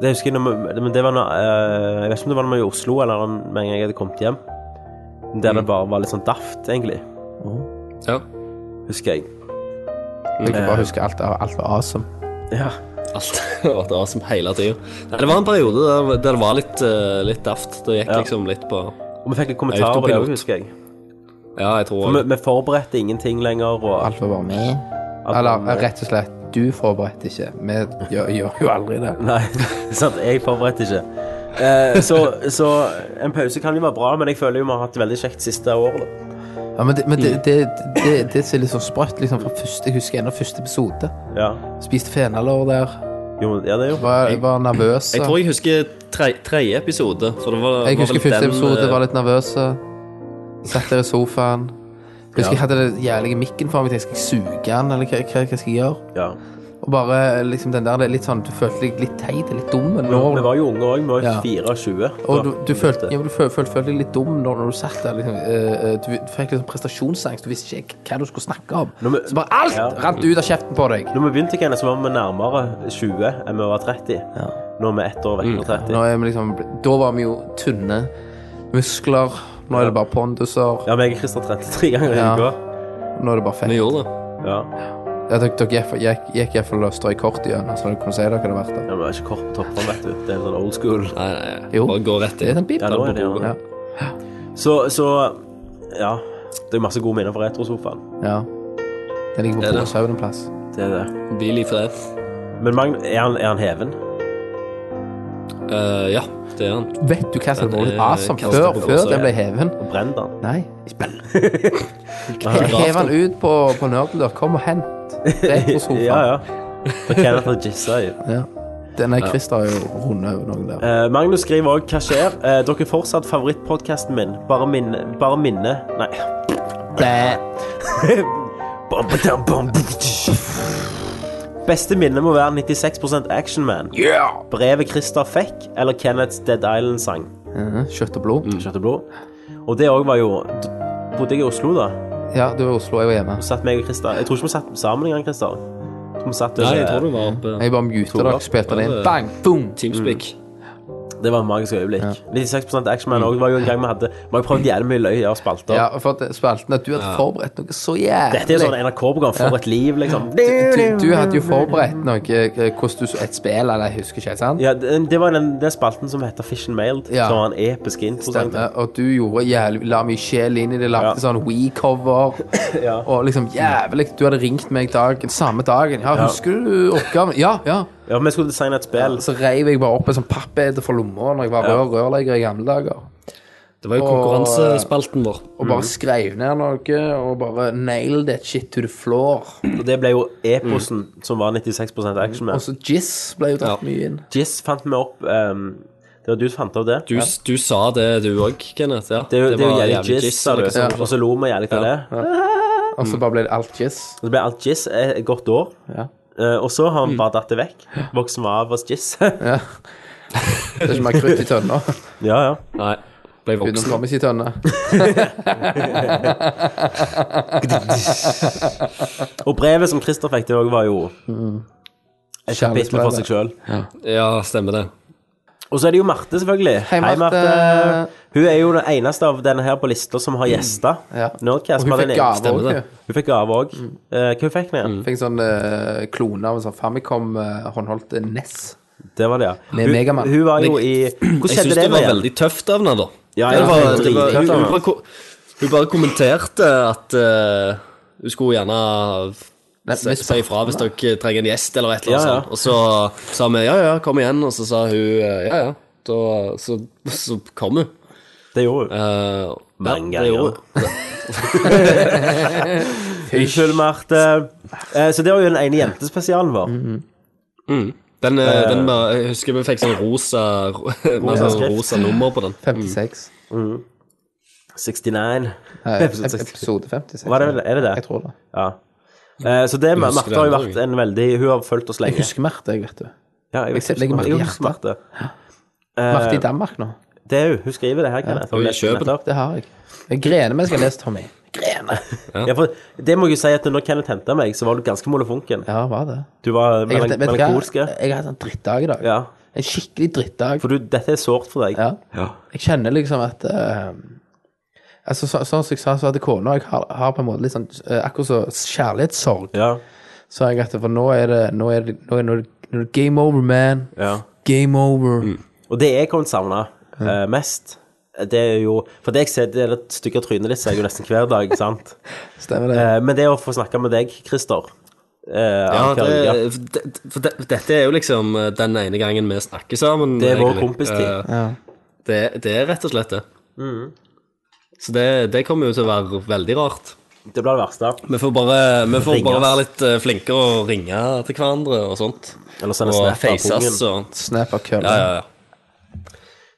[SPEAKER 4] Det husker jeg, når vi- men det var når, eh, jeg vet ikke om det var når vi var i Oslo, eller med en gang jeg hadde kommet hjem. Der det bare var litt sånn daft, egentlig.
[SPEAKER 6] Ja.
[SPEAKER 4] Husker jeg.
[SPEAKER 7] Jeg kan bare huske alt, alt var awesome.
[SPEAKER 4] Ja.
[SPEAKER 6] Alt og det var som hele tida. Nei, det var en periode der, der det var litt, eh, litt daft. Det gikk
[SPEAKER 4] Ja.
[SPEAKER 6] liksom litt på
[SPEAKER 4] Og vi fikk litt kommentarer på det òg, husker jeg.
[SPEAKER 6] Ja, jeg tror
[SPEAKER 4] For vi, vi forberedte ingenting lenger. Og
[SPEAKER 7] Alt var bare med.
[SPEAKER 4] alt var-
[SPEAKER 7] Eller
[SPEAKER 6] eh,
[SPEAKER 7] rett og slett, du forberedte ikke. Vi gjør, gjør jo aldri det.
[SPEAKER 4] Nei, sant, jeg forberedte ikke. Eh, så, så en pause kan jo være bra, men jeg føler jo vi har hatt det veldig kjekt siste året. da.
[SPEAKER 7] Ja, men det, men det, det, det, det som er litt sånn sprøtt, liksom, fra første, jeg husker ennå første episode.
[SPEAKER 4] Ja,
[SPEAKER 7] Spiste fenalår der.
[SPEAKER 4] jo, ja det er jo
[SPEAKER 7] Var, var nervøs.
[SPEAKER 6] Jeg tror jeg husker tre- tredje episode. For det var,
[SPEAKER 7] Jeg
[SPEAKER 6] var
[SPEAKER 7] husker
[SPEAKER 6] vel
[SPEAKER 7] første
[SPEAKER 6] den,
[SPEAKER 7] episode,
[SPEAKER 6] eh,
[SPEAKER 7] var litt nervøse. Satt der i sofaen. Husker jeg hadde den jævlige mikken for meg. Tenkte, skal jeg suge den, eller hva, hva, hva skal jeg gjøre?
[SPEAKER 4] ja.
[SPEAKER 7] Og bare liksom den der, det er litt sånn, du følte deg litt teit, litt dum.
[SPEAKER 4] Vi,
[SPEAKER 7] Når,
[SPEAKER 4] vi var jo unge òg, vi var jo
[SPEAKER 7] Ja.
[SPEAKER 4] 24.
[SPEAKER 7] og du, du
[SPEAKER 4] da.
[SPEAKER 7] følte, ja, men du følte, følte deg litt dum når, når du satt der. Liksom, eh, eh, du, du fikk liksom prestasjonsangst, du visste ikke hva du skulle snakke om.
[SPEAKER 4] Når vi-
[SPEAKER 7] Så bare alt
[SPEAKER 4] Ja.
[SPEAKER 7] rant ut av kjeften på deg.
[SPEAKER 4] Når vi begynte, Kenneth, så var vi nærmere 20 enn vi var 30. Nå er vi ett år vekk fra 30.
[SPEAKER 7] Nå er vi liksom, da var vi jo tynne muskler. Nå er det bare ponduser.
[SPEAKER 4] Ja, meg og Christer 33 ganger i
[SPEAKER 7] Ja.
[SPEAKER 4] uka.
[SPEAKER 7] Nå er det bare fett.
[SPEAKER 6] Vi gjorde det.
[SPEAKER 4] Ja.
[SPEAKER 7] Ja, dere, dere gikk- gikk, gikk iallfall og strøk kort igjennom, så dere kunne si dere hadde vært der.
[SPEAKER 4] ja, vi er ikke kort på toppen, vet du. Det er sånn old school.
[SPEAKER 6] Nei, nei,
[SPEAKER 7] Jo.
[SPEAKER 6] bare gå rett
[SPEAKER 7] Det er
[SPEAKER 6] inn.
[SPEAKER 7] den bip.
[SPEAKER 4] Ja, nå er det jo
[SPEAKER 7] ja.
[SPEAKER 4] Så, så Ja. Det er masse gode minner fra retrosofaen.
[SPEAKER 7] ja. Den ligger
[SPEAKER 6] Det
[SPEAKER 7] på
[SPEAKER 6] er det.
[SPEAKER 7] Boresauen en plass.
[SPEAKER 4] Det er det.
[SPEAKER 6] Hvil i fred.
[SPEAKER 4] Men Magnus, er han, er han heven?
[SPEAKER 6] Eh, ja, det er han.
[SPEAKER 7] Vet du hva som
[SPEAKER 6] Den
[SPEAKER 7] var
[SPEAKER 6] er
[SPEAKER 7] litt awesome
[SPEAKER 6] kastet
[SPEAKER 7] før,
[SPEAKER 6] på
[SPEAKER 7] før
[SPEAKER 6] Boresauen.
[SPEAKER 7] den ble heven?
[SPEAKER 4] Og brenner han?
[SPEAKER 7] Nei, ikke Hev den ut på, på nerden der. Kom og hent. Rett på sofaen.
[SPEAKER 4] Ja, ja. For Kenneth har jissa i.
[SPEAKER 7] Ja. Denne Christer har jo rundet over noen der.
[SPEAKER 4] Eh, Magnus skriver òg 'Hva skjer?' Eh, dere er fortsatt favorittpodkasten min. Bare minne Bare minne Nei. Bom, ba, dam, bom, bu, bu, tsh. Beste minne må være 96 Actionman. Yeah! Brevet Christer fikk, eller Kenneths Dead Island-sang.
[SPEAKER 7] Mhm, Kjøtt og blod.
[SPEAKER 4] Kjøtt og blod. Og det òg var jo d- Bodde jeg i Oslo, da?
[SPEAKER 7] Ja, du var i Oslo, jeg var hjemme.
[SPEAKER 4] Satt meg og Christer Jeg tror ikke vi satt sammen engang, Christer. Jeg tror vi satt
[SPEAKER 6] Nei, jeg tror det var oppe
[SPEAKER 7] Jeg bare muta dere, spilte det inn. Bang! Boom!
[SPEAKER 6] Teamspeak.
[SPEAKER 4] Det var et magisk øyeblikk. 96 Actionman òg var jo en gang vi hadde Vi har jo prøvd jævlig mye løy av spalter.
[SPEAKER 7] Ja, for at spalten at du hadde forberedt noe så jævlig.
[SPEAKER 4] Dette er jo sånn NRK-program for et liv, liksom.
[SPEAKER 7] du, du hadde jo forberedt noe eh, Hvordan du så et spill, eller jeg husker ikke helt, sant?
[SPEAKER 4] Ja, det, det var den, den spalten som heter Fish and Mailed,
[SPEAKER 7] Ja.
[SPEAKER 4] som var en episk intro.
[SPEAKER 7] Stemmer. Og du gjorde jævlig La mye sjel inn i det, lagde
[SPEAKER 4] Ja.
[SPEAKER 7] sånn We-cover.
[SPEAKER 4] Ja.
[SPEAKER 7] Og liksom jævlig Du hadde ringt meg dagen, samme dagen. Ja, husker du oppgaven? Ja, ja.
[SPEAKER 4] Ja, vi skulle designe et spill.
[SPEAKER 7] Så reiv jeg bare opp en sånn pappbed fra lomma når jeg var rør, rørlegger i gamle dager.
[SPEAKER 6] Det var jo
[SPEAKER 7] Og-
[SPEAKER 6] konkurransespalten vår.
[SPEAKER 7] Og
[SPEAKER 4] Mhm.
[SPEAKER 7] bare skrev ned noe, og bare nailed that shit to the floor.
[SPEAKER 4] Og det ble jo eposen som var 96 action
[SPEAKER 7] Mm. Og
[SPEAKER 4] med.
[SPEAKER 7] så Jizz ble jo
[SPEAKER 6] Ja.
[SPEAKER 7] dratt mye inn.
[SPEAKER 4] Jizz fant vi opp ehm, Det var du som fant opp det.
[SPEAKER 6] Du, du sa det, du òg, Kenneth. Ja.
[SPEAKER 4] Det, er jo- det er jo
[SPEAKER 6] var
[SPEAKER 4] jævlig jizz, sa du.
[SPEAKER 7] liksom.
[SPEAKER 6] eller noe sånt.
[SPEAKER 4] Og så lo vi jævlig av det.
[SPEAKER 7] Og
[SPEAKER 4] Mhm.
[SPEAKER 7] så bare ble det alt Jizz.
[SPEAKER 4] Og så ble alt jizz et et godt år.
[SPEAKER 7] Ja. Mm.
[SPEAKER 4] Eh, og så har vi bare datt det vekk. Vokst vi av oss jizz. ja,
[SPEAKER 7] Det er ikke mer krutt i tønna.
[SPEAKER 4] ja.
[SPEAKER 6] Nei. Ble
[SPEAKER 7] Uten å
[SPEAKER 6] voksen.
[SPEAKER 7] komme i tønne. Mm.
[SPEAKER 4] Og brevet som Christer fikk, det òg var jo Et kapittel for seg sjøl.
[SPEAKER 6] Ja, stemmer det.
[SPEAKER 4] Og så er det jo Marte, selvfølgelig.
[SPEAKER 7] Hei, Marte.
[SPEAKER 4] Hun er jo den eneste av denne her på lista som har gjester.
[SPEAKER 7] Mm. Ja.
[SPEAKER 4] Nerdcast
[SPEAKER 7] Og hun
[SPEAKER 4] var den
[SPEAKER 7] fikk
[SPEAKER 4] eneste.
[SPEAKER 7] gave
[SPEAKER 6] stemmer
[SPEAKER 7] Mm. òg.
[SPEAKER 6] det.
[SPEAKER 4] Hun fikk gave òg. Hva hun fikk hun igjen?
[SPEAKER 7] Fikk en sånn eh, klone av en sånn Famicom-håndholdt NES.
[SPEAKER 4] Det var det, ja.
[SPEAKER 7] Med
[SPEAKER 4] hun,
[SPEAKER 7] Megaman.
[SPEAKER 4] hun var jo i Hvordan
[SPEAKER 6] Jeg syns
[SPEAKER 4] skjedde
[SPEAKER 6] det
[SPEAKER 4] det
[SPEAKER 6] var
[SPEAKER 4] med henne?
[SPEAKER 6] veldig tøft av henne, da.
[SPEAKER 4] Ja,
[SPEAKER 6] det
[SPEAKER 4] ja,
[SPEAKER 6] var,
[SPEAKER 4] det var
[SPEAKER 6] det var,
[SPEAKER 4] drittøft
[SPEAKER 6] hun,
[SPEAKER 4] av
[SPEAKER 6] hun,
[SPEAKER 4] henne.
[SPEAKER 6] bare, ko- hun bare kommenterte at eh, hun skulle gjerne
[SPEAKER 7] vi
[SPEAKER 6] si si ifra hvis dere trenger en gjest eller et eller
[SPEAKER 4] Ja, ja.
[SPEAKER 6] annet. sånt. Og så sa vi ja, ja, kom igjen. Og så sa hun eh, ja, ja. Da, så, så kom hun.
[SPEAKER 4] Det gjorde hun.
[SPEAKER 6] Eh,
[SPEAKER 4] Mange
[SPEAKER 6] ja, det gjorde
[SPEAKER 4] ganger.
[SPEAKER 6] hun.
[SPEAKER 4] Unnskyld, Marte. Eh, Så det var jo den ene jentespesialen vår.
[SPEAKER 7] Mm.
[SPEAKER 6] Den, eh, den var, jeg husker vi fikk sånn rosa, rosa,
[SPEAKER 4] skrift.
[SPEAKER 6] rosa nummer på den.
[SPEAKER 4] Mhm.
[SPEAKER 7] 56.
[SPEAKER 4] 69.
[SPEAKER 7] Nei,
[SPEAKER 4] Episode 60.
[SPEAKER 7] Eh, episode 56.
[SPEAKER 4] Var det, vel- er det det?
[SPEAKER 7] Jeg tror det.
[SPEAKER 4] Ja. Eh, Så det
[SPEAKER 6] husker
[SPEAKER 4] Marte
[SPEAKER 6] det
[SPEAKER 4] har jo
[SPEAKER 6] ennå,
[SPEAKER 4] vært en veldig Hun har fulgt oss
[SPEAKER 7] Jeg
[SPEAKER 4] lenge.
[SPEAKER 7] husker Marte, jeg, vet du.
[SPEAKER 4] Ja,
[SPEAKER 7] jeg ser- legger merke
[SPEAKER 4] jeg
[SPEAKER 7] til
[SPEAKER 4] husker Marte. Eh,
[SPEAKER 7] Marte i Danmark nå.
[SPEAKER 4] Det er hun. Hun skriver det her, Kenneth.
[SPEAKER 6] Hun er i Kjøben.
[SPEAKER 4] nettopp.
[SPEAKER 7] Det har jeg. Jeg grener mens jeg har lest Tommy. Grener.
[SPEAKER 4] Ja, for det må jeg jo si at når Kenneth henta meg, så var du ganske molefonken.
[SPEAKER 7] Ja, var det.
[SPEAKER 4] Du var
[SPEAKER 7] Jeg, vet,
[SPEAKER 4] melan-
[SPEAKER 7] vet du hva?
[SPEAKER 4] melankolsk. ja.
[SPEAKER 7] jeg har hatt en drittdag i dag.
[SPEAKER 4] Ja.
[SPEAKER 7] En skikkelig drittdag.
[SPEAKER 4] For du, dette er sårt for deg.
[SPEAKER 7] Ja. Jeg kjenner liksom at eh, Altså, så, Sånn som jeg sa, så hadde kona Jeg har, har på en måte litt sånn eh, Akkurat som så kjærlighetssorg.
[SPEAKER 4] Ja.
[SPEAKER 7] Så jeg at for nå er det Nå er det, nå er det, nå er det, nå er det game over, man.
[SPEAKER 4] ja. Mm.
[SPEAKER 7] Game over.
[SPEAKER 4] Og det jeg kommer til å savne eh, mest, det er jo For det jeg ser, det er det stygge trynet ditt ser jeg jo nesten hver dag, ikke sant?
[SPEAKER 7] Stemmer det?
[SPEAKER 4] Eh, men det å få snakke med deg, Christer eh,
[SPEAKER 6] Ja,
[SPEAKER 4] annenhver uke.
[SPEAKER 6] det, det, for det, dette er jo liksom eh, den ene gangen vi snakker sammen.
[SPEAKER 4] Det er vår
[SPEAKER 6] egentlig.
[SPEAKER 4] kompistid. Mm.
[SPEAKER 6] Eh, Det, det er rett og slett det. Så det, det kommer jo til å være veldig rart.
[SPEAKER 4] det blir det verste.
[SPEAKER 6] Vi får bare, vi får
[SPEAKER 4] Ringes.
[SPEAKER 6] bare være litt eh, flinkere og ringe til hverandre og sånt.
[SPEAKER 4] Eller sende
[SPEAKER 6] og
[SPEAKER 4] snap av pungen.
[SPEAKER 6] faces altså. og
[SPEAKER 7] Snap av kølla.
[SPEAKER 6] Ja, ja, ja.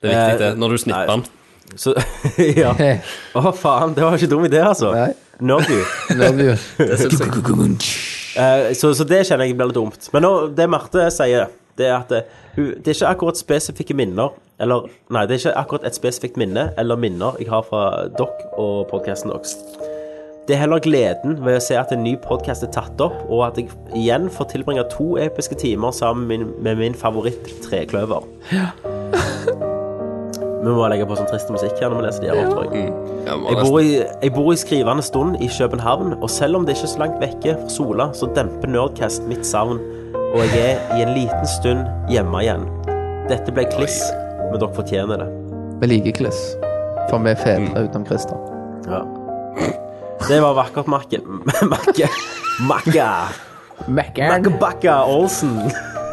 [SPEAKER 6] Det er viktig,
[SPEAKER 4] Eh,
[SPEAKER 6] det. Når du snipper
[SPEAKER 4] nei.
[SPEAKER 6] den.
[SPEAKER 4] Så ja. Å,
[SPEAKER 7] Hey,
[SPEAKER 4] faen, det var ikke dum idé, altså.
[SPEAKER 7] Nei.
[SPEAKER 4] Når du.
[SPEAKER 7] love you.
[SPEAKER 4] Eh, så, så det kjenner jeg blir litt dumt. Men nå, det Marte sier, det er at eh, hun, det er ikke akkurat spesifikke minner eller, Nei, det er ikke akkurat et spesifikt minne eller minner jeg har fra dere og podkasten deres. Det er heller gleden ved å se at en ny podkast er tatt opp, og at jeg igjen får tilbringe to episke timer sammen med min, med min favoritt trekløver. Vi må legge på sånn trist musikk her når vi leser de her oppdrag.
[SPEAKER 6] Ja, må
[SPEAKER 4] Jeg
[SPEAKER 6] nesten-
[SPEAKER 4] bor, i, jeg bor i skrivende stund i København, og selv om det ikke er så langt vekke fra sola, så demper Nerdcast mitt savn, og jeg er i en liten stund hjemme igjen. Dette ble kliss, men dere fortjener det.
[SPEAKER 7] Vi liker Kliss. For vi er
[SPEAKER 4] Mm.
[SPEAKER 7] fedre utenom Christer.
[SPEAKER 4] Ja. Det var vakkert, Makke. Makke. Makke.
[SPEAKER 7] Mackern.
[SPEAKER 4] Bakka Olsen.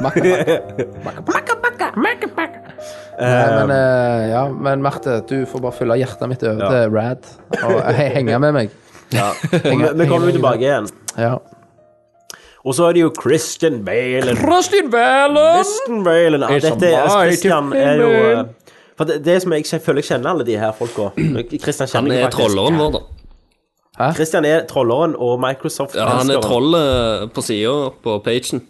[SPEAKER 7] Nei, men, eh, ja, men Marte, du får bare fylle hjertet mitt over
[SPEAKER 4] Ja.
[SPEAKER 7] til Rad. Og he henge med meg.
[SPEAKER 4] Og vi, vi kommer jo tilbake igjen.
[SPEAKER 7] Ja.
[SPEAKER 4] Og så er det jo Christian Balen. Christian Balen! Ja, dette er, altså, Christian er jo eh, For det, det som jeg ikke- føler jeg kjenner alle de her folka Christian kjenner jeg
[SPEAKER 6] Han er
[SPEAKER 4] faktisk.
[SPEAKER 6] trolleren vår, da.
[SPEAKER 4] Christian er trolleren og Microsoft
[SPEAKER 6] Ja, han er
[SPEAKER 4] elsker
[SPEAKER 6] trollet på sida på pagen.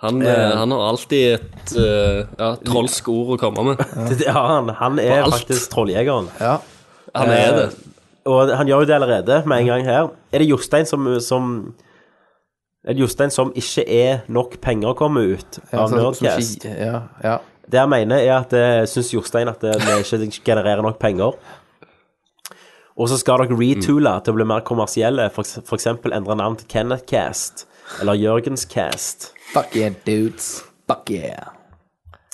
[SPEAKER 6] Han, eh, han har alltid et eh, ja, trolsk ord å komme med.
[SPEAKER 4] Det har han. Han er
[SPEAKER 6] alt.
[SPEAKER 4] faktisk trolljegeren.
[SPEAKER 7] ja.
[SPEAKER 6] Han er det.
[SPEAKER 4] Og han gjør jo det allerede med en gang her. Er det Jostein som, som er det Jostein som ikke er nok penger å komme ut
[SPEAKER 7] Ja,
[SPEAKER 4] av
[SPEAKER 7] sånn- sånn
[SPEAKER 4] Nerdcast?
[SPEAKER 7] ski- ja, ja.
[SPEAKER 4] Det jeg mener, er at jeg syns Jostein at eh, vi ikke genererer nok penger. Og så skal dere retoole til å bli mer kommersielle, f.eks. endre navn til Kenneth Cast eller Jørgens Cast.
[SPEAKER 7] Fuck yeah, dudes. Fuck yeah.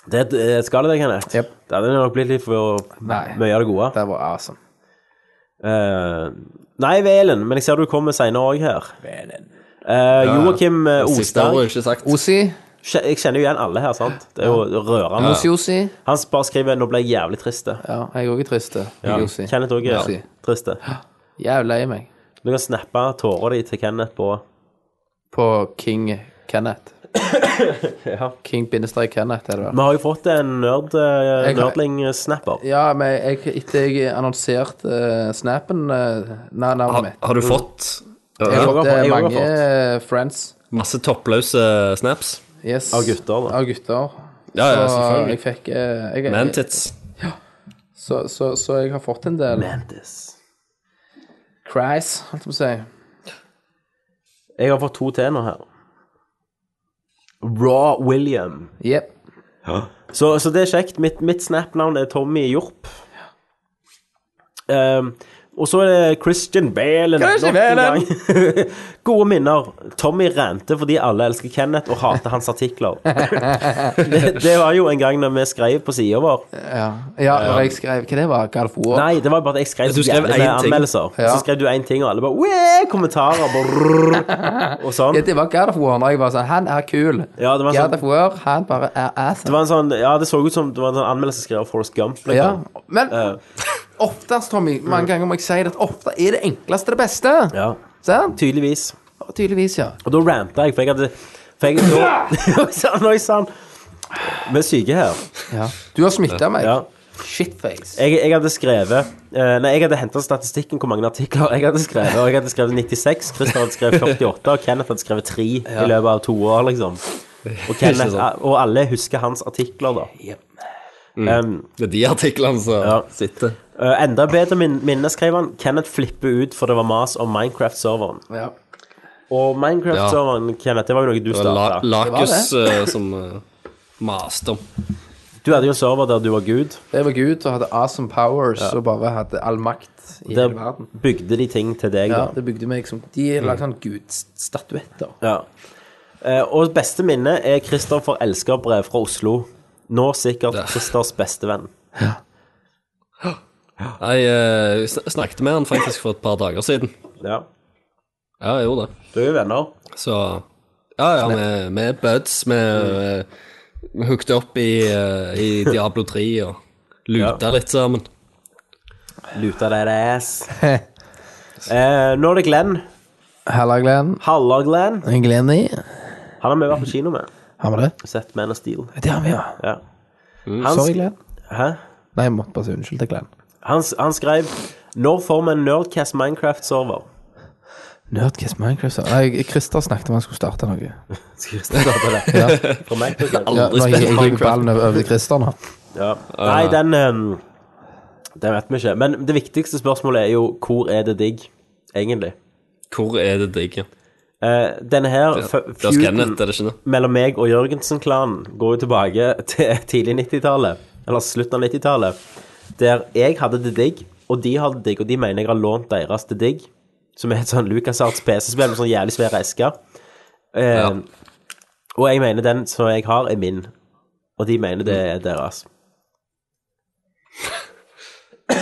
[SPEAKER 4] Det eh, skal det, Kenneth.
[SPEAKER 7] Jep.
[SPEAKER 4] Det hadde nok blitt litt for
[SPEAKER 7] Nei.
[SPEAKER 4] mye av det gode.
[SPEAKER 7] Det var awesome.
[SPEAKER 4] Eh, nei, Velen, men jeg ser du kommer senere òg her. Uh, Joakim eh,
[SPEAKER 6] Siste
[SPEAKER 4] Ostad.
[SPEAKER 6] ordet er ikke sagt.
[SPEAKER 7] Osi.
[SPEAKER 4] Kje- Jeg kjenner jo igjen alle her, sant? Det er jo rørende.
[SPEAKER 7] Osi-Osi.
[SPEAKER 4] Han bare skriver 'Nå ble jeg jævlig trist'.
[SPEAKER 7] Ja, jeg òg er trist. Ja. Osi.
[SPEAKER 4] Kenneth òg er
[SPEAKER 7] Osi.
[SPEAKER 4] trist.
[SPEAKER 7] Jævlig lei meg
[SPEAKER 4] Du kan snappe tåra di til Kenneth på
[SPEAKER 7] på King Kenneth.
[SPEAKER 4] Ja.
[SPEAKER 7] King-Kenneth, er det vel.
[SPEAKER 4] Vi har jo fått en nerd, eh,
[SPEAKER 7] Jeg kan-
[SPEAKER 4] nerdling-snapper.
[SPEAKER 7] Ja, men jeg, etter jeg annonserte eh, snappen eh, na-
[SPEAKER 6] Har,
[SPEAKER 7] navnet mitt
[SPEAKER 6] har du fått
[SPEAKER 7] Jeg har
[SPEAKER 6] ja,
[SPEAKER 4] Ah, har
[SPEAKER 7] fått
[SPEAKER 4] fått-
[SPEAKER 7] eh,
[SPEAKER 4] jeg har
[SPEAKER 7] mange eh, friends.
[SPEAKER 6] masse toppløse snaps?
[SPEAKER 7] Yes.
[SPEAKER 4] Av gutter, da.
[SPEAKER 7] Av gutter.
[SPEAKER 6] Ja, ja,
[SPEAKER 7] så jeg
[SPEAKER 6] selvfølgelig.
[SPEAKER 7] fikk eh, jeg,
[SPEAKER 6] Mantits.
[SPEAKER 7] så, så, så jeg har fått en del
[SPEAKER 4] Mantis.
[SPEAKER 7] cries, holdt jeg på å si.
[SPEAKER 4] Jeg har fått to til nå her. Raw William.
[SPEAKER 7] Jep.
[SPEAKER 4] Så, så det er kjekt. Mitt, mitt Snap-navn er Tommy Hjorp. Ehm, og så er det Christian Balen.
[SPEAKER 7] Christian
[SPEAKER 4] Nok en
[SPEAKER 7] Balen!
[SPEAKER 4] gang. Gode minner. Tommy rante fordi alle elsker Kenneth og hater hans artikler. det, det var jo en gang når vi skrev på sida vår.
[SPEAKER 7] Ja. ja, når jeg skrev Hva det var Galf War?
[SPEAKER 4] Nei, det var bare at jeg skrev,
[SPEAKER 6] Du skrev
[SPEAKER 4] jævlig
[SPEAKER 6] én
[SPEAKER 4] med
[SPEAKER 6] ting.
[SPEAKER 4] anmeldelser.
[SPEAKER 7] Ja.
[SPEAKER 4] Så skrev du én ting, og alle bare «Wee!» kommentarer. Bare, brrr, og sånn.
[SPEAKER 7] Ja, det var God of War når jeg var sånn Han er kul.
[SPEAKER 4] Ja, det var
[SPEAKER 7] God
[SPEAKER 4] sånn-
[SPEAKER 7] of War, han bare er ass.
[SPEAKER 4] Det var en sånn, ja, det så ut som det var en sånn anmeldelse skrevet av Forrest Gump. Liksom.
[SPEAKER 7] Ja. Men
[SPEAKER 4] Eh.
[SPEAKER 7] oftest, Tommy, mange ganger må jeg si det, at ofte er det enkleste det beste.
[SPEAKER 4] Mm. Ja.
[SPEAKER 7] Sant?
[SPEAKER 4] Tydeligvis.
[SPEAKER 7] Tydeligvis, ja.
[SPEAKER 4] Og da ranta jeg, for jeg hadde for jeg, da, Nå er jeg sann. Vi er syke her.
[SPEAKER 7] ja. Du har smitta meg.
[SPEAKER 4] Ja.
[SPEAKER 7] Shitface.
[SPEAKER 4] Jeg, jeg hadde skrevet eh, Nei, jeg hadde henta statistikken hvor mange artikler jeg hadde skrevet. Og jeg hadde skrevet 96, Christer hadde skrevet 48, og Kenneth hadde skrevet 3 i løpet av to år, liksom. Og, Kenneth, og alle husker hans artikler, da. Um,
[SPEAKER 6] Det er de artiklene som
[SPEAKER 4] Ja.
[SPEAKER 6] sitter.
[SPEAKER 4] eh, enda bedre min minne, skrev han. Kenneth flipper ut, for det var mas om Minecraft-serveren.
[SPEAKER 7] Ja.
[SPEAKER 4] Og Minecraft-serveren, Kenneth, det var jo noe du
[SPEAKER 6] Det
[SPEAKER 4] starta.
[SPEAKER 6] var la Lakus
[SPEAKER 7] Det
[SPEAKER 6] eh, som eh, maste om.
[SPEAKER 4] Du hadde jo en server der du var gud.
[SPEAKER 7] Det var Gud som hadde awesome powers og bare hadde all makt i
[SPEAKER 4] Der
[SPEAKER 7] hele verden.
[SPEAKER 4] bygde de ting til deg,
[SPEAKER 7] Ja,
[SPEAKER 4] da.
[SPEAKER 7] det bygde meg som De lagde
[SPEAKER 4] Mm.
[SPEAKER 7] sånn gudsstatuetter.
[SPEAKER 4] Ja. Eh, og beste minne er Kristoffer Elskarbrev fra Oslo. Nå sikkert Kristers bestevenn.
[SPEAKER 6] Jeg eh, sn- snakket med han faktisk for et par dager siden.
[SPEAKER 4] Ja.
[SPEAKER 6] Ja, jeg gjorde det.
[SPEAKER 4] Du er jo venner.
[SPEAKER 6] Så Ja, ja, vi- vi er buds. Vi er eh, hooked opp i, eh, i Diablo 3 og luta litt sammen.
[SPEAKER 4] Luta deg i ass. Eh, nå er det Glenn.
[SPEAKER 7] Halla, Glenn.
[SPEAKER 4] Halla, Glenn.
[SPEAKER 7] Glenny.
[SPEAKER 4] Han har vi vært på kino med.
[SPEAKER 7] Har vi det?
[SPEAKER 4] Sett Man of Steel.
[SPEAKER 7] Det har vi, ja.
[SPEAKER 4] Ja.
[SPEAKER 6] Mm.
[SPEAKER 4] Han,
[SPEAKER 7] Sorry,
[SPEAKER 4] sk-
[SPEAKER 7] Glenn.
[SPEAKER 4] Hæ?
[SPEAKER 7] Nei, jeg måtte bare si unnskyld til Glenn.
[SPEAKER 4] Han, s- han skrev Når får vi en Nerdcast Minecraft-server?
[SPEAKER 7] Nerdcast Minecraft sa- Nei, Christer snakket om han skulle starte noe.
[SPEAKER 4] Skal Christer starte det? For meg, tror jeg.
[SPEAKER 7] Ja,
[SPEAKER 6] Aldri
[SPEAKER 7] nå gir
[SPEAKER 6] spilt
[SPEAKER 7] jeg gir
[SPEAKER 6] Minecraft.
[SPEAKER 7] ballen over over til Christer nå.
[SPEAKER 4] Ja.
[SPEAKER 6] Ah.
[SPEAKER 4] Nei, den um, Den vet vi ikke. Men det viktigste spørsmålet er jo hvor er det digg, egentlig?
[SPEAKER 6] Hvor er det digg?
[SPEAKER 4] Eh, denne her fe-
[SPEAKER 6] Det er Kenneth, er det ikke det?
[SPEAKER 4] mellom meg og Jørgensen-klanen går jo tilbake til tidlig 90-tallet. Eller slutten av 90-tallet. Der jeg hadde det digg, og de hadde det digg, og de mener jeg har lånt deres det digg. Som er et sånn LucasArts PC-spill med sånn jævlig svær eske. Eh,
[SPEAKER 6] Ja.
[SPEAKER 4] Og jeg mener den som jeg har, er min. Og de mener det
[SPEAKER 6] Mm.
[SPEAKER 4] er deres.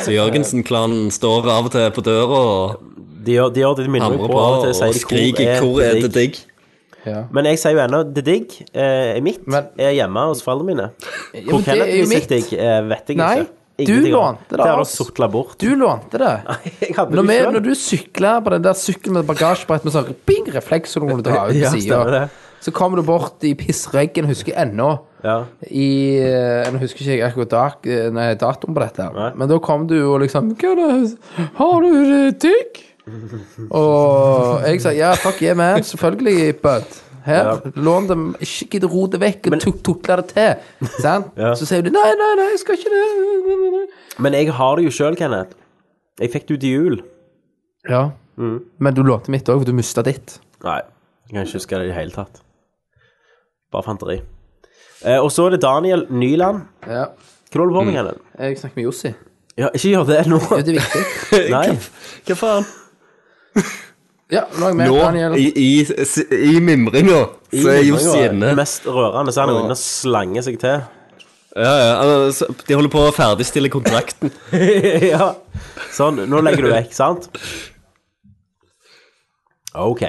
[SPEAKER 6] Så Jørgensen-klanen står av og til på døra og
[SPEAKER 4] De gjør, de gjør det de minner meg
[SPEAKER 6] hamrer
[SPEAKER 4] på
[SPEAKER 6] på
[SPEAKER 4] av og til.
[SPEAKER 6] og
[SPEAKER 4] sier de,
[SPEAKER 6] skriker 'Hvor er det digg?'
[SPEAKER 4] Men jeg sier jo ennå det digg eh, er mitt.
[SPEAKER 7] Men-
[SPEAKER 4] er hjemme hos foreldrene mine.
[SPEAKER 7] men
[SPEAKER 4] Hvor
[SPEAKER 7] det er
[SPEAKER 4] Kenneth
[SPEAKER 7] jo
[SPEAKER 4] vil sitt
[SPEAKER 7] mitt.
[SPEAKER 4] digg, eh, vet jeg
[SPEAKER 7] Nei,
[SPEAKER 4] ikke.
[SPEAKER 7] du
[SPEAKER 4] Ingenting om.
[SPEAKER 7] lånte det
[SPEAKER 4] Det
[SPEAKER 7] av
[SPEAKER 4] har du
[SPEAKER 7] oss.
[SPEAKER 4] sotla bort.
[SPEAKER 7] Du lånte det.
[SPEAKER 4] Jeg hadde
[SPEAKER 7] Når,
[SPEAKER 4] det
[SPEAKER 7] vi,
[SPEAKER 4] selv.
[SPEAKER 7] når du sykler på den der sykkelen med bagasjebrett med sånn bing refleks som du må dra ut
[SPEAKER 4] Ja,
[SPEAKER 7] på
[SPEAKER 4] stemmer
[SPEAKER 7] sida,
[SPEAKER 4] det.
[SPEAKER 7] så kommer du bort i pissreggen, husker jeg ennå.
[SPEAKER 4] Ja.
[SPEAKER 7] I eh, Nå husker ikke jeg akkurat dag, eh, nei, datoen på dette, her. men da kom du og liksom «Hva er det? 'Har du det digg?' Og jeg sa 'ja, fuck yeah, man', selvfølgelig, bud. Her, Lån dem, ikke gidd å ro det vekk og tuk- tukle det til. Sant? Så sier du 'nei, nei, nei, jeg skal ikke det'. Nei, nei, nei.
[SPEAKER 4] Men jeg har det jo sjøl, Kenneth. Jeg fikk det jo til jul.
[SPEAKER 7] Ja. Men du lånte mitt òg, for du mista ditt.
[SPEAKER 4] Nei, jeg kan ikke huske det i det hele tatt. Bare fanteri. Eh, og så er det Daniel Nyland.
[SPEAKER 7] Ja.
[SPEAKER 4] Hva holder du på
[SPEAKER 6] Mm.
[SPEAKER 4] med, Kenneth?
[SPEAKER 7] Jeg snakker med Jossi.
[SPEAKER 4] Ja, ikke gjør det nå.
[SPEAKER 7] Det er viktig.
[SPEAKER 4] Nei.
[SPEAKER 6] Hva faen?
[SPEAKER 7] Ja, nå er jeg med, Daniel.
[SPEAKER 6] i, i, s- i mimringa, så er Johs
[SPEAKER 4] Det
[SPEAKER 6] inne.
[SPEAKER 4] mest rørende så er han jo inne og slanger seg til.
[SPEAKER 6] Ja, ja, han- så- de holder på å ferdigstille kontrakten.
[SPEAKER 4] ja. Sånn, nå legger du vekk, sant? Ok.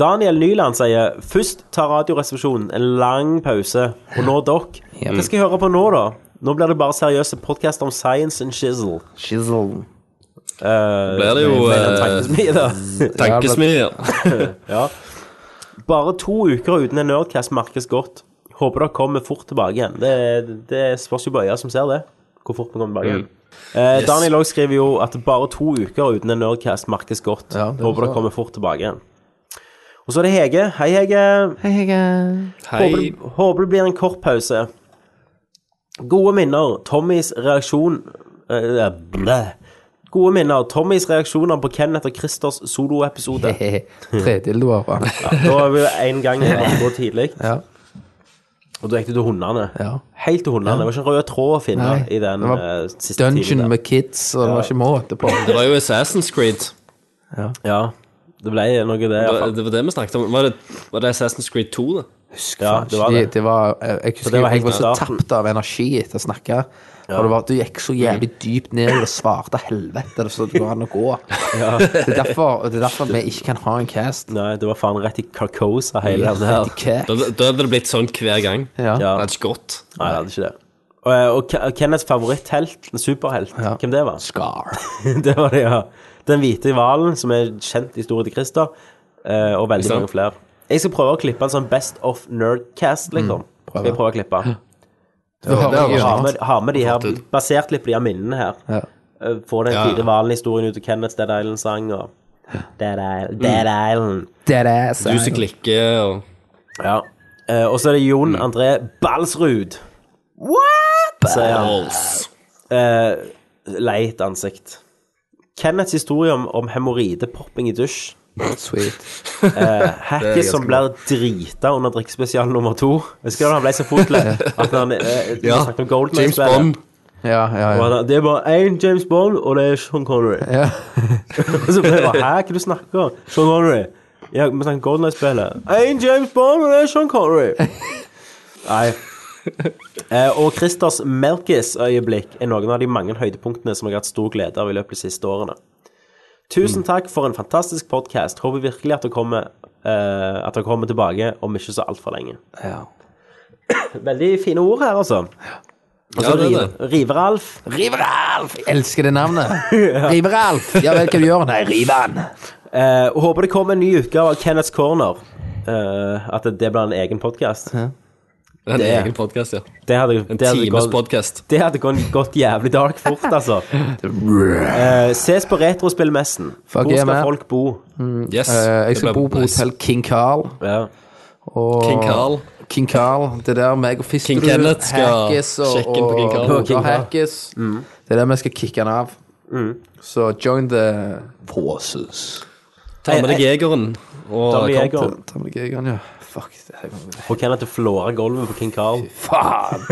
[SPEAKER 4] Daniel Nyland sier først tar Radioresepsjonen en lang pause, og nå dere. Hva skal jeg høre på nå, da? Nå blir det bare seriøse podkaster om science and shizzle.
[SPEAKER 7] Shizzle.
[SPEAKER 6] Da blir det jo
[SPEAKER 4] Med en
[SPEAKER 6] eh,
[SPEAKER 4] tankesmie, da.
[SPEAKER 6] tankesmier.
[SPEAKER 4] ja. Bare to uker uten en Nerdcast merkes godt. Håper dere kommer fort tilbake igjen. Det, det spørs jo på øya som ser det, hvor fort vi kommer tilbake igjen. Eh, Daniel også skriver jo at bare to uker uten en Nerdcast merkes godt.
[SPEAKER 7] Ja, det er
[SPEAKER 4] Håper
[SPEAKER 7] så.
[SPEAKER 4] dere kommer fort tilbake igjen. Og så er det Hege. Hei, Hege. Håper,
[SPEAKER 6] Hei.
[SPEAKER 4] det- håper det blir en kort pause. Gode minner. Tommys reaksjon eh, blæ. eh, Gode minner. Tommys reaksjoner på Kenneth og Christers soloepisode.
[SPEAKER 7] Tre dildoer. hva?
[SPEAKER 4] Da var vi en gang her at det går tidlig.
[SPEAKER 7] Ja.
[SPEAKER 4] Og da gikk det til hundene.
[SPEAKER 7] Ja.
[SPEAKER 4] Helt til hundene. Det var ikke en rød tråd å finne
[SPEAKER 7] Nei,
[SPEAKER 4] i den
[SPEAKER 7] det var
[SPEAKER 4] eh, siste
[SPEAKER 7] Dungeon
[SPEAKER 4] tiden.
[SPEAKER 7] med kids, og det var ikke måte på.
[SPEAKER 6] Det var jo Assassin's Creed.
[SPEAKER 4] Ja, det ble noe det, i
[SPEAKER 6] Det
[SPEAKER 4] hvert
[SPEAKER 6] var
[SPEAKER 4] fall.
[SPEAKER 6] det, var det vi snakket om. Var det, var det Assassin's Creed 2, det?
[SPEAKER 4] Ja, det var det.
[SPEAKER 7] Det, det var, eh, jeg, jeg husker
[SPEAKER 4] det var
[SPEAKER 7] jeg
[SPEAKER 4] helt
[SPEAKER 7] var så
[SPEAKER 4] i starten.
[SPEAKER 7] tapt av energi etter å snakke. Og det var, du gikk så jævlig dypt ned i det svarte helvete så det går an å gå. Det, er derfor, det er derfor vi ikke kan ha en cast.
[SPEAKER 4] Nei, det var faen rett i Carcosa hele den her.
[SPEAKER 7] Rett i kæ.
[SPEAKER 6] Da, da hadde det blitt sånn hver gang.
[SPEAKER 7] Ja.
[SPEAKER 6] Det hadde ikke gått.
[SPEAKER 4] Nei, det hadde ikke det. Og, eh, og Ke- Kenneths favoritthelt, en superhelt,
[SPEAKER 7] Ja.
[SPEAKER 4] hvem det var?
[SPEAKER 7] Scar.
[SPEAKER 4] det var det, ja. Den hvite hvalen, som er kjent historie til Christer, eh, og veldig
[SPEAKER 6] sant?
[SPEAKER 4] mange flere. Jeg skal prøve å klippe en sånn Best of Nerdcast,
[SPEAKER 7] Mm.
[SPEAKER 4] liksom. skal jeg prøve å klippe.
[SPEAKER 7] Det var, det
[SPEAKER 4] Ha
[SPEAKER 7] var,
[SPEAKER 4] med, ha med de her, basert litt på de her minnene her.
[SPEAKER 7] Ja.
[SPEAKER 4] Eh, Få den
[SPEAKER 6] Ja, ja.
[SPEAKER 4] hvite hvalen-historien ut av Kenneths Dead Island-sang og Dead Island. Dead
[SPEAKER 6] Mm.
[SPEAKER 4] Island.
[SPEAKER 7] Dead ass.
[SPEAKER 6] Du som klikker og
[SPEAKER 4] Ja. Eh, og så er det
[SPEAKER 6] Mm.
[SPEAKER 4] Jon André Balsrud. What?! sier han.
[SPEAKER 6] Balls.
[SPEAKER 4] Eh, leit ansikt. Kenneths historie om, om hemoroidepopping i dusj.
[SPEAKER 7] Sweet.
[SPEAKER 4] Hackis som blir drita under drikkespesial nummer to. Husker du han ble så fotløs? At han eh, vi
[SPEAKER 6] Ja.
[SPEAKER 4] snakket om Golden
[SPEAKER 6] James Bond.
[SPEAKER 7] Ja, ja,
[SPEAKER 4] Og
[SPEAKER 7] ja.
[SPEAKER 4] han, det er bare én James Bond, og det er Sean Connery.
[SPEAKER 7] Ja.
[SPEAKER 4] og så ble jeg bare Hæ, hva du snakker om? Sean Connery. Ja, vi snakker Golden Eye-spillet. Én James Bond, og det er Sean Connery. Nei. Eh, og Christers Melkis-øyeblikk er noen av de mange høydepunktene som jeg har hatt stor glede av i løpet av de siste årene.
[SPEAKER 6] Mm.
[SPEAKER 4] Tusen takk for en fantastisk podkast. Håper virkelig at dere kommer, eh, at dere kommer tilbake om ikke så altfor lenge.
[SPEAKER 7] ja.
[SPEAKER 4] Veldig fine ord her, altså. Og
[SPEAKER 6] Ja,
[SPEAKER 4] så
[SPEAKER 6] det er
[SPEAKER 4] ja, River-Alf.
[SPEAKER 7] River-Alf! Jeg elsker det navnet. River-Alf! Ja vel, hva du gjør? Nei, rive han.
[SPEAKER 4] Eh, og håper det kommer en ny utgave av Kenneths Corner. Eh, at det blir en egen podkast.
[SPEAKER 6] En
[SPEAKER 4] Det-
[SPEAKER 6] egen podkast, ja.
[SPEAKER 4] Det hadde,
[SPEAKER 6] En
[SPEAKER 4] det hadde
[SPEAKER 6] times
[SPEAKER 4] gått-
[SPEAKER 6] podkast.
[SPEAKER 4] det hadde gått, gått jævlig dark fort, altså. Eh, ses på Retrospillmessen.
[SPEAKER 7] Fuck
[SPEAKER 4] Hvor
[SPEAKER 7] yeah,
[SPEAKER 4] skal
[SPEAKER 7] man.
[SPEAKER 4] folk bo?
[SPEAKER 6] Yes.
[SPEAKER 7] Eh, jeg skal
[SPEAKER 6] Det ble
[SPEAKER 7] bo på
[SPEAKER 6] nice.
[SPEAKER 7] hotell King Carl.
[SPEAKER 4] Ja.
[SPEAKER 7] Og
[SPEAKER 6] King Carl.
[SPEAKER 7] King Carl. Det der meg og Fisterud,
[SPEAKER 6] King Kenneth skal sjekke inn på King Carl.
[SPEAKER 7] Og,
[SPEAKER 4] King Mm. Carl.
[SPEAKER 7] Hackis. Det er der vi skal kicke han av. Så join the forces.
[SPEAKER 6] Ta med deg jegeren og
[SPEAKER 4] Da blir jeg
[SPEAKER 6] koppen.
[SPEAKER 4] og,
[SPEAKER 7] Ta med deg Egan, ja. Fuck, det her kommer
[SPEAKER 4] og Kenneth flårer gulvet på King Carl.
[SPEAKER 7] Faen!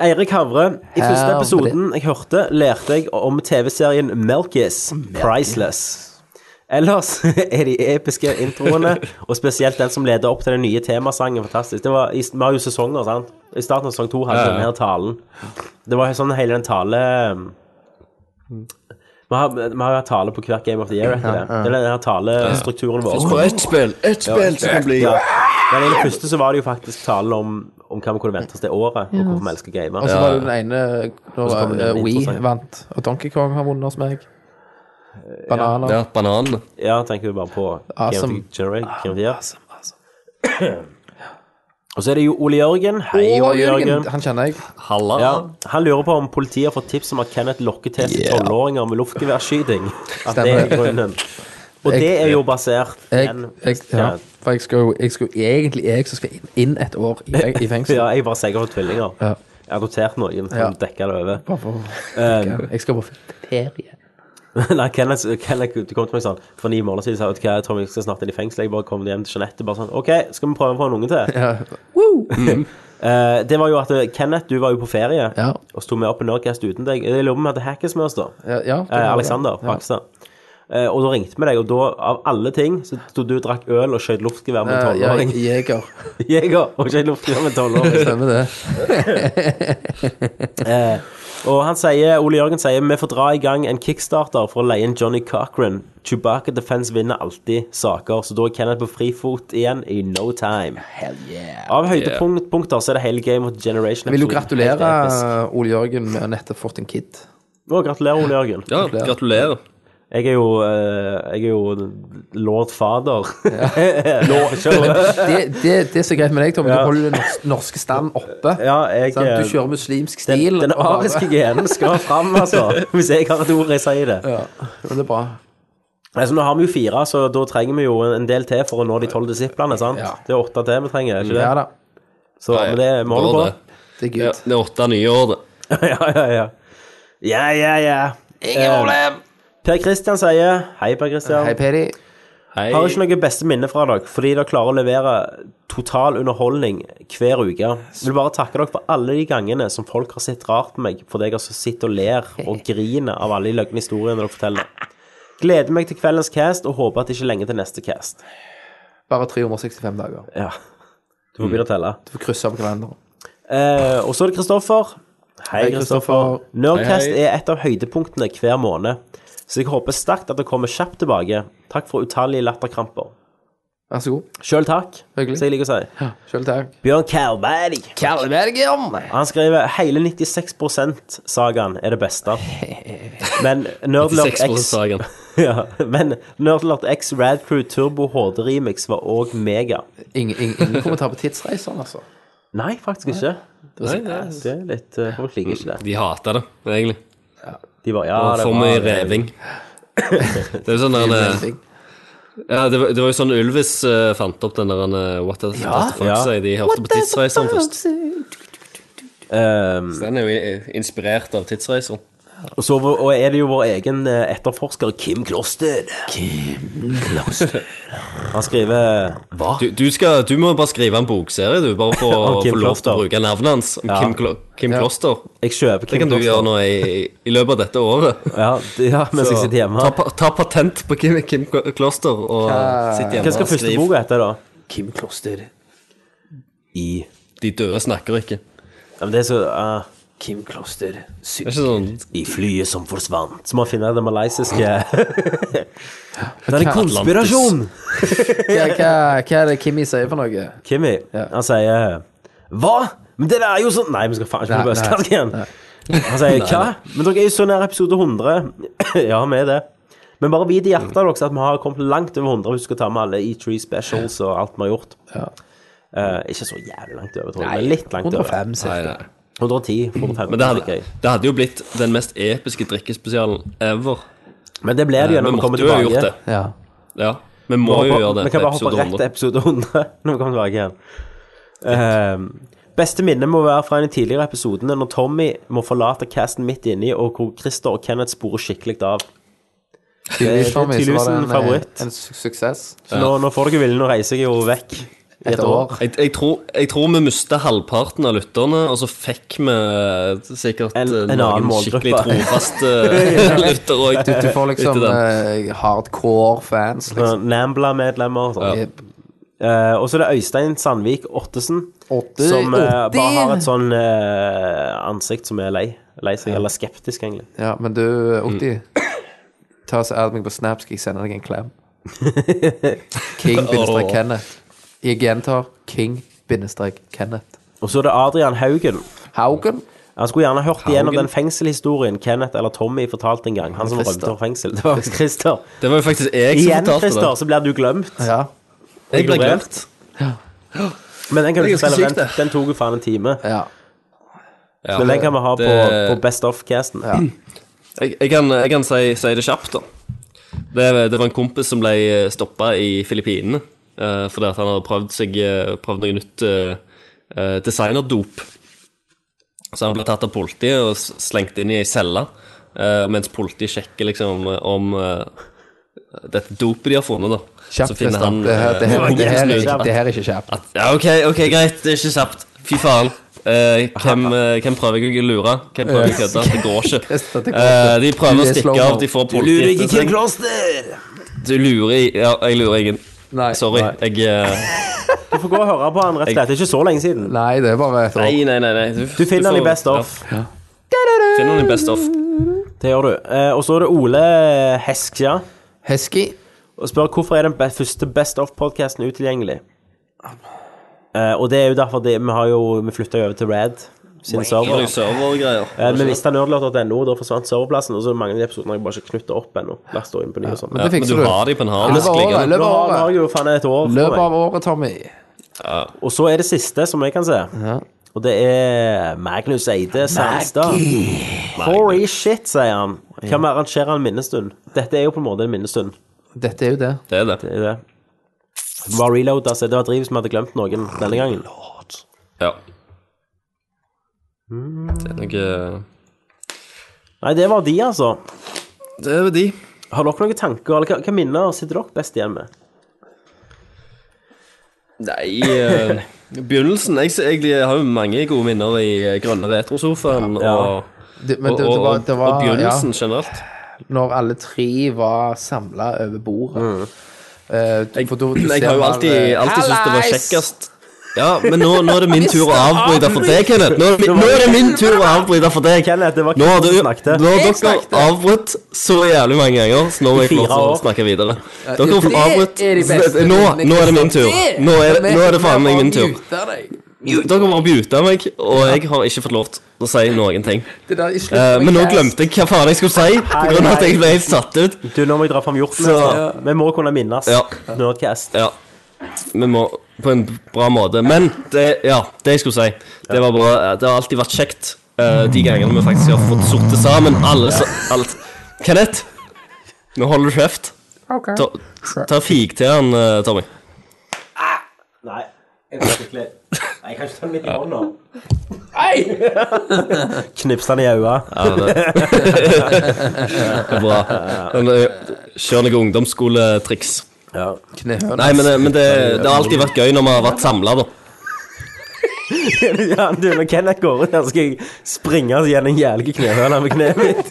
[SPEAKER 4] Eirik Havre, i første
[SPEAKER 7] Havre.
[SPEAKER 4] episoden jeg hørte, lærte jeg om TV-serien Melkis Priceless. Ellers er de episke introene, og spesielt den som leder opp til den nye temasangen, fantastisk. Det var, i- Vi har jo sesonger, sant? I starten av sesong to hadde vi den her talen. Det var sånn hele den tale mm, Vi har, vi har jo hatt tale på hvert Game of the Year etter det. Det er den her talestrukturen vår.
[SPEAKER 6] På ett spill. Ett spill som kan bli
[SPEAKER 4] Ja. Men i det første så var det jo faktisk talen om, om hva vi kunne vente oss det året, og hvorfor vi elsker gamer.
[SPEAKER 7] Og så var det den ene når
[SPEAKER 4] kommer det
[SPEAKER 7] eh,
[SPEAKER 4] en
[SPEAKER 7] We
[SPEAKER 4] interessant.
[SPEAKER 7] vant, og Donkey Kong har vunnet hos meg. Bananer.
[SPEAKER 6] Ja, bananene.
[SPEAKER 4] Ja, tenker du bare på
[SPEAKER 7] Awesome. Ah,
[SPEAKER 4] Game of the Generate, Game of the Year. Og så er det jo Ole Jørgen. Hei,
[SPEAKER 7] Å,
[SPEAKER 4] Ole Jørgen.
[SPEAKER 7] Jørgen, han kjenner jeg.
[SPEAKER 6] Halla.
[SPEAKER 4] Ja, han lurer på om politiet har fått tips om at Kenneth lokker til seg tolvåringer med luftgeværskyting. At det er
[SPEAKER 7] Stemmer.
[SPEAKER 4] grunnen. Og det er jo basert
[SPEAKER 7] jeg, jeg ja, For jeg skal jo jeg skal, jo egentlig jeg som skal inn, inn et år i, feng- i fengsel.
[SPEAKER 4] Ja, jeg bare sier jeg har fått tvillinger.
[SPEAKER 7] Ja.
[SPEAKER 4] Jeg har notert noen som
[SPEAKER 7] Ja.
[SPEAKER 4] dekker det over. Um,
[SPEAKER 7] Bare for- jeg skal på
[SPEAKER 4] Eh,
[SPEAKER 7] ferie.
[SPEAKER 4] Nei, Kenneth, Kenneth du kom til meg sånn For ni måneder siden sa jeg, vet du hva, jeg tror jeg skal snart inn i fengsel. Jeg bare kom hjem til Jeanette bare sånn OK, skal vi prøve å få en unge til?
[SPEAKER 7] Ja.
[SPEAKER 4] Eh, det var jo at eh, Kenneth, du var jo på ferie,
[SPEAKER 7] Ja.
[SPEAKER 4] og så tok vi opp en Nerdcast uten deg. Jeg lurer på om vi hadde hackes med oss, da.
[SPEAKER 7] Ja, ja,
[SPEAKER 4] Eh,
[SPEAKER 7] det var
[SPEAKER 4] Alexander
[SPEAKER 7] det. Ja.
[SPEAKER 4] Fakstad. Eh, og da ringte vi deg, og da, av alle ting, så sto du og drakk øl og skjøt luftgevær med en
[SPEAKER 7] Eh, ja,
[SPEAKER 4] tolvåring.
[SPEAKER 7] Jeger.
[SPEAKER 4] Jeger og skjøt luftgevær med en tolvåring.
[SPEAKER 7] Stemmer det.
[SPEAKER 4] Og han sier, Ole Jørgen sier vi får dra i gang en kickstarter for å leie inn Johnny Cochran. Chewbacca Defense vinner alltid saker, så da er Kenneth på frifot igjen i no time. Av høydepunkter så er det hele Game of Generation.
[SPEAKER 7] Jeg vil jo
[SPEAKER 4] episoden
[SPEAKER 7] gratulere
[SPEAKER 4] helt episk.
[SPEAKER 7] Ole Jørgen med å nettopp fått en kid.
[SPEAKER 4] Å, gratulerer, Ole Jørgen.
[SPEAKER 6] Ja, gratulerer.
[SPEAKER 4] Jeg er jo, eh, jeg er jo lord fader. lord, kjører.
[SPEAKER 7] Det, det, det er så greit med deg, Tommy.
[SPEAKER 4] Ja.
[SPEAKER 7] Du holder den norsk- norske stand oppe.
[SPEAKER 4] ja, jeg,
[SPEAKER 7] sant?
[SPEAKER 4] eh,
[SPEAKER 7] Du kjører muslimsk
[SPEAKER 4] den,
[SPEAKER 7] stil.
[SPEAKER 4] den
[SPEAKER 7] og bare-
[SPEAKER 4] ariske genen skal fram, altså. Hvis jeg har et ord, jeg sier det.
[SPEAKER 7] Ja, men det er bra.
[SPEAKER 4] Altså, nå har vi jo fire, så da trenger vi jo en del til for å nå de tolv disiplene. sant?
[SPEAKER 7] Ja.
[SPEAKER 4] Det er åtte til vi trenger, er ikke det?
[SPEAKER 7] Ja da.
[SPEAKER 4] Så men det må du
[SPEAKER 6] Går
[SPEAKER 4] på.
[SPEAKER 6] det.
[SPEAKER 7] Det
[SPEAKER 6] Ja,
[SPEAKER 7] er good.
[SPEAKER 6] det er åtte nye år, det.
[SPEAKER 4] ja, ja, ja. Ja, ja, ja.
[SPEAKER 6] Ingen
[SPEAKER 4] Eh,
[SPEAKER 6] problem.
[SPEAKER 4] Per Christian sier Hei, Per Christian.
[SPEAKER 7] Hei, Pedi.
[SPEAKER 6] Hei.
[SPEAKER 4] Har ikke noe beste minne fra dere, fordi dere klarer å levere total underholdning hver uke. Vil bare takke dere for alle de gangene som folk har sett rart på meg, fordi jeg altså sitter og ler og griner av alle de løgne historiene dere forteller. Gleder meg til kveldens cast, og håper at det ikke er lenge til neste cast.
[SPEAKER 7] Bare 365 dager.
[SPEAKER 4] Ja, du får begynne å telle.
[SPEAKER 7] Du får krysse av kalenderen.
[SPEAKER 4] Eh, og så er det Kristoffer. Hei,
[SPEAKER 7] Hei,
[SPEAKER 4] Kristoffer.
[SPEAKER 7] Kristoffer.
[SPEAKER 4] Nerdcast
[SPEAKER 6] Hei, hei.
[SPEAKER 4] er et av høydepunktene hver måned, så jeg håper sterkt at det kommer kjapt tilbake. Takk for utallige latterkramper.
[SPEAKER 7] Vær så god.
[SPEAKER 4] Sjøl takk,
[SPEAKER 7] Hyggelig.
[SPEAKER 4] som jeg liker å si.
[SPEAKER 7] Sjøl takk.
[SPEAKER 4] Bjørn Kalberg.
[SPEAKER 7] Kalbergium!
[SPEAKER 4] Han skriver hele 96 sagaen er det beste. Men Nerdlord X
[SPEAKER 6] 96%-sagen.
[SPEAKER 4] ja, Men Nerdlord X Rad Crew Turbo HD Remix var òg mega.
[SPEAKER 7] Ingen, ingen, ingen kommentar på tidsreiseren, altså.
[SPEAKER 4] Nei, faktisk ikke.
[SPEAKER 6] Nei, nei,
[SPEAKER 4] Det er litt eh, Folk liker ikke det.
[SPEAKER 6] De hater det, egentlig.
[SPEAKER 4] De bare, ja, det
[SPEAKER 6] For
[SPEAKER 4] var-
[SPEAKER 6] mye sånn reving. Det er jo sånn der eh, ja, det, var, det var jo sånn Ylvis eh, fant opp den der eh, What Does What the Fuck
[SPEAKER 4] Ja.
[SPEAKER 6] Say. De hørte på Tidsreiseren først.
[SPEAKER 4] Ehm,
[SPEAKER 6] Den er jo i- inspirert av Tidsreiseren.
[SPEAKER 4] og, så, vår- og er det jo vår egen eh, etterforsker Kim Klosted. Han skriver Hva?
[SPEAKER 6] Ah. Du, du, skal, du må bare skrive en bokserie, du. Bare for å
[SPEAKER 4] Om Kim
[SPEAKER 6] få lov til å
[SPEAKER 4] Kloster.
[SPEAKER 6] bruke navnet hans. Om
[SPEAKER 4] Ja.
[SPEAKER 6] Kim, Klo Kim Kloster.
[SPEAKER 4] Jeg kjøper Kim
[SPEAKER 6] Det kan du gjøre nå i, i løpet av dette året.
[SPEAKER 4] Ja, d- ja mens jeg sitter hjemme.
[SPEAKER 6] Ta, pa- ta patent på Kim, Kim Klo- Kloster og sitt hjemme
[SPEAKER 4] Hva skal
[SPEAKER 6] og
[SPEAKER 4] første
[SPEAKER 6] skriv.
[SPEAKER 4] boka hete, da?
[SPEAKER 6] Kim Kloster.
[SPEAKER 4] I
[SPEAKER 6] De døde snakker ikke.
[SPEAKER 4] ja, men Det er så eh,
[SPEAKER 6] Kim Kloster. Det er ikke sånn
[SPEAKER 4] I flyet som forsvant. Så må finne det malaysiske Det er en konspirasjon!
[SPEAKER 7] Hva, hva, hva er det Kimmy sier for noe?
[SPEAKER 4] Kimmy,
[SPEAKER 7] Ja.
[SPEAKER 4] han sier Hva? Men det der er jo sånn Nei, vi skal faen ikke
[SPEAKER 7] Nei,
[SPEAKER 4] bli på østkanten igjen.
[SPEAKER 7] nei.
[SPEAKER 4] Han sier hva? Men dere er jo så nær episode 100. ja, vi er det. Men bare vit i hjertet deres at vi har kommet langt over 100 hvis vi skal ta med alle E3 specials og alt vi har gjort.
[SPEAKER 7] Ja.
[SPEAKER 4] Eh, ikke så jævlig langt over, tror jeg. men litt langt over.
[SPEAKER 7] 105,
[SPEAKER 6] Nei,
[SPEAKER 7] cirka.
[SPEAKER 6] nei.
[SPEAKER 4] 110, 115.
[SPEAKER 6] Men det hadde, det hadde jo blitt den mest episke drikkespesialen ever. Eh,
[SPEAKER 4] Men det blir det jo
[SPEAKER 6] vi
[SPEAKER 4] når vi
[SPEAKER 6] måtte
[SPEAKER 4] kommer
[SPEAKER 6] jo ha
[SPEAKER 4] tilbake.
[SPEAKER 6] gjort det.
[SPEAKER 7] Ja.
[SPEAKER 6] Ja. Vi må jo
[SPEAKER 4] Hoppa-
[SPEAKER 6] gjøre det
[SPEAKER 4] Vi kan
[SPEAKER 6] på
[SPEAKER 4] bare hoppe
[SPEAKER 6] episode
[SPEAKER 4] rett til
[SPEAKER 6] 100.
[SPEAKER 4] episode 100 når vi kommer tilbake igjen. Ehm, beste minne må være fra en av de tidligere episodene når Tommy må forlate casten midt inni, og hvor Christer og Kenneth sporer skikkelig av.
[SPEAKER 7] Tydeligvis for meg så
[SPEAKER 4] tydeligvis
[SPEAKER 7] var det
[SPEAKER 4] en
[SPEAKER 7] en,
[SPEAKER 4] favoritt.
[SPEAKER 7] eh, en su- suksess.
[SPEAKER 4] Så nå, nå får dere viljen, nå reiser jeg jo vekk i et år.
[SPEAKER 6] Jeg, jeg, tror, jeg tror vi mista halvparten av lytterne, og så fikk vi eh, sikkert
[SPEAKER 4] En-
[SPEAKER 6] eh,
[SPEAKER 4] en annen
[SPEAKER 6] noen
[SPEAKER 4] målgruppe.
[SPEAKER 6] skikkelig trofaste lyttere òg.
[SPEAKER 7] Du får liksom eh, hardcore fans. Liksom.
[SPEAKER 4] Sånn Nambla-medlemmer og sånn.
[SPEAKER 6] Ja.
[SPEAKER 7] Jep.
[SPEAKER 4] Eh, og så er det Øystein Sandvik Ottesen,
[SPEAKER 7] Åtte-
[SPEAKER 4] som eh,
[SPEAKER 7] åtte.
[SPEAKER 4] bare har et sånn eh, ansikt som er lei, lei seg, eller skeptisk, egentlig.
[SPEAKER 7] Ja, men du, Otti, ta oss add meg på Snap, skal jeg sende deg en klem. King-Kenneth. Jeg gjentar King-Kenneth.
[SPEAKER 4] Og så er det Adrian Haugen.
[SPEAKER 7] Haugen?
[SPEAKER 4] Han skulle gjerne hørt
[SPEAKER 6] Haugen.
[SPEAKER 4] igjennom den fengselhistorien Kenneth eller Tommy fortalte en gang. Han som rømte
[SPEAKER 7] Christer.
[SPEAKER 4] fra fengsel. Det var faktisk Christer.
[SPEAKER 6] Det var jo faktisk jeg som
[SPEAKER 4] Igjen,
[SPEAKER 6] fortalte
[SPEAKER 4] Christer,
[SPEAKER 6] det.
[SPEAKER 4] så blir du glemt.
[SPEAKER 7] Ja.
[SPEAKER 6] Jeg ble glemt.
[SPEAKER 4] Men den kan du ikke
[SPEAKER 6] Det er ganske
[SPEAKER 4] spille.
[SPEAKER 6] sykt,
[SPEAKER 4] Den,
[SPEAKER 6] det.
[SPEAKER 4] den tok jo faen en time.
[SPEAKER 7] ja.
[SPEAKER 6] Ja.
[SPEAKER 4] Men den kan vi ha på,
[SPEAKER 6] Det-
[SPEAKER 4] på Best Off-casten.
[SPEAKER 6] Jeg, jeg kan, jeg kan si, si det kjapt, da. Det, det var en kompis som ble stoppa i Filippinene eh, fordi at han hadde prøvd, seg, eh, prøvd noe nytt eh, eh, designerdop. Så han ble tatt av politiet og s- slengt inn i ei celle, eh, mens politiet sjekker liksom om eh, dette dopet de har funnet, da.
[SPEAKER 7] Kjapt, Kristian. Det, her- det,
[SPEAKER 6] eh,
[SPEAKER 7] her- det, her er
[SPEAKER 6] kompisen
[SPEAKER 7] ikke-
[SPEAKER 6] min.
[SPEAKER 7] det her er ikke kjapt.
[SPEAKER 6] At, ja, ok, ok, greit, det er ikke kjapt. Fy faen. Eh, hvem, eh, hvem prøver jeg å lure? Hvem prøver jeg å kødde? Det går ikke.
[SPEAKER 7] Yes, dette går
[SPEAKER 6] Eh,
[SPEAKER 7] ikke.
[SPEAKER 6] de prøver
[SPEAKER 7] Du
[SPEAKER 6] å
[SPEAKER 7] er
[SPEAKER 6] stikke
[SPEAKER 7] slow-mo.
[SPEAKER 6] av, de får politiet etter seg.
[SPEAKER 4] Kloster!
[SPEAKER 6] Du lurer i Ja, jeg lurer ingen.
[SPEAKER 7] Nei.
[SPEAKER 6] Sorry.
[SPEAKER 7] Nei.
[SPEAKER 6] Jeg eh,
[SPEAKER 4] Du får gå og høre på han, rett og slett. Det er ikke så lenge siden.
[SPEAKER 7] Nei, det er bare et år.
[SPEAKER 6] Nei, nei, nei. nei. Du,
[SPEAKER 4] Du finner
[SPEAKER 6] får-
[SPEAKER 4] han i Best Off.
[SPEAKER 6] Ja, finner han i Best Off.
[SPEAKER 4] Det gjør du. Eh, og så er det Ole Heskja.
[SPEAKER 7] Hesky.
[SPEAKER 4] Og spør hvorfor er den be første Best Off-podkasten utilgjengelig. Eh, og det er jo derfor det, vi har jo Vi flytta jo over til Rad sin
[SPEAKER 6] Det er
[SPEAKER 4] server.
[SPEAKER 6] jo servergreier.
[SPEAKER 4] Eh, Vi mista nerdlot.no, da forsvant serverplassen. Og så er det mange av de episodene har jeg bare ikke knytta opp ennå. La stå inn på ny og sånn.
[SPEAKER 7] Men
[SPEAKER 6] Ja,
[SPEAKER 7] det
[SPEAKER 6] men
[SPEAKER 7] fikser
[SPEAKER 6] du
[SPEAKER 7] du.
[SPEAKER 6] har de på en
[SPEAKER 7] I løpet
[SPEAKER 6] harddisk
[SPEAKER 7] av året. i
[SPEAKER 6] liggende.
[SPEAKER 7] løpet
[SPEAKER 4] Nå
[SPEAKER 7] av
[SPEAKER 4] har
[SPEAKER 7] året.
[SPEAKER 4] jeg jo faen et år for
[SPEAKER 7] Løpet
[SPEAKER 4] meg.
[SPEAKER 7] av året, Tommy.
[SPEAKER 4] Og så er det siste, som jeg kan se. Og det er Magnus Eide Sandstad. Holy shit, sier han. Kan vi arrangere en minnestund? Dette er jo på en måte en minnestund.
[SPEAKER 7] Dette er jo det.
[SPEAKER 6] Det er det.
[SPEAKER 4] Det er det. Det var reload, altså. Det var driv som hadde glemt noen denne gangen.
[SPEAKER 6] eh, Ja. Det er noe
[SPEAKER 4] Nei, det var de, altså.
[SPEAKER 6] Det er de.
[SPEAKER 4] Har dere noen tanker, eller hva, hva minner sitter dere best igjen med?
[SPEAKER 6] Nei eh, Begynnelsen jeg, jeg, har jo mange gode minner i eh, grønne retrosofaen
[SPEAKER 4] Ja.
[SPEAKER 6] og,
[SPEAKER 7] Det, men
[SPEAKER 6] og,
[SPEAKER 7] det, det
[SPEAKER 6] og,
[SPEAKER 7] var, det var
[SPEAKER 6] og begynnelsen
[SPEAKER 7] ja,
[SPEAKER 6] generelt.
[SPEAKER 7] Når alle tre var samla over bordet. Eh,
[SPEAKER 6] Jeg,
[SPEAKER 7] for da
[SPEAKER 6] Mm. jeg
[SPEAKER 7] ser
[SPEAKER 6] har jo
[SPEAKER 7] man,
[SPEAKER 6] alltid,
[SPEAKER 7] eh,
[SPEAKER 6] alltid syntes det var
[SPEAKER 7] Hallais!
[SPEAKER 6] kjekkest Ja, men nå, nå er det min tur å avbryte for deg, Kenneth. Nå er det, min- nå er det min tur å avbryte for deg.
[SPEAKER 4] Kenneth, det var
[SPEAKER 6] Nå
[SPEAKER 4] ikke
[SPEAKER 6] har,
[SPEAKER 4] du
[SPEAKER 6] du,
[SPEAKER 4] som snakket.
[SPEAKER 6] nå har dere avbrutt så jævlig mange ganger, så nå må jeg få
[SPEAKER 4] Fire
[SPEAKER 6] lov til å
[SPEAKER 4] år.
[SPEAKER 6] snakke videre. Dere får avbrutt
[SPEAKER 7] Det er de beste
[SPEAKER 6] Nå, nå er det min tur. Nå er, det- nå er det faen meg min tur.
[SPEAKER 7] Mute deg.
[SPEAKER 6] Dere har bare bjuta meg, og jeg har ikke fått lov til å si noen ting.
[SPEAKER 7] Det der, i slutten
[SPEAKER 6] Eh,
[SPEAKER 7] av
[SPEAKER 6] men nå
[SPEAKER 7] cast.
[SPEAKER 6] glemte jeg hva faen jeg skulle si, på grunn av at jeg ble helt satt ut.
[SPEAKER 4] Du, nå må jeg dra fram hjorten.
[SPEAKER 6] Så-
[SPEAKER 4] altså. Vi må kunne minnes
[SPEAKER 6] Ja.
[SPEAKER 4] Nerdcast.
[SPEAKER 6] Ja. Vi må På en bra måte. Men det, ja, det jeg skulle si, det var bra. Det har alltid vært kjekt eh, de gangene vi faktisk har fått sorte sammen. Alle, sa- alt. Kenneth, nå holder du kjeft. Ta, ta fik til han, eh, Tommy.
[SPEAKER 4] Nei. Jeg kan ikke kle- Nei, jeg kan ikke ta den midt i hånda. Knipse den i øyet.
[SPEAKER 6] Ja, det. det er bra. Men, eh, Kjør noen ungdomsskoletriks.
[SPEAKER 7] Knehøna.
[SPEAKER 6] Nei, men, eh, men det, det har alltid vært gøy når vi har vært samla, da.
[SPEAKER 4] Ja, du, når Kenneth går ut her, så skal jeg springe oss gjennom en jævlig knehøne med kneet mitt.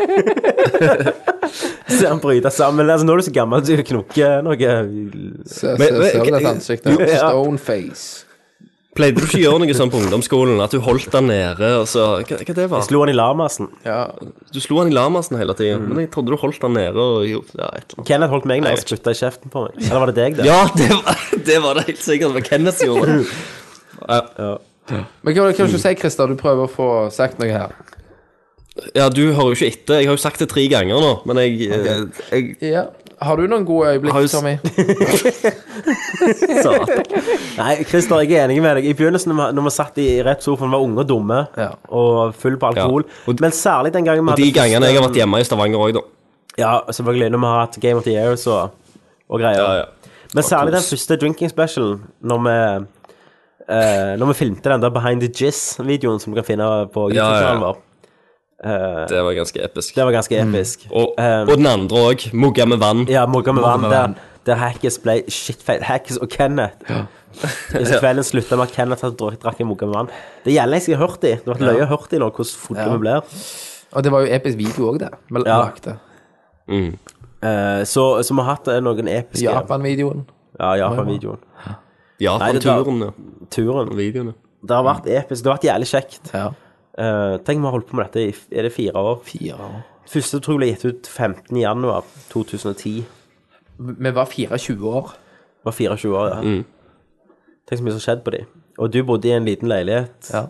[SPEAKER 4] Så han bryter sammen. Altså, nå er du så gammel at du knokker noe
[SPEAKER 7] Se-
[SPEAKER 6] Men-
[SPEAKER 7] se-
[SPEAKER 6] men-
[SPEAKER 7] altså, Ser du dette ansiktet?
[SPEAKER 4] Ja.
[SPEAKER 7] Stoneface.
[SPEAKER 6] Pleide du ikke å gjøre noe sånn på ungdomsskolen? At du holdt den nede, og så Hva, hva det var
[SPEAKER 4] Slo han i lamasen.
[SPEAKER 7] Ja.
[SPEAKER 6] Du slo han i lamasen hele tida, men jeg trodde du holdt han nede og gjorde ja, et eller annet.
[SPEAKER 4] Kenneth holdt meg nede og spytta i kjeften på meg. Eller var det deg, det?
[SPEAKER 6] Ja, det var det, var det helt sikkert. Det var Kenneth som gjorde det.
[SPEAKER 7] Men hva kan du si, Christer? Du prøver å få sagt noe her.
[SPEAKER 6] Ja, du hører jo ikke etter. Jeg har jo sagt det tre ganger nå, men jeg, eh, jeg
[SPEAKER 7] Ja. Har du noen gode øyeblikk,
[SPEAKER 6] Har du s-
[SPEAKER 7] Tommy?
[SPEAKER 6] sa at
[SPEAKER 4] Nei, Christer, jeg er enig med deg. I begynnelsen, når vi- når vi satt i rett sofaen, var unge og dumme
[SPEAKER 7] Ja.
[SPEAKER 4] og full på alkohol.
[SPEAKER 6] Ja. Og-
[SPEAKER 4] Men særlig den gangen vi
[SPEAKER 6] De gangene jeg har
[SPEAKER 4] første-
[SPEAKER 6] vært hjemme i Stavanger òg, da.
[SPEAKER 4] Ja, selvfølgelig. Når vi har hatt Game of the Years og, og greier. Men særlig den første drinking specialen, når vi eh, Når vi filmte den der Behind the Jizz-videoen som du kan finne på
[SPEAKER 6] ja, ja.
[SPEAKER 4] YouTube-kanalen vår.
[SPEAKER 6] Det var ganske episk.
[SPEAKER 4] Det var ganske
[SPEAKER 6] Mm.
[SPEAKER 4] episk.
[SPEAKER 6] Og,
[SPEAKER 4] Eh,
[SPEAKER 6] og den andre òg. Mugga med vann.
[SPEAKER 4] Ja, Mogga med vann, der, der Hackes ble shitfeit. Hackes og Kenneth. Hvis kvelden slutta med at Kenneth hadde drukket- drakk en Mogga med vann. Det gjelder jeg har hørt i. Det har vært løye å hørt i nå, hvordan fulle vi blir.
[SPEAKER 7] Og det var jo episk video òg, det. Vi
[SPEAKER 4] Ja.
[SPEAKER 7] lagde
[SPEAKER 4] Eh, så, så vi har hatt eh, noen episke
[SPEAKER 7] Japan-videoen.
[SPEAKER 4] Ja, Japan-videoen.
[SPEAKER 6] Ja,
[SPEAKER 4] Nei,
[SPEAKER 6] på
[SPEAKER 4] det var-
[SPEAKER 6] turen, ja.
[SPEAKER 4] Turen.
[SPEAKER 6] Videoene.
[SPEAKER 4] Det har vært episk. Det har vært jævlig kjekt.
[SPEAKER 7] Ja.
[SPEAKER 4] Eh, tenk vi har holdt på med dette i f- er det fire år. Første tror jeg ble gitt ut 15. januar 2010.
[SPEAKER 7] Vi var 24 år.
[SPEAKER 4] Det var 24 år, ja. Tenk så mye som har skjedd på de. Og du bodde i en liten leilighet.
[SPEAKER 7] Ja.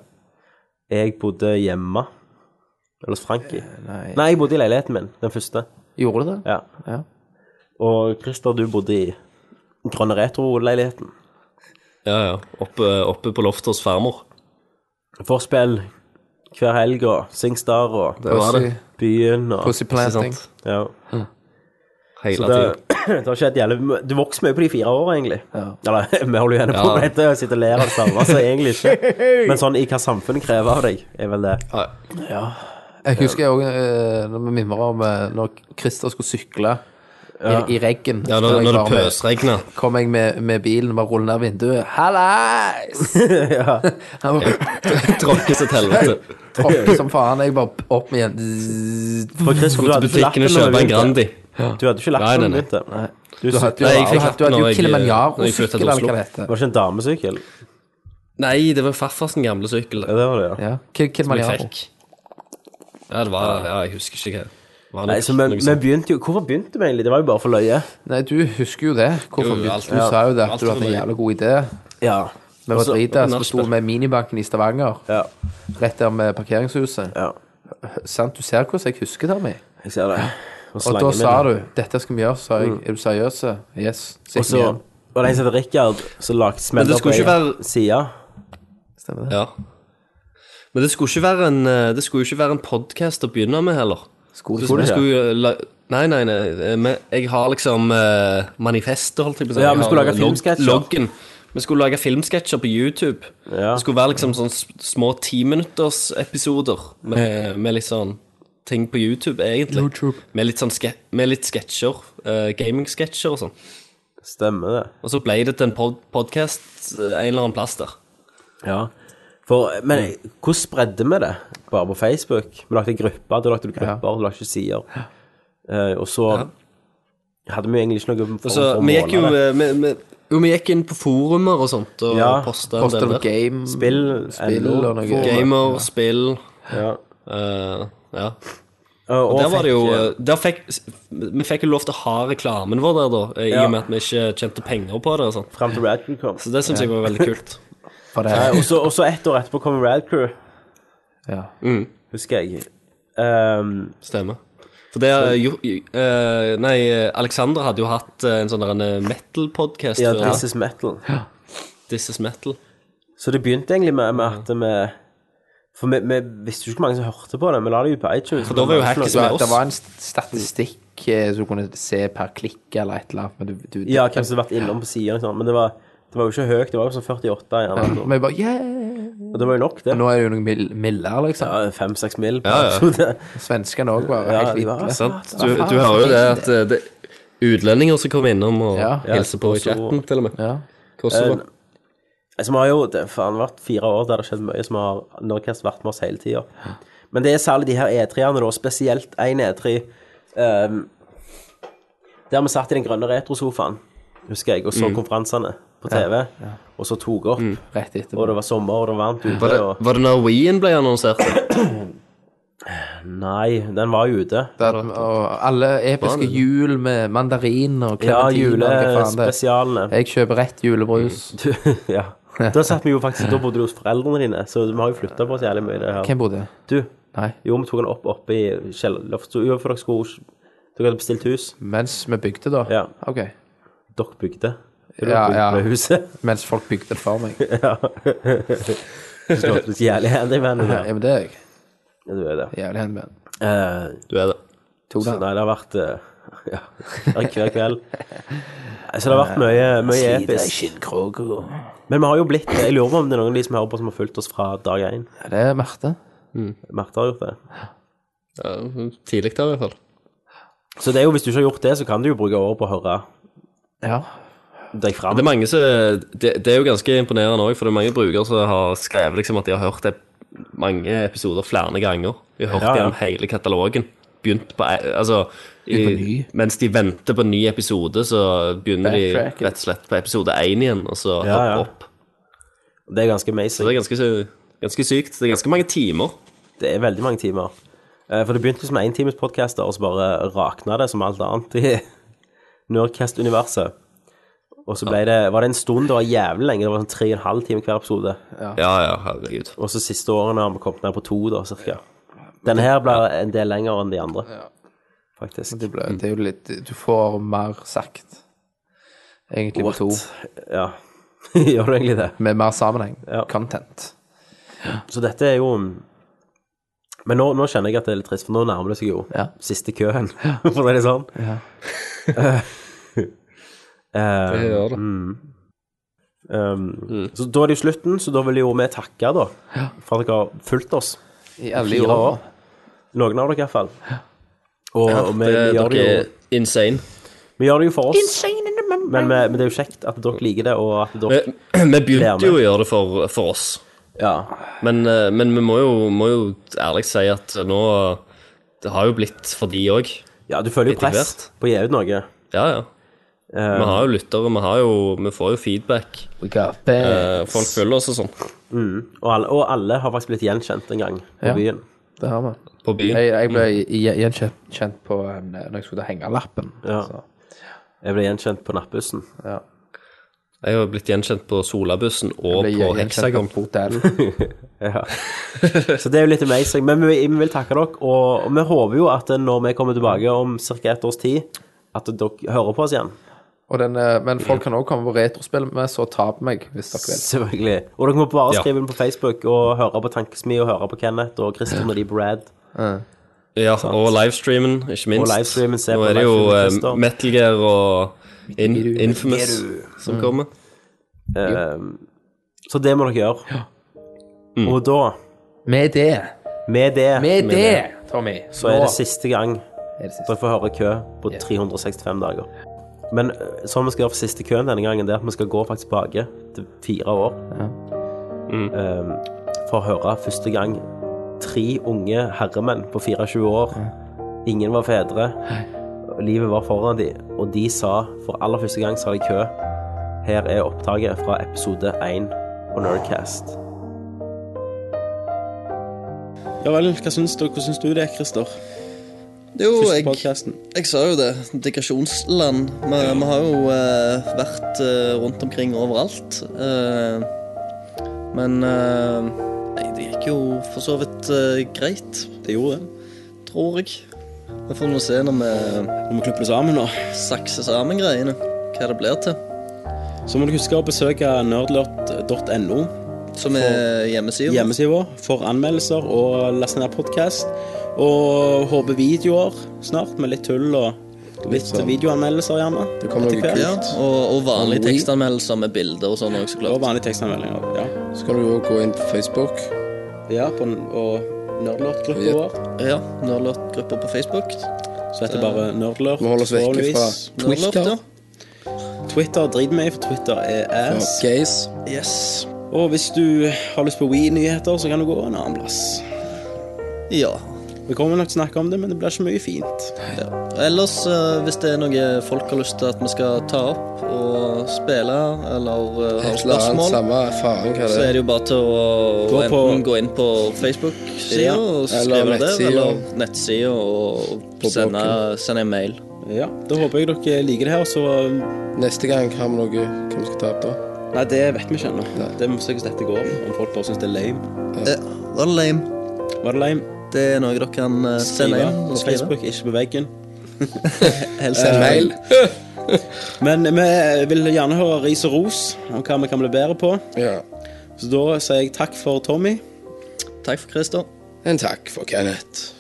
[SPEAKER 4] Jeg bodde hjemme. Eller hos Frankie. Nei. jeg bodde i leiligheten min, den første.
[SPEAKER 7] Gjorde du det?
[SPEAKER 4] Ja.
[SPEAKER 7] Ja.
[SPEAKER 4] Og Christer, du bodde i Grønne Retro-leiligheten.
[SPEAKER 6] Ja, ja. Oppe, oppe på loftet hos farmor.
[SPEAKER 4] Forspill hver helg og Singstar og
[SPEAKER 6] Det var det.
[SPEAKER 4] byen og
[SPEAKER 7] Pussy planting.
[SPEAKER 6] sant?
[SPEAKER 4] ja.
[SPEAKER 6] Hele
[SPEAKER 4] det,
[SPEAKER 6] tiden.
[SPEAKER 4] det har skjedd jævlig Du vokste mye på de fire årene, egentlig. Eller vi holder jo gjerne på
[SPEAKER 6] Ja.
[SPEAKER 4] med dette og sitter og ler av det samme, altså egentlig ikke. Men sånn i hva samfunnet krever av deg, er vel det.
[SPEAKER 7] Jeg husker òg når vi mimrer om eh, når Christer skulle sykle i, i regn.
[SPEAKER 6] Ja, når, når det pøsregner.
[SPEAKER 7] Kom jeg med, med bilen, bare ruller ned vinduet. Hallais! Han bare
[SPEAKER 6] Tråkkes et helvete.
[SPEAKER 7] tråkker som faen. Jeg bare opp med igjen.
[SPEAKER 4] For Christer, du
[SPEAKER 6] Til
[SPEAKER 4] hadde ikke lagt
[SPEAKER 6] butikken og
[SPEAKER 4] det når
[SPEAKER 6] kjøpe
[SPEAKER 4] du
[SPEAKER 6] en Grandi.
[SPEAKER 4] begynte. Du hadde ikke lagt
[SPEAKER 6] Nei,
[SPEAKER 4] det når du
[SPEAKER 6] nei, nei.
[SPEAKER 4] begynte.
[SPEAKER 7] Du hadde
[SPEAKER 6] Nei, jeg
[SPEAKER 7] jo-
[SPEAKER 6] fikk
[SPEAKER 7] du hadde du
[SPEAKER 6] hatt den
[SPEAKER 7] hadde
[SPEAKER 6] når
[SPEAKER 7] jo
[SPEAKER 6] jeg- eh, når jeg flyttet
[SPEAKER 7] Kilimanjaro-sykkel,
[SPEAKER 6] til
[SPEAKER 7] eller hva
[SPEAKER 6] Oslo.
[SPEAKER 7] det heter.
[SPEAKER 4] Var det ikke en damesykkel?
[SPEAKER 6] Nei, det var farfars gamle sykkel.
[SPEAKER 4] Ja, det var det, ja.
[SPEAKER 7] Ja.
[SPEAKER 6] som
[SPEAKER 7] Kil-
[SPEAKER 6] jeg
[SPEAKER 7] Kilimanjaro.
[SPEAKER 6] fikk. Ja, det var Ja, jeg husker ikke hva. Det var
[SPEAKER 4] Nei,
[SPEAKER 6] nok-
[SPEAKER 4] så vi,
[SPEAKER 6] noe
[SPEAKER 4] vi
[SPEAKER 6] sånt.
[SPEAKER 4] begynte jo Hvorfor begynte vi egentlig? Det var jo bare for løye.
[SPEAKER 7] Nei, du husker jo det. Hvorfor
[SPEAKER 6] Jo, jo, alt-
[SPEAKER 7] begynte- Du sa jo det,
[SPEAKER 6] alt Altså,
[SPEAKER 7] at du hadde
[SPEAKER 6] for
[SPEAKER 7] en
[SPEAKER 6] meg.
[SPEAKER 7] jævla god idé.
[SPEAKER 4] Ja.
[SPEAKER 7] Vi var
[SPEAKER 6] Også-
[SPEAKER 7] drita, så
[SPEAKER 6] nachspiel.
[SPEAKER 7] sto med minibanken i Stavanger,
[SPEAKER 4] ja.
[SPEAKER 7] rett der med parkeringshuset.
[SPEAKER 4] Ja.
[SPEAKER 7] Sant, du ser hvordan jeg husker det, Tommy.
[SPEAKER 4] Jeg ser det. Og
[SPEAKER 7] Og
[SPEAKER 4] slangen
[SPEAKER 7] da
[SPEAKER 4] min.
[SPEAKER 7] sa du 'dette skal vi gjøre', sa jeg. 'Er du seriøse?' Yes.
[SPEAKER 4] Mm. Og
[SPEAKER 7] Så gikk vi
[SPEAKER 4] så
[SPEAKER 7] hjem.
[SPEAKER 4] var det en som het Rikard, som lagde
[SPEAKER 6] Men
[SPEAKER 4] smeller
[SPEAKER 6] det
[SPEAKER 4] på
[SPEAKER 6] skulle
[SPEAKER 4] ei
[SPEAKER 6] ikke være-
[SPEAKER 4] side.
[SPEAKER 7] Stemmer det.
[SPEAKER 6] Ja. Men det skulle ikke være en eh, Det skulle ikke være en podkast å begynne med heller.
[SPEAKER 7] Skole,
[SPEAKER 6] Så
[SPEAKER 7] skole,
[SPEAKER 6] vi
[SPEAKER 7] ja.
[SPEAKER 6] skulle jo eh, la- Nei, nei, nei. eh, men Jeg har liksom eh, manifestet, holdt jeg på å si.
[SPEAKER 4] Ja,
[SPEAKER 6] Jeg
[SPEAKER 4] vi skulle
[SPEAKER 6] har
[SPEAKER 4] lage
[SPEAKER 6] log-
[SPEAKER 4] filmsketsjer.
[SPEAKER 6] Loggen. Vi skulle lage filmsketsjer på YouTube.
[SPEAKER 4] Ja.
[SPEAKER 6] Det skulle være liksom sånn s- små timinuttersepisoder med, med litt sånn ting på YouTube, egentlig.
[SPEAKER 7] YouTube.
[SPEAKER 6] Med litt sånn ske med litt sketsjer. eh, Gaming-sketsjer og sånn.
[SPEAKER 4] Stemmer det.
[SPEAKER 6] Og så ble det til en pod podcast eh, en eller annen plass der.
[SPEAKER 4] Ja. For, men hvordan spredde vi det? Bare på Facebook? Vi lagde grupper, du lagde grupper, du lagde sider. Eh, og så hadde vi jo egentlig ikke noe form
[SPEAKER 6] Og så
[SPEAKER 4] for å
[SPEAKER 6] vi
[SPEAKER 4] måle
[SPEAKER 6] gikk jo
[SPEAKER 4] det.
[SPEAKER 6] eh, vi, vi, jo, vi gikk inn på forumer og sånt og
[SPEAKER 4] Ja,
[SPEAKER 6] postet en
[SPEAKER 7] Postal
[SPEAKER 6] del der.
[SPEAKER 7] Game
[SPEAKER 4] Spill,
[SPEAKER 7] Mm. spill
[SPEAKER 4] NO.
[SPEAKER 7] og noe.
[SPEAKER 6] Gamer, spill
[SPEAKER 4] Ja.
[SPEAKER 6] eh, Ja.
[SPEAKER 4] Og,
[SPEAKER 6] Og der var det jo
[SPEAKER 4] fikk-
[SPEAKER 6] eh, der fikk, Vi fikk jo lov til å ha reklamen vår der, da, eh, i
[SPEAKER 4] Ja.
[SPEAKER 6] og med at vi ikke tjente penger på det. og sånt.
[SPEAKER 4] Fram til Radcrew kom.
[SPEAKER 6] Så det syns jeg var veldig kult.
[SPEAKER 7] For det.
[SPEAKER 4] Eh, og så- og så ett år etterpå kom Radcrew,
[SPEAKER 7] Ja.
[SPEAKER 6] Mm.
[SPEAKER 4] husker jeg. Ehm,
[SPEAKER 6] Stemmer. For det er jo eh, Nei, Alexander hadde jo hatt eh, en sånn der en, eh, metal-podcast
[SPEAKER 4] ja,
[SPEAKER 6] før.
[SPEAKER 4] This Is Metal.
[SPEAKER 6] This is metal.
[SPEAKER 4] Så det begynte egentlig med, med at vi For vi, vi visste jo ikke hvor mange som hørte på det. Vi la det jo på iTunes.
[SPEAKER 6] For da var jo Hackers med
[SPEAKER 7] Så det
[SPEAKER 6] oss.
[SPEAKER 7] var en st- statistikk eh, som du kunne se per klikk eller et eller annet, men du, du
[SPEAKER 4] Ja, hvem som hadde vært innom på siden, ikke sant? men det var, det var jo ikke høyt. Det var jo sånn 48 gjerne.
[SPEAKER 7] Men vi bare yeah!
[SPEAKER 4] Og det var jo nok, det.
[SPEAKER 7] Nå er det jo noe mil- mildere, liksom.
[SPEAKER 4] Ja, Fem-seks mil per
[SPEAKER 6] Ja, ja.
[SPEAKER 4] episode.
[SPEAKER 7] Svenskene òg var
[SPEAKER 4] Ja,
[SPEAKER 7] helt
[SPEAKER 4] de var- altså-
[SPEAKER 7] hvite.
[SPEAKER 6] Sant? Du, du hører jo det at eh, det er utlendinger som kommer innom og
[SPEAKER 7] Ja.
[SPEAKER 6] hilser på i
[SPEAKER 4] Kosovo.
[SPEAKER 6] chatten, til og med.
[SPEAKER 7] Ja.
[SPEAKER 6] Kosovo.
[SPEAKER 4] Altså, vi har jo det, faen, vært fire år der det har skjedd mye som har Nordcast vært med oss hele tida. Men det er særlig de her E3-ene, da. Spesielt én E3. ehm, der vi satt i den grønne retrosofaen, husker jeg, og så konferansene på TV. Og så tok opp.
[SPEAKER 7] Rett
[SPEAKER 4] Og det
[SPEAKER 7] etterpå.
[SPEAKER 4] var sommer, og det var varmt ute.
[SPEAKER 6] Var det,
[SPEAKER 4] Og...
[SPEAKER 6] var det når Wien ble annonsert?
[SPEAKER 4] Nei, den var jo ute.
[SPEAKER 7] Der, og alle episke jul med mandarin og
[SPEAKER 4] Ja,
[SPEAKER 7] clementiner og hva faen det er.
[SPEAKER 4] julespesialene.
[SPEAKER 7] Jeg kjøper rett julebrus.
[SPEAKER 4] Du, ja. Da satt vi jo faktisk Da bodde du hos foreldrene dine, så vi har jo flytta på oss jævlig mye. Det her.
[SPEAKER 7] Hvem bodde der?
[SPEAKER 4] Du,
[SPEAKER 7] Nei.
[SPEAKER 4] jo, vi tok den opp oppe i kjellerloftet. Jo, for dere skulle Dere hadde bestilt hus.
[SPEAKER 7] Mens vi bygde, da?
[SPEAKER 4] Ja.
[SPEAKER 7] Ok.
[SPEAKER 4] Dere bygde. Dere
[SPEAKER 7] Ja,
[SPEAKER 4] bygde
[SPEAKER 7] ja.
[SPEAKER 4] huset.
[SPEAKER 7] Mens folk bygde det for meg.
[SPEAKER 4] Så låter du så jævlig handy, men
[SPEAKER 7] Ja,
[SPEAKER 4] ja,
[SPEAKER 7] men det er jeg.
[SPEAKER 4] du er det.
[SPEAKER 7] Jævlig handyman.
[SPEAKER 4] Eh,
[SPEAKER 6] Du er det.
[SPEAKER 7] Tok
[SPEAKER 4] så,
[SPEAKER 7] den.
[SPEAKER 4] nei, det har vært eh, Ja, det er hver kveld. Så det har vært mye,
[SPEAKER 7] Eh,
[SPEAKER 4] mye episk. Men vi har jo blitt Jeg lurer på om det er noen av de som hører på, som har fulgt oss fra dag én.
[SPEAKER 7] Ja, Det er Marte.
[SPEAKER 4] Marte har gjort det.
[SPEAKER 6] Ja, tidlig der, i hvert fall.
[SPEAKER 4] Så det er jo, hvis du ikke har gjort det, så kan du jo bruke året på å høre
[SPEAKER 7] Ja.
[SPEAKER 4] deg fram.
[SPEAKER 6] Det er, mange som, det, det er jo ganske imponerende òg, for det er mange brukere som har skrevet liksom at de har hørt det mange episoder flere ganger. De har hørt
[SPEAKER 4] Ja, ja.
[SPEAKER 6] gjennom hele katalogen. Begynt på ei- Altså i, mens de venter på en ny episode, så begynner de
[SPEAKER 7] Backtracking.
[SPEAKER 6] rett og slett på episode én igjen, og så
[SPEAKER 4] Ja, ja.
[SPEAKER 6] opp. opp.
[SPEAKER 4] Det er ganske
[SPEAKER 6] Så det
[SPEAKER 4] amazing.
[SPEAKER 6] er ganske, sy- ganske sykt. Det er ganske mange timer.
[SPEAKER 4] Det er veldig mange timer. Eh, For det begynte som en times podcaster, og så bare rakna det som alt annet i Nerdcast-universet. Og så ble det, var det en stund, det var jævlig lenge, det var sånn tre og en halv time hver episode.
[SPEAKER 6] Ja, ja, herregud.
[SPEAKER 4] Og så siste årene har vi kommet ned på to, da, cirka. Denne her ble en del lenger enn de andre, faktisk.
[SPEAKER 7] Det, ble, det er jo litt Du får mer sagt, egentlig, på to.
[SPEAKER 4] Ja. Gjør du egentlig det?
[SPEAKER 7] Med mer sammenheng.
[SPEAKER 4] Ja.
[SPEAKER 7] Content.
[SPEAKER 4] Så dette er jo mm, Men nå, nå kjenner jeg at det er litt trist, for nå nærmer det seg jo
[SPEAKER 7] Ja.
[SPEAKER 4] siste køen, for å si det sånn. Eh,
[SPEAKER 6] Det gjør det.
[SPEAKER 4] um, Så da er det jo slutten, så da vil jo vi takke, da, for at dere har fulgt oss.
[SPEAKER 7] I alle
[SPEAKER 4] Fire
[SPEAKER 7] år.
[SPEAKER 4] år. Noen av dere, iallfall. Og, og vi,
[SPEAKER 6] Det,
[SPEAKER 4] vi, gjør det
[SPEAKER 6] Eh, dere
[SPEAKER 4] jo,
[SPEAKER 6] er insane.
[SPEAKER 4] vi gjør det jo for oss, men, vi, men det er jo kjekt at dere liker det, og at
[SPEAKER 6] Vi,
[SPEAKER 4] dere
[SPEAKER 6] vi
[SPEAKER 4] Gleder meg.
[SPEAKER 6] begynte jo å gjøre det for, for oss.
[SPEAKER 4] Ja.
[SPEAKER 6] Men, eh, men vi må jo, må jo ærlig si at nå Det har jo blitt for de òg.
[SPEAKER 4] ja, du føler jo
[SPEAKER 6] Etter
[SPEAKER 4] press på å gi ut noe.
[SPEAKER 6] Ja, ja. Vi har jo lyttere, vi, har jo, vi får jo feedback.
[SPEAKER 7] We got bad.
[SPEAKER 6] Eh, folk følger oss og sånn
[SPEAKER 4] Og alle, og alle har faktisk blitt gjenkjent en gang på
[SPEAKER 7] Ja.
[SPEAKER 4] byen.
[SPEAKER 7] Det har vi.
[SPEAKER 6] på byen.
[SPEAKER 7] Jeg, jeg ble i- i- gjenkjent kjent på en, eh, når jeg skulle ta hengelappen.
[SPEAKER 4] Ja.
[SPEAKER 7] Så,
[SPEAKER 4] Jeg ble gjenkjent på nattbussen.
[SPEAKER 6] Jeg har blitt gjenkjent på Solabussen og
[SPEAKER 7] ble
[SPEAKER 6] på
[SPEAKER 7] gjenkjent
[SPEAKER 6] Heksagon.
[SPEAKER 7] på bordell.
[SPEAKER 4] Ja. Så det er jo litt amazing. Men vi, vi vil takke dere, og vi håper jo at når vi kommer tilbake om ca. ett års tid, at dere hører på oss igjen.
[SPEAKER 7] Og den, eh, men folk kan også komme på retrospill med, så ta på meg hvis dere vil.
[SPEAKER 4] Selvfølgelig. Og dere må bare
[SPEAKER 6] Ja.
[SPEAKER 4] skrive inn på Facebook og høre på Tankesmi og høre på Kenneth og Christian og de på Rad.
[SPEAKER 6] Ja, og livestreamen, ikke minst.
[SPEAKER 4] livestreamen, se
[SPEAKER 6] nå
[SPEAKER 4] på
[SPEAKER 6] er det jo
[SPEAKER 4] livestreamen,
[SPEAKER 6] eh,
[SPEAKER 4] Christer.
[SPEAKER 6] Metal Gear og In Infamous som
[SPEAKER 4] Mm.
[SPEAKER 6] kommer.
[SPEAKER 4] Eh, Så det må dere gjøre. Mm. Og da
[SPEAKER 7] Med det
[SPEAKER 12] Med det,
[SPEAKER 7] Med det, Tommy,
[SPEAKER 12] så er det siste gang
[SPEAKER 7] er det siste.
[SPEAKER 12] dere får høre kø på 365 dager. Men
[SPEAKER 4] eh,
[SPEAKER 12] øh, sånn vi skal gjøre for siste køen denne gangen, det er at vi skal gå faktisk tilbake til fire år.
[SPEAKER 4] Mm.
[SPEAKER 6] Eh.
[SPEAKER 12] Ehm, for å høre første gang tre unge herremenn på 24 år. Ingen var fedre. og Livet var foran de, og de sa for aller første gang sa de kø. Her er opptaket fra episode 1 på Nerdcast.
[SPEAKER 4] Ja vel, hva syns du, hvordan syns du det, Christer?
[SPEAKER 6] Det er jo,
[SPEAKER 4] Første
[SPEAKER 6] jeg,
[SPEAKER 4] podcasten.
[SPEAKER 6] jeg sa jo det. Digresjonsland. Vi, vi har jo eh, vært eh, rundt omkring overalt. eh, men eh, nei, det gikk jo for så vidt eh, greit,
[SPEAKER 4] Det gjorde det.
[SPEAKER 6] tror jeg. Vi får nå se når vi
[SPEAKER 4] Nå må vi klippe det sammen nå.
[SPEAKER 6] sakser sammen greiene, hva det blir til.
[SPEAKER 4] Så må du huske å besøke nerdlurt.no,
[SPEAKER 6] Som er hjemmesida.
[SPEAKER 4] hjemmesida vår, for anmeldelser og laste ned podkast. Og håper videoer snart, med litt tull og litt videoanmeldelser, gjerne.
[SPEAKER 7] Det kommer
[SPEAKER 4] Etter
[SPEAKER 7] noe
[SPEAKER 4] hvert.
[SPEAKER 6] Ja, og, og vanlige
[SPEAKER 7] Og we-
[SPEAKER 6] tekstanmeldelser med bilder og sånn òg, så
[SPEAKER 4] Og
[SPEAKER 6] klart.
[SPEAKER 4] vanlige tekstanmeldinger. Ja.
[SPEAKER 7] Så kan du jo gå inn på Facebook.
[SPEAKER 4] ja på, n- og nerdlurt-gruppa
[SPEAKER 7] Ja.
[SPEAKER 4] vår.
[SPEAKER 6] Ja, Nerdlurt-gruppa på Facebook.
[SPEAKER 4] Så heter det bare nerdlurt.
[SPEAKER 7] Eh, Vi holder oss vekk fra
[SPEAKER 4] forhåpentligvis.
[SPEAKER 6] Nerdlurt,
[SPEAKER 7] Twitter.
[SPEAKER 6] ja.
[SPEAKER 4] Twitter driter vi i, for Twitter er ass.
[SPEAKER 7] Gays.
[SPEAKER 6] Yes.
[SPEAKER 4] Og hvis du har lyst på Wii-nyheter, så kan du gå en annen plass.
[SPEAKER 6] Ja.
[SPEAKER 4] Vi kommer nok til å snakke om det, men det blir ikke mye fint.
[SPEAKER 6] ja. Ellers, eh, hvis det er noe folk har lyst til at vi skal ta opp og spille, eller eh, har
[SPEAKER 7] Et eller annet
[SPEAKER 6] spørsmål,
[SPEAKER 7] samme erfaring hva
[SPEAKER 6] så
[SPEAKER 7] det
[SPEAKER 6] er det jo bare til å
[SPEAKER 4] Gå på-
[SPEAKER 6] enten gå inn på Facebook-sida
[SPEAKER 4] Ja,
[SPEAKER 6] og
[SPEAKER 7] eller
[SPEAKER 6] skrive der,
[SPEAKER 7] nettsida.
[SPEAKER 6] eller nettsida, og
[SPEAKER 7] På
[SPEAKER 6] sende, sende en mail.
[SPEAKER 4] Ja, Da håper jeg dere liker det her, så
[SPEAKER 7] Neste gang har vi noe hva vi skal ta opp da.
[SPEAKER 4] Nei, det vet vi ikke ennå.
[SPEAKER 7] Nei.
[SPEAKER 4] Det må vi se hvordan dette går, om folk bare syns det er lame.
[SPEAKER 6] Eh, var det lame?
[SPEAKER 4] Var det lame?
[SPEAKER 6] Det er noe dere kan eh, sende
[SPEAKER 4] Skrive
[SPEAKER 6] inn og
[SPEAKER 4] på
[SPEAKER 6] skrive.
[SPEAKER 4] Facebook, ikke på veggen. Eh,
[SPEAKER 6] Helst
[SPEAKER 7] Send mail.
[SPEAKER 4] Men vi vil gjerne høre ris og ros om hva vi kan bli bedre på.
[SPEAKER 7] Ja.
[SPEAKER 4] Så da sier jeg takk for Tommy.
[SPEAKER 6] Takk for Christer.
[SPEAKER 7] En takk for Kenneth.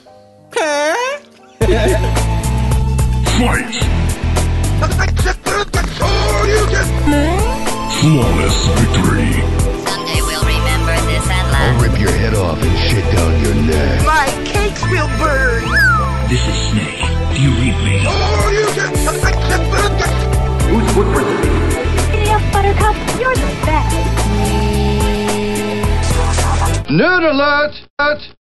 [SPEAKER 8] Flawless victory.
[SPEAKER 10] Someday we'll remember this and laugh.
[SPEAKER 13] Rip your head off and shit down your neck.
[SPEAKER 2] My cakes will burn.
[SPEAKER 8] This is Snake. Do you read me?
[SPEAKER 10] Dear Buttercup, you're the best.
[SPEAKER 13] Nerd alert!